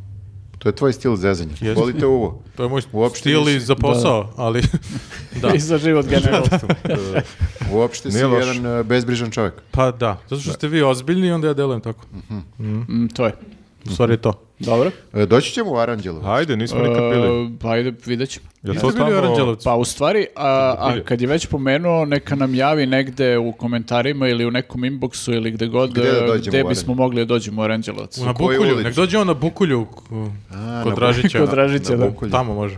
S2: To je tvoj stil zezanja.
S1: Jeste.
S2: Boli te uvo.
S1: To je moj
S2: Uopšte
S1: stil i
S2: nisi-
S1: za posao, ali da.
S3: I za život generalno.
S2: Uopšte si
S4: Nije loš.
S2: jedan e, bezbrižan čovjek.
S1: Pa da, zato što ste vi ozbiljni, onda ja delujem tako.
S3: Mm, to je.
S1: U stvari je to.
S3: Dobro.
S2: E, Doći ćemo u Aranđelovac.
S4: Ajde, nismo nikad bili.
S3: E, pa ajde, vidjet ćemo.
S4: Je
S1: Ehm, Niste
S4: to
S1: bili u
S4: tamo...
S1: Aranđelovcu?
S3: Pa u stvari, a, a
S4: Bili.
S3: kad je već pomenuo, neka nam javi negde u komentarima ili u nekom inboxu ili gde god e,
S2: Gde da dođemo
S3: gde
S2: u
S3: bismo mogli da dođemo u Aranđelovac.
S1: na
S2: kojoj
S1: Bukulju,
S2: ulici?
S1: nek dođe on na Bukulju k- kod Dražića.
S3: Kod Dražića, da.
S2: Bukulju.
S1: Tamo može.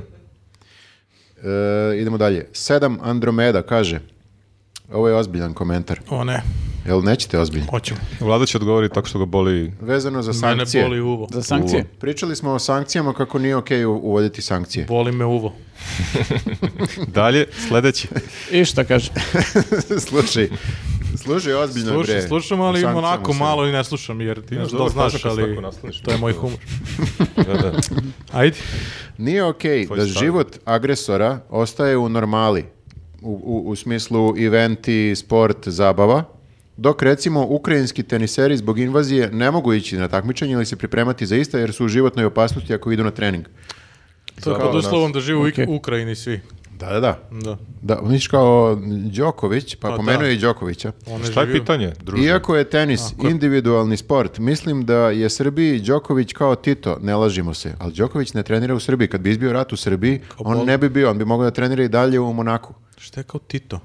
S2: E, idemo dalje. Sedam Andromeda kaže, ovo je ozbiljan komentar.
S1: O ne,
S2: Jel nećete ozbiljan?
S1: hoćemo.
S4: Vlada će odgovoriti tako što ga boli
S2: Vezano za
S1: Mene
S2: sankcije.
S1: boli uvo.
S3: Za sankcije.
S2: Pričali smo o sankcijama kako nije okej u- uvoditi sankcije.
S1: Boli me uvo.
S4: dalje, sledeći.
S3: I šta kaže?
S2: slušaj, slušaj ozbiljno
S1: Slušam,
S2: bre.
S1: slušam,
S2: O
S1: ali
S2: sankcijama
S1: onako
S2: se-
S1: malo i ne slušam, jer ti
S4: imaš
S1: znaš da
S4: dobar
S1: znaš,
S4: fazak kad
S1: ali
S4: svako nasloniš.
S1: to je moj humor.
S4: Da, da.
S1: Ajde.
S2: Nije okej
S4: Tvoj
S2: da
S4: stav.
S2: život agresora ostaje u normali, u, u, u smislu eventi, sport, zabava, dok recimo ukrajinski teniseri zbog invazije ne mogu ići na takmičenje ili se pripremati za ista jer su u životnoj opasnosti ako idu na trening.
S1: To je
S2: Kao
S1: pod
S2: nas.
S1: uslovom da žive u
S3: Okej.
S1: Ik- Ukrajini svi.
S2: Da, da, da.
S1: Da.
S2: Da, vidiš kao Đoković, pa
S1: Pa
S2: pomenuo
S1: da.
S2: je i Đokovića.
S1: One
S4: Šta je
S1: žive u-
S4: pitanje, druže?
S2: Iako je tenis individualni sport, mislim da je Srbiji Đoković kao Tito, ne lažimo se, ali Đoković ne trenira u Srbiji. Kad bi izbio rat u Srbiji, on
S1: bol-
S2: ne bi bio, on bi mogao da trenira i dalje u Monaku.
S1: Šta je kao Tito?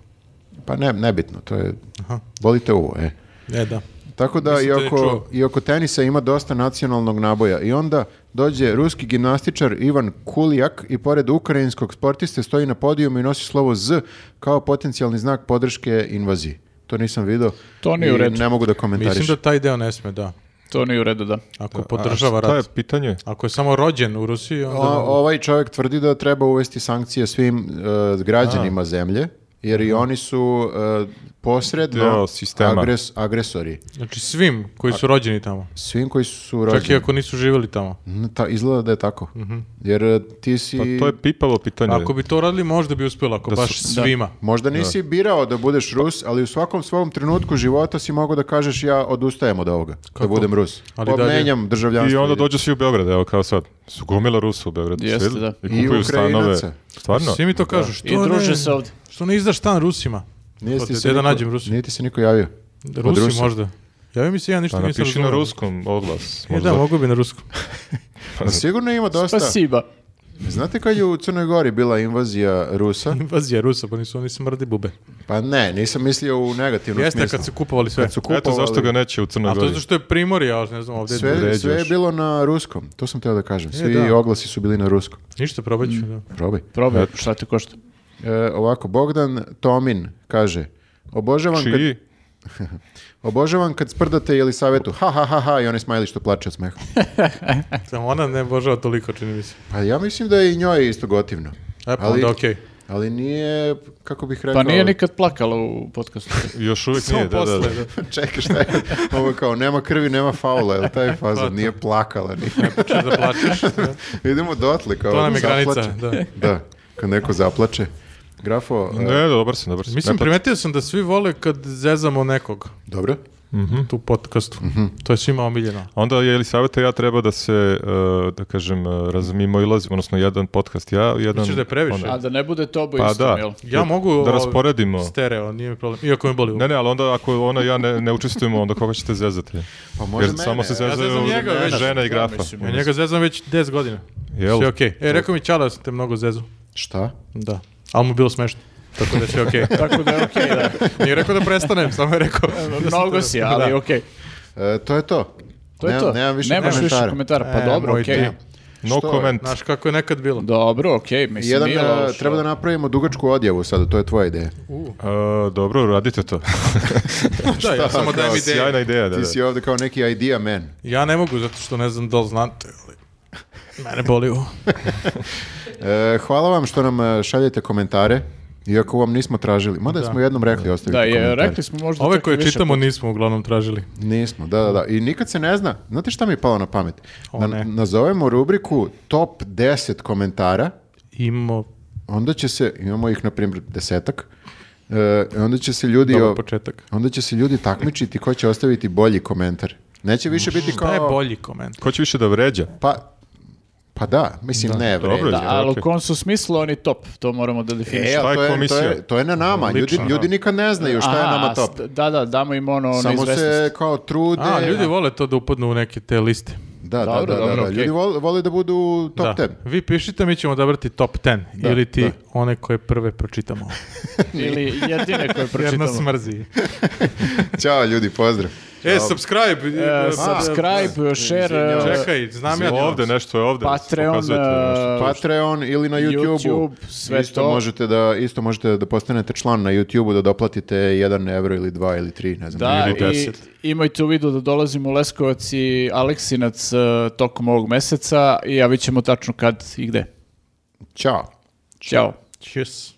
S2: Pa ne, nebitno, to je,
S1: Aha.
S2: volite ovo, e.
S1: E, da.
S2: Tako da i
S1: Mislim da je
S2: oko,
S1: čuo.
S2: i oko tenisa ima dosta nacionalnog naboja i onda dođe ruski gimnastičar Ivan Kulijak i pored ukrajinskog sportiste stoji na podijumu i nosi slovo Z kao potencijalni znak podrške invaziji. To nisam video
S3: To nije
S2: i
S3: u redu.
S2: ne mogu da komentarišem.
S1: Mislim da taj deo ne sme, da.
S3: To nije u redu, da.
S1: Ako
S4: A
S1: podržava
S4: Šta je
S1: rat.
S4: pitanje?
S1: Ako je samo rođen u Rusiji, onda...
S2: O- ovaj čovjek tvrdi da treba uvesti sankcije svim e, građanima zemlje jer i oni su e, posredno
S4: Deo sistema.
S2: agres- agresori.
S1: Znači svim koji su rođeni tamo.
S2: Svim koji su
S1: Čak i
S2: rođeni.
S1: ako nisu živjeli tamo.
S2: Mm, Ta, izgleda da je tako. Jer e, ti si...
S4: Pa to je pipavo pitanje.
S1: Ako bi to radili, možda bi uspjelo, ako
S4: Da su-
S1: baš svima.
S2: Možda nisi birao da budeš Rus, ali u svakom svom trenutku života si mogao da kažeš ja odustajem od ovoga, da budem Rus.
S1: Ali
S2: Pa
S1: dalje-
S2: menjam
S4: I
S2: državljanstvo.
S4: onda dođu svi u Beograd, evo kao sad. Su gomila Rusa u Beogradu.
S3: Jeste,
S4: svi,
S3: da.
S4: I
S2: I
S4: kupuju stanove.
S2: Ukrajinaca.
S4: Stvarno?
S1: Svi mi to kažu. Što
S3: I druže
S1: ne,
S3: se ovdje.
S1: Što ne izdaš stan Rusima?
S2: Nije
S1: Sad
S2: ti se
S1: ja da
S2: niko-
S1: nađem Rusi.
S2: Nije ti se niko javio. Od
S1: Rusi
S2: Rusa.
S1: možda. Javi mi se ja ništa
S4: Pa
S1: nisam
S4: napiši na
S1: razumeo.
S4: ruskom odlas.
S1: E
S4: Možda.
S1: da, mogu bi na ruskom.
S2: Pa Sigurno ima dosta.
S3: Spasiba.
S2: Znate kad je u Crnoj Gori bila invazija Rusa?
S1: Invazija Rusa, pa nisu oni smrdi bube.
S2: Pa ne, nisam mislio u negativnom
S1: Jeste
S2: smislu.
S1: kad su kupovali sve.
S2: Kad su
S4: Eto
S2: kupovali-
S4: zašto ga neće u Crnoj
S1: A E. to
S4: Gori.
S1: je zato što je primorje, ja ne znam, ovdje je
S2: Sve,
S1: drugo.
S2: sve je
S4: Uređuješ.
S2: bilo na ruskom, to sam teo da kažem. Svi
S1: da.
S2: oglasi su bili na ruskom.
S1: Ništa, probat ću. Da.
S2: Probaj.
S3: Probaj, šta te košta?
S2: E, ovako, Bogdan Tomin kaže, obožavam kad,
S4: Čiji?
S2: obožavam kad sprdate Jelisavetu, ha ha ha ha, i onaj smajli što plače od smeha.
S1: E, Samo ona ne božava toliko, čini mi se.
S2: Pa ja mislim da je i njoj isto gotivno.
S1: E pa onda okej.
S2: Ali nije, kako bih rekao...
S3: Pa nije nikad plakala u podcastu.
S4: Još uvijek
S1: Samo
S4: nije, da, da,
S1: posle,
S4: da.
S1: da.
S2: Čekaj, šta je? Ovo kao, nema krvi, nema faula, jel taj faza nije plakala. Nije.
S1: Počneš da plačeš. da.
S2: Idemo dotle, kao
S1: To nam je
S2: da
S1: granica,
S2: zaplače.
S1: da.
S2: Da, kad neko zaplače. Grafo, e,
S4: Ne, da, dobar sam, dobar sam.
S1: Mislim,
S4: Ne, pa-
S1: primetio sam da svi vole kad zezamo nekog
S2: dobro?
S1: tu podcastu. To je svima omiljeno.
S4: Onda je Elisaveta i ja treba da se, e, da kažem, e, razmimo i lazimo, odnosno jedan podcast ja, jedan...
S1: Misliš da je previše?
S4: ona.
S3: A da ne bude to obo
S4: Pa
S3: istom,
S4: da.
S3: jel?
S1: Ja mogu...
S4: da
S1: o,
S4: rasporedimo.
S1: Stereo, nije mi problem. Iako me boli. uvo.
S4: Ne, ne, ali onda ako ona i ja ne, ne učestvujemo, onda koga ćete zezati?
S2: Pa može
S4: Jer
S2: mene,
S4: samo se
S2: ja
S4: zezaju
S1: zezam njega već.
S4: žena i
S3: Ja
S4: grafa.
S3: mislim,
S1: Ja njega zezam već 10 godina.
S4: Jel?
S1: Sve okej. E, rekao mi Čala da sam te mnogo zezu.
S2: Šta?
S1: Da. Ali mu je bilo smešno. Tako da sve okej.
S3: Tako da je okej, da.
S1: Nije rekao da prestanem, samo je rekao. da sam
S3: Mnogo
S1: te-
S3: si, ali
S1: Da.
S3: okej.
S2: E, to je to.
S3: To je
S2: Nemam-
S3: to.
S2: Nemam više
S3: Nemaš
S2: komentara.
S3: više komentara. Pa
S1: E,
S3: dobro,
S1: moj
S3: okej.
S1: dio.
S4: No
S2: Što je?
S4: comment.
S1: Znaš kako je nekad bilo.
S3: Dobro, okej, mislim,
S2: Jedan,
S3: nije
S2: e,
S3: loše.
S2: treba da napravimo dugačku odjavu sada, to je tvoja ideja.
S4: E, dobro, radite to.
S1: Da, ja samo dajem
S4: Kao
S1: ideje.
S4: Sjajna ideja, da,
S2: Ti
S4: da.
S2: si ovdje kao neki idea man.
S1: Ja ne mogu, zato što ne znam da li znate, ali... Mene boli uvo.
S2: E, hvala vam što nam e, šaljete komentare, iako vam nismo tražili. Mada smo jednom rekli ostavite
S3: Da, je,
S2: komentare.
S3: rekli smo možda
S1: Ove
S3: čak i
S1: koje
S3: više
S1: čitamo
S3: puta.
S1: nismo uglavnom tražili.
S2: Nismo, da, da, da. I nikad se ne zna. Znate šta mi je palo na pamet? Da
S1: ne.
S2: nazovemo rubriku top 10 komentara,
S1: Imamo
S2: onda će se, imamo ih na primjer desetak, e, onda će se ljudi...
S1: dobar
S2: o-
S1: početak.
S2: Onda će se ljudi takmičiti ko će ostaviti bolji komentar. Neće više biti
S1: Šta je
S2: kao...
S1: bolji koment?
S4: Ko će više da vređa?
S2: Pa, pa da, mislim ne vre.
S4: Dobro,
S3: Da,
S4: je,
S3: ali u
S4: okej.
S3: kom su smislu oni top, to moramo da
S2: E,
S3: definišemo.
S4: šta
S2: ali
S4: je
S2: to je, to,
S4: komisija?
S2: je, to je na nama. Ljudi,
S4: Lično,
S2: ljudi
S4: da.
S2: nikad ne znaju šta je
S3: Aha,
S2: nama top.
S3: st- Da, da, damo im ono
S2: Samo se
S3: neizvestnost.
S2: kao trude.
S1: A, ljudi vole to da upadnu u neke te liste.
S2: Da, da, da,
S3: Dobro,
S2: da,
S3: dobro,
S2: da.
S3: okej.
S2: Ljudi vole, vole da budu top
S1: da.
S2: 10.
S1: Vi pišite, mi ćemo odabrati top 10. ili ti
S2: da.
S1: one koje prve pročitamo.
S3: Ili jedine koje
S1: Jer nas
S3: pročitamo.
S1: mrzi.
S2: Ćao ljudi, pozdrav.
S1: e, subscribe!
S3: E,
S1: E,
S3: subscribe, share,
S1: e,
S3: e,
S1: Čekaj, znam ja.
S4: Ovde, nešto je ovde.
S3: Patreon,
S4: pokazujete nešto.
S3: e,
S2: Patreon ili na YouTube-u.
S3: YouTube, sve
S2: isto
S3: to.
S2: Možete da, isto možete da postanete član na YouTube-u, da doplatite 1 evro ili 2 ili 3, ne znam.
S3: Da,
S4: Ili
S3: i
S4: deset.
S3: imajte u vidu da dolazimo u Leskovac i Aleksinac e, tokom ovog meseca i javit ćemo tačno kad i gde.
S2: Ćao.
S3: Ćao.
S1: Čis.